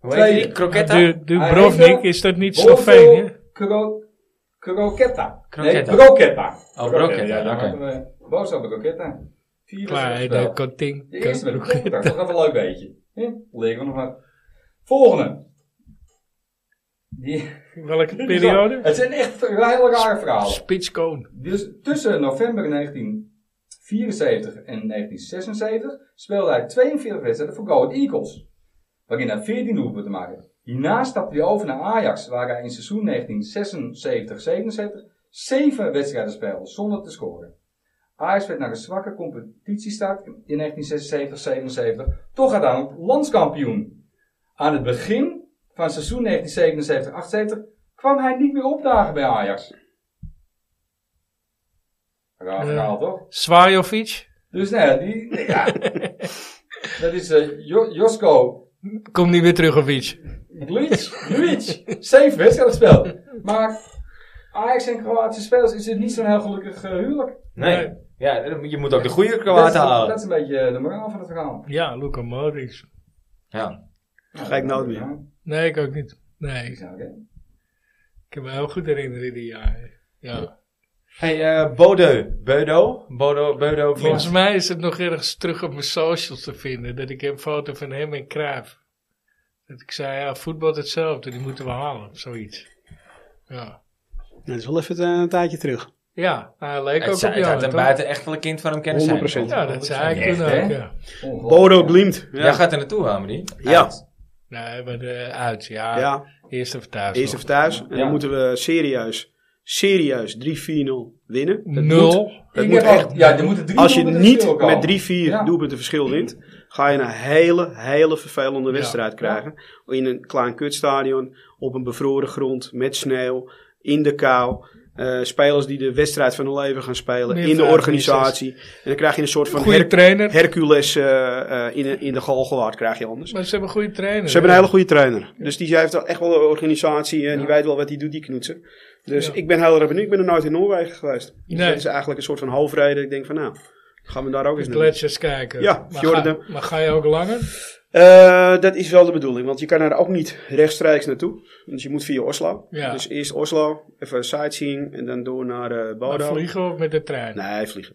S1: heet
S3: Tweede.
S1: die? Kroketta?
S2: Du-
S3: Hij
S2: Dubrovnik,
S3: heette
S2: is dat niet
S3: Borzo
S2: Sloveen, hè?
S3: Kro Kroketta.
S1: Kroketta.
S3: Nee, Broketta.
S1: Oh, Broketta,
S3: ja,
S1: oké.
S3: okay. Bozo Broketta. Vier wedstrijden
S2: Kleine
S3: gespeeld.
S2: Konting.
S3: De eerste met een koelkast. Dat was even een leuk beetje. Ja, leren we nog wat. Volgende. Die,
S2: Welke periode?
S3: Het zijn echt hele rare verhalen.
S2: Spitskoon.
S3: Dus tussen november 1974 en 1976 speelde hij 42 wedstrijden voor Go Ahead Eagles. Waarin hij 14 doelpunten maakte. Hierna stapte hij over naar Ajax, waar hij in seizoen 1976-77 7 wedstrijden speelde zonder te scoren. Ajax werd naar een zwakke competitiestart in 1976-77 toch uiteindelijk landskampioen. Aan het begin van seizoen 1977-78 kwam hij niet meer opdagen bij Ajax. Raar
S2: Ja.
S3: verhaal, toch?
S2: Svajovic.
S3: Dus nou ja, die, nee, ja. dat is eh, Jo- Josko
S2: Kom niet meer terug op iets.
S3: Glitch, Glitch. Zeven wedstrijden gespeeld. Maar Ajax en Kroatische spelers is het niet zo'n heel gelukkig eh, huwelijk.
S1: Nee. Ja, je moet ook de goede
S3: Dat is,
S1: Kroaten halen.
S3: dat is een beetje eh, de moraal van het verhaal.
S2: Ja, Luka Modric.
S1: Ja.
S4: Ga ik nooit meer.
S3: Ja,
S2: Nee, ik ook niet. Nee,
S3: ik zou het,
S2: ik kan me heel goed herinneren die jaren. Ja.
S1: Hey, eh Bodeu. Beudo? Bodo, Beudo.
S2: Volgens mij is het nog ergens terug op mijn socials te vinden. Dat ik een foto van hem en Cruijff. Dat ik zei, ja, voetbal is hetzelfde. Die moeten we halen. of Zoiets. Ja.
S4: Dat is wel even eh, een tijdje terug.
S2: Ja, nou, hij leek
S1: Het,
S2: ook op
S1: zou- het
S2: jou.
S1: had een
S2: toch?
S1: buitenechtelijk kind van hem kennen zijn.
S4: 100%.
S2: Ja, dat zei ik
S1: Echt,
S2: toen
S3: hè?
S2: ook. Ja.
S3: hè. Ongelooflijk.
S4: Bodo Glimt.
S1: Jij
S4: Ja.
S1: gaat er naartoe, Amelie.
S4: Ja.
S1: Uit.
S2: Nee, maar eh, uit. Ja,
S4: ja,
S2: eerst of thuis.
S4: eerst
S2: nog.
S4: even thuis. En
S3: Ja.
S4: dan moeten we serieus, serieus 3-4-0 winnen. Dat moet-
S2: Nul.
S4: dat
S3: Ik
S4: moet
S3: heb
S4: echt,
S3: echt, ja, er moeten drie
S4: als je
S3: doelpunten
S4: niet
S3: verschil komen.
S4: met 3-4
S3: Ja.
S4: doelpunten verschil wint, ga je een hele, hele vervelende
S2: Ja.
S4: wedstrijd krijgen. In een klein kutstadion, op een bevroren grond, met sneeuw, in de kou. Eh, spelers die de wedstrijd van hun leven gaan spelen,
S2: Meer
S4: in de
S2: vragen,
S4: organisatie. En dan krijg je een soort van
S2: Goede
S4: Her-
S2: trainer.
S4: Hercules eh, eh, in, de- in de galgenwaard krijg je anders.
S2: Maar ze hebben een goede trainer.
S4: Ze hebben
S2: hè?
S4: een hele goede trainer. Dus die heeft wel echt wel een organisatie en die weet wel wat hij doet, die knoetsen. Dus
S2: Ja.
S4: ik ben heel erg benieuwd. Ik ben er nooit in Noorwegen geweest. Dus
S2: Nee.
S4: dat is eigenlijk een soort van hoofdreden. Ik denk van nou, Gaan we daar ook eens naar doen.
S2: Gletsjers kijken.
S4: Ja,
S2: maar
S4: fjorden.
S2: Ga, maar ga je ook langer?
S4: Eh, dat is wel de bedoeling, want je kan er ook niet rechtstreeks naartoe. Dus je moet via Oslo.
S2: Ja.
S4: Dus eerst Oslo, even sightseeing en dan door naar eh
S2: Maar
S4: Bodø.
S2: vliegen of met de trein?
S4: Nee, vliegen.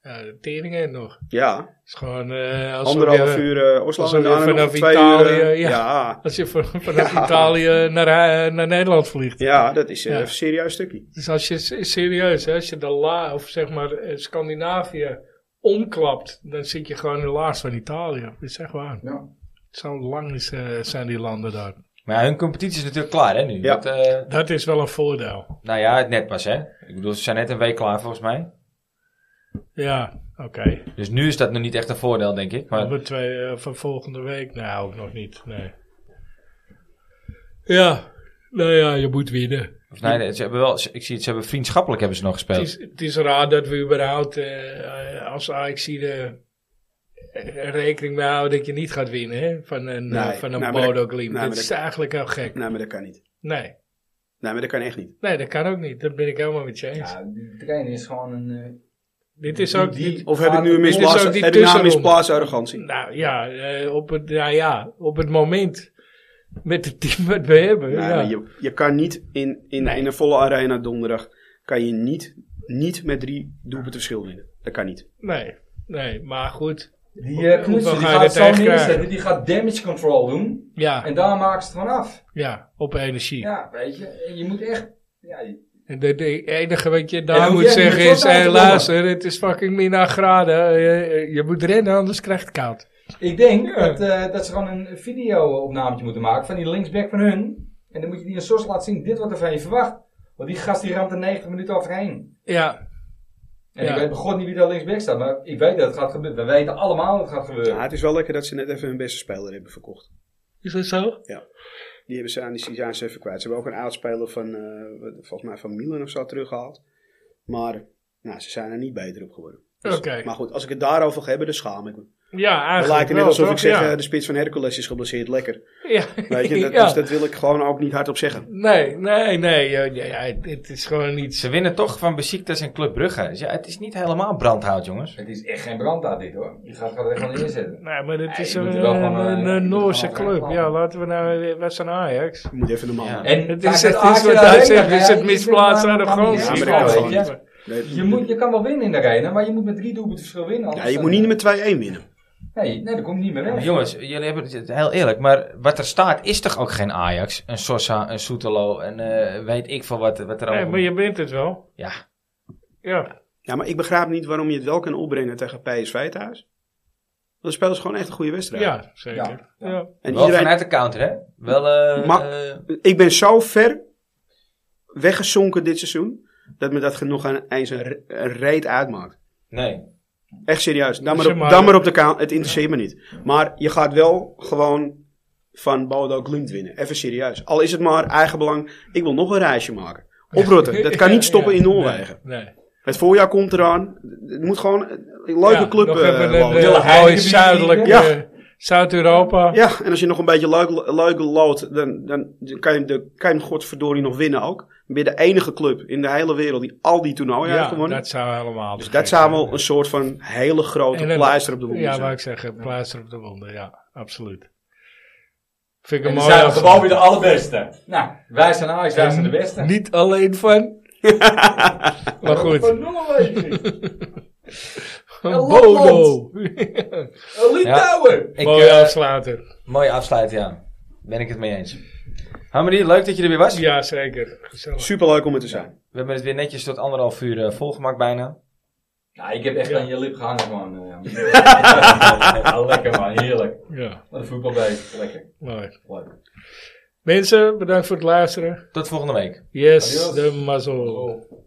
S2: Ja, de tering en nog.
S4: Ja,
S2: Het is gewoon... eh als
S4: anderhalf uur eh, Oslo
S2: alsof
S4: en
S2: je
S4: daarna nog
S2: vanaf
S4: twee
S2: Italië,
S4: uur. eh,
S2: ja.
S4: ja.
S2: Als je van- vanaf Italië naar, eh, naar Nederland vliegt.
S4: Ja, dat is eh,
S2: Ja.
S4: een serieus stukje.
S2: Dus als je is serieus, hè, als je de la, of zeg maar eh, Scandinavië omklapt, dan zit je gewoon in de laars van Italië. Dat is echt waar.
S3: Ja.
S2: Zo lang is, eh, zijn die landen daar.
S1: Maar ja, hun competitie is natuurlijk klaar, hè, nu.
S4: Ja.
S1: Dat, eh,
S2: Dat is wel een voordeel.
S1: nou ja, het net pas, hè. Ik bedoel, ze zijn net een week klaar, volgens mij.
S2: Ja, oké.
S1: Dus nu is dat nog niet echt een voordeel, denk ik. Maar
S2: Over twee eh, van volgende week? Nou, ook nog niet. Nee. Ja, nou ja, je moet winnen.
S1: of nee, ze hebben wel, ze- ik zie het, ze hebben vriendschappelijk hebben ze nog gespeeld.
S2: Het is, het is raar dat we überhaupt eh, eh, als Ajax er rekening mee houden dat je niet gaat winnen hè, van een, eh,
S4: Nee,
S2: van een
S4: nou, maar
S2: Bodo
S4: dat-
S2: Glimt.
S4: nou, maar
S2: dat is
S4: dat-
S2: eigenlijk heel gek.
S4: Nee, maar dat kan niet.
S2: Nee,
S4: Nee, maar dat kan echt niet.
S2: nee, dat kan ook niet. Dat ben ik helemaal met je eens.
S3: Ja, die trainer is gewoon een... eh,
S2: dit is ook...
S3: die-
S2: dit-
S4: Of heb ik nu een
S2: Dit is
S4: misplaatst,
S2: ook die
S4: heb ik nou een
S2: tussenronde.
S4: misplaatst arrogantie?
S2: nou, ja, eh, op het, nou ja, op het moment met het team wat we hebben.
S4: Nee,
S2: ja.
S4: maar je, je kan niet in, in,
S2: Nee.
S4: in een volle arena donderdag, kan je niet, niet met drie doelpunten verschil winnen. Dat kan niet.
S2: Nee, nee, maar goed.
S3: Die eh,
S2: Hoe-
S3: Knutsen,
S2: hoeveel
S3: die
S2: ga je er
S3: gaat zo
S2: tegen krijgen?
S3: neerzetten, die gaat damage control doen.
S2: Ja,
S3: En daar maken ze het gewoon af.
S2: ja, op energie.
S3: Ja, weet je. En je moet echt... Ja, je-
S2: En de, de enige wat je
S3: En
S2: daar
S3: hoe
S2: moet
S3: jij
S2: zeggen
S3: die
S2: is,
S3: slot uit
S2: hé
S3: te
S2: luister, het is fucking min graden. Eh, Je, je moet rennen, anders krijg je het koud.
S3: ik denk dat, eh, dat ze gewoon een video-opnametje moeten maken van die linksback van hun. En dan moet je die een source laten zien, dit wordt er van je verwacht. Want die gast die ramt er 90 minuten overheen.
S2: Ja,
S3: En
S2: Ja.
S3: ik weet begon niet wie daar linksback staat, maar ik weet dat het gaat gebeuren. We weten allemaal dat het gaat gebeuren.
S4: Ja, het is wel lekker dat ze net even hun beste speler hebben verkocht.
S2: is dat zo?
S4: Die hebben ze aan die zijn ze even kwijt. Ze hebben ook een oudspeler van, eh, wat- volgens mij van Milan of zo teruggehaald. Maar nou, ze zijn er niet beter op geworden. Dus-
S2: Oké.
S4: Maar goed, als ik het daarover ga hebben, dan schaam ik me.
S2: Ja,
S4: Het
S2: eigenlijk
S4: lijkt net
S2: wel,
S4: alsof
S2: toch?
S4: ik zeg,
S2: ja.
S4: eh, de spits van Hercules is geblesseerd, lekker.
S2: Ja.
S4: Weet je, dat,
S2: Ja.
S4: dus dat wil ik gewoon ook niet hardop zeggen.
S2: Nee, nee, nee. ja, ja, ja, het is gewoon niet
S1: Ze winnen toch van Besiktas en Club Brugge. Dus ja, het is niet helemaal brandhout, jongens.
S3: Het is echt geen brandhaat dit hoor. Die gaat, gaat er echt wel neerzetten.
S2: Nee, maar het
S3: Nee,
S2: is
S3: je
S2: een,
S3: moet er wel gewoon, eh,
S2: een-
S3: je
S2: een
S3: moet er
S2: Noorse
S3: gewoon
S2: club.
S3: gaan.
S2: Ja, laten we nou... Wij zijn Ajax.
S4: Je moet even normaal.
S1: Ja.
S4: Ja.
S3: En
S2: Het
S3: kijk,
S2: is, het
S3: dat
S2: is
S3: Ajax
S2: wat
S3: daar
S2: jij
S3: denkt,
S2: zegt.
S3: hè,
S2: Het is het
S3: ik denk,
S2: misplaatst
S3: maar-
S2: aan de
S3: maar niet
S2: grond.
S3: echt.
S4: Ja, maar dat kan
S3: Weet je.
S2: Ja,
S3: Je, moet, je kan wel winnen in de Rijn, maar je moet met drie doelpunten verschil winnen.
S4: Ja,
S3: anders
S4: je
S3: dan-
S4: moet niet met 2-1 winnen.
S3: Nee, nee, daar kom je niet meer
S1: Maar
S3: weg.
S1: Jongens, jullie hebben het heel eerlijk, maar wat er staat is toch ook geen Ajax? Een Sosa, een Soetelo en eh, weet ik veel wat, wat er allemaal...
S2: Nee, maar je bent het wel.
S1: Ja,
S2: Ja.
S4: Ja, maar ik begrijp niet waarom je het wel kan opbrengen tegen PSV thuis. Want spelen is gewoon echt een goede wedstrijd.
S2: Ja, zeker.
S3: Ja.
S2: Ja.
S4: En
S1: wel
S4: iedereen,
S1: vanuit de counter, hè? Wel, eh,
S4: Maar-
S1: eh,
S4: Ik ben zo ver weggezonken dit seizoen. Dat me dat genoeg aan eens een, re- een reet uitmaakt.
S1: nee.
S4: Echt serieus. Dan maar
S2: Zeg
S4: op,
S2: maar-
S4: dan maar op de kaal. Het interesseert me niet. Maar je gaat wel gewoon van Bodo Glimt winnen. Even serieus. Al is het maar eigenbelang. Ik wil nog een reisje maken. Oprotten. Dat kan niet stoppen in
S2: Ja,
S4: Noorwegen.
S2: Nee. nee.
S4: Het voorjaar komt eraan. Het moet gewoon een leuke
S2: Ja,
S4: club
S2: nog
S4: eh,
S2: even een,
S4: loten.
S2: eh,
S3: Willen
S2: mooi
S3: Heidengebied
S2: zuidelijk
S4: Ja.
S2: eh, Zuid-Europa.
S4: Ja, en als je nog een beetje leuk, leuk loopt, dan, dan kan, je, de, kan je hem godverdorie nog winnen ook. Dan ben je de enige club in de hele wereld die al die toernooien
S2: Ja,
S4: heeft gewonnen.
S2: dat zou helemaal.
S4: dus
S2: te
S4: dat
S2: gek
S4: zou
S2: zijn.
S4: wel een soort van hele grote
S2: En dan-
S4: pleister op de wond
S2: Ja,
S4: zijn.
S2: wou ik zeggen, pleister op de wonden, ja, absoluut. Vind ik
S3: En
S2: een
S3: dan
S2: mooi.
S3: zijn we gewoon weer de allerbeste. Nou, wij zijn Ajax, wij zijn de beste.
S2: Niet alleen van. maar goed,
S3: Van Noorwegen.
S2: een
S3: Lapland.
S2: Bodo.
S3: Een Litouwer.
S1: Ik,
S2: Mooi
S1: eh,
S2: afsluiter.
S1: mooi afsluiten, ja. Ben ik het mee eens. Hamri, leuk dat je er weer was.
S2: Ja, zeker. Gezellig.
S4: Superleuk om er te zijn.
S1: We hebben het weer netjes tot anderhalf uur eh, volgemaakt bijna.
S3: Nou, ik heb echt aan je lip gehangen gewoon. eh. Ah, lekker man, heerlijk.
S2: Ja,
S3: Wat een voetbalbeest, lekker.
S2: mooi.
S3: Leuk.
S2: Mensen, bedankt voor het luisteren.
S1: Tot volgende week.
S2: Yes,
S3: Adios.
S2: de mazzel.
S3: Oh.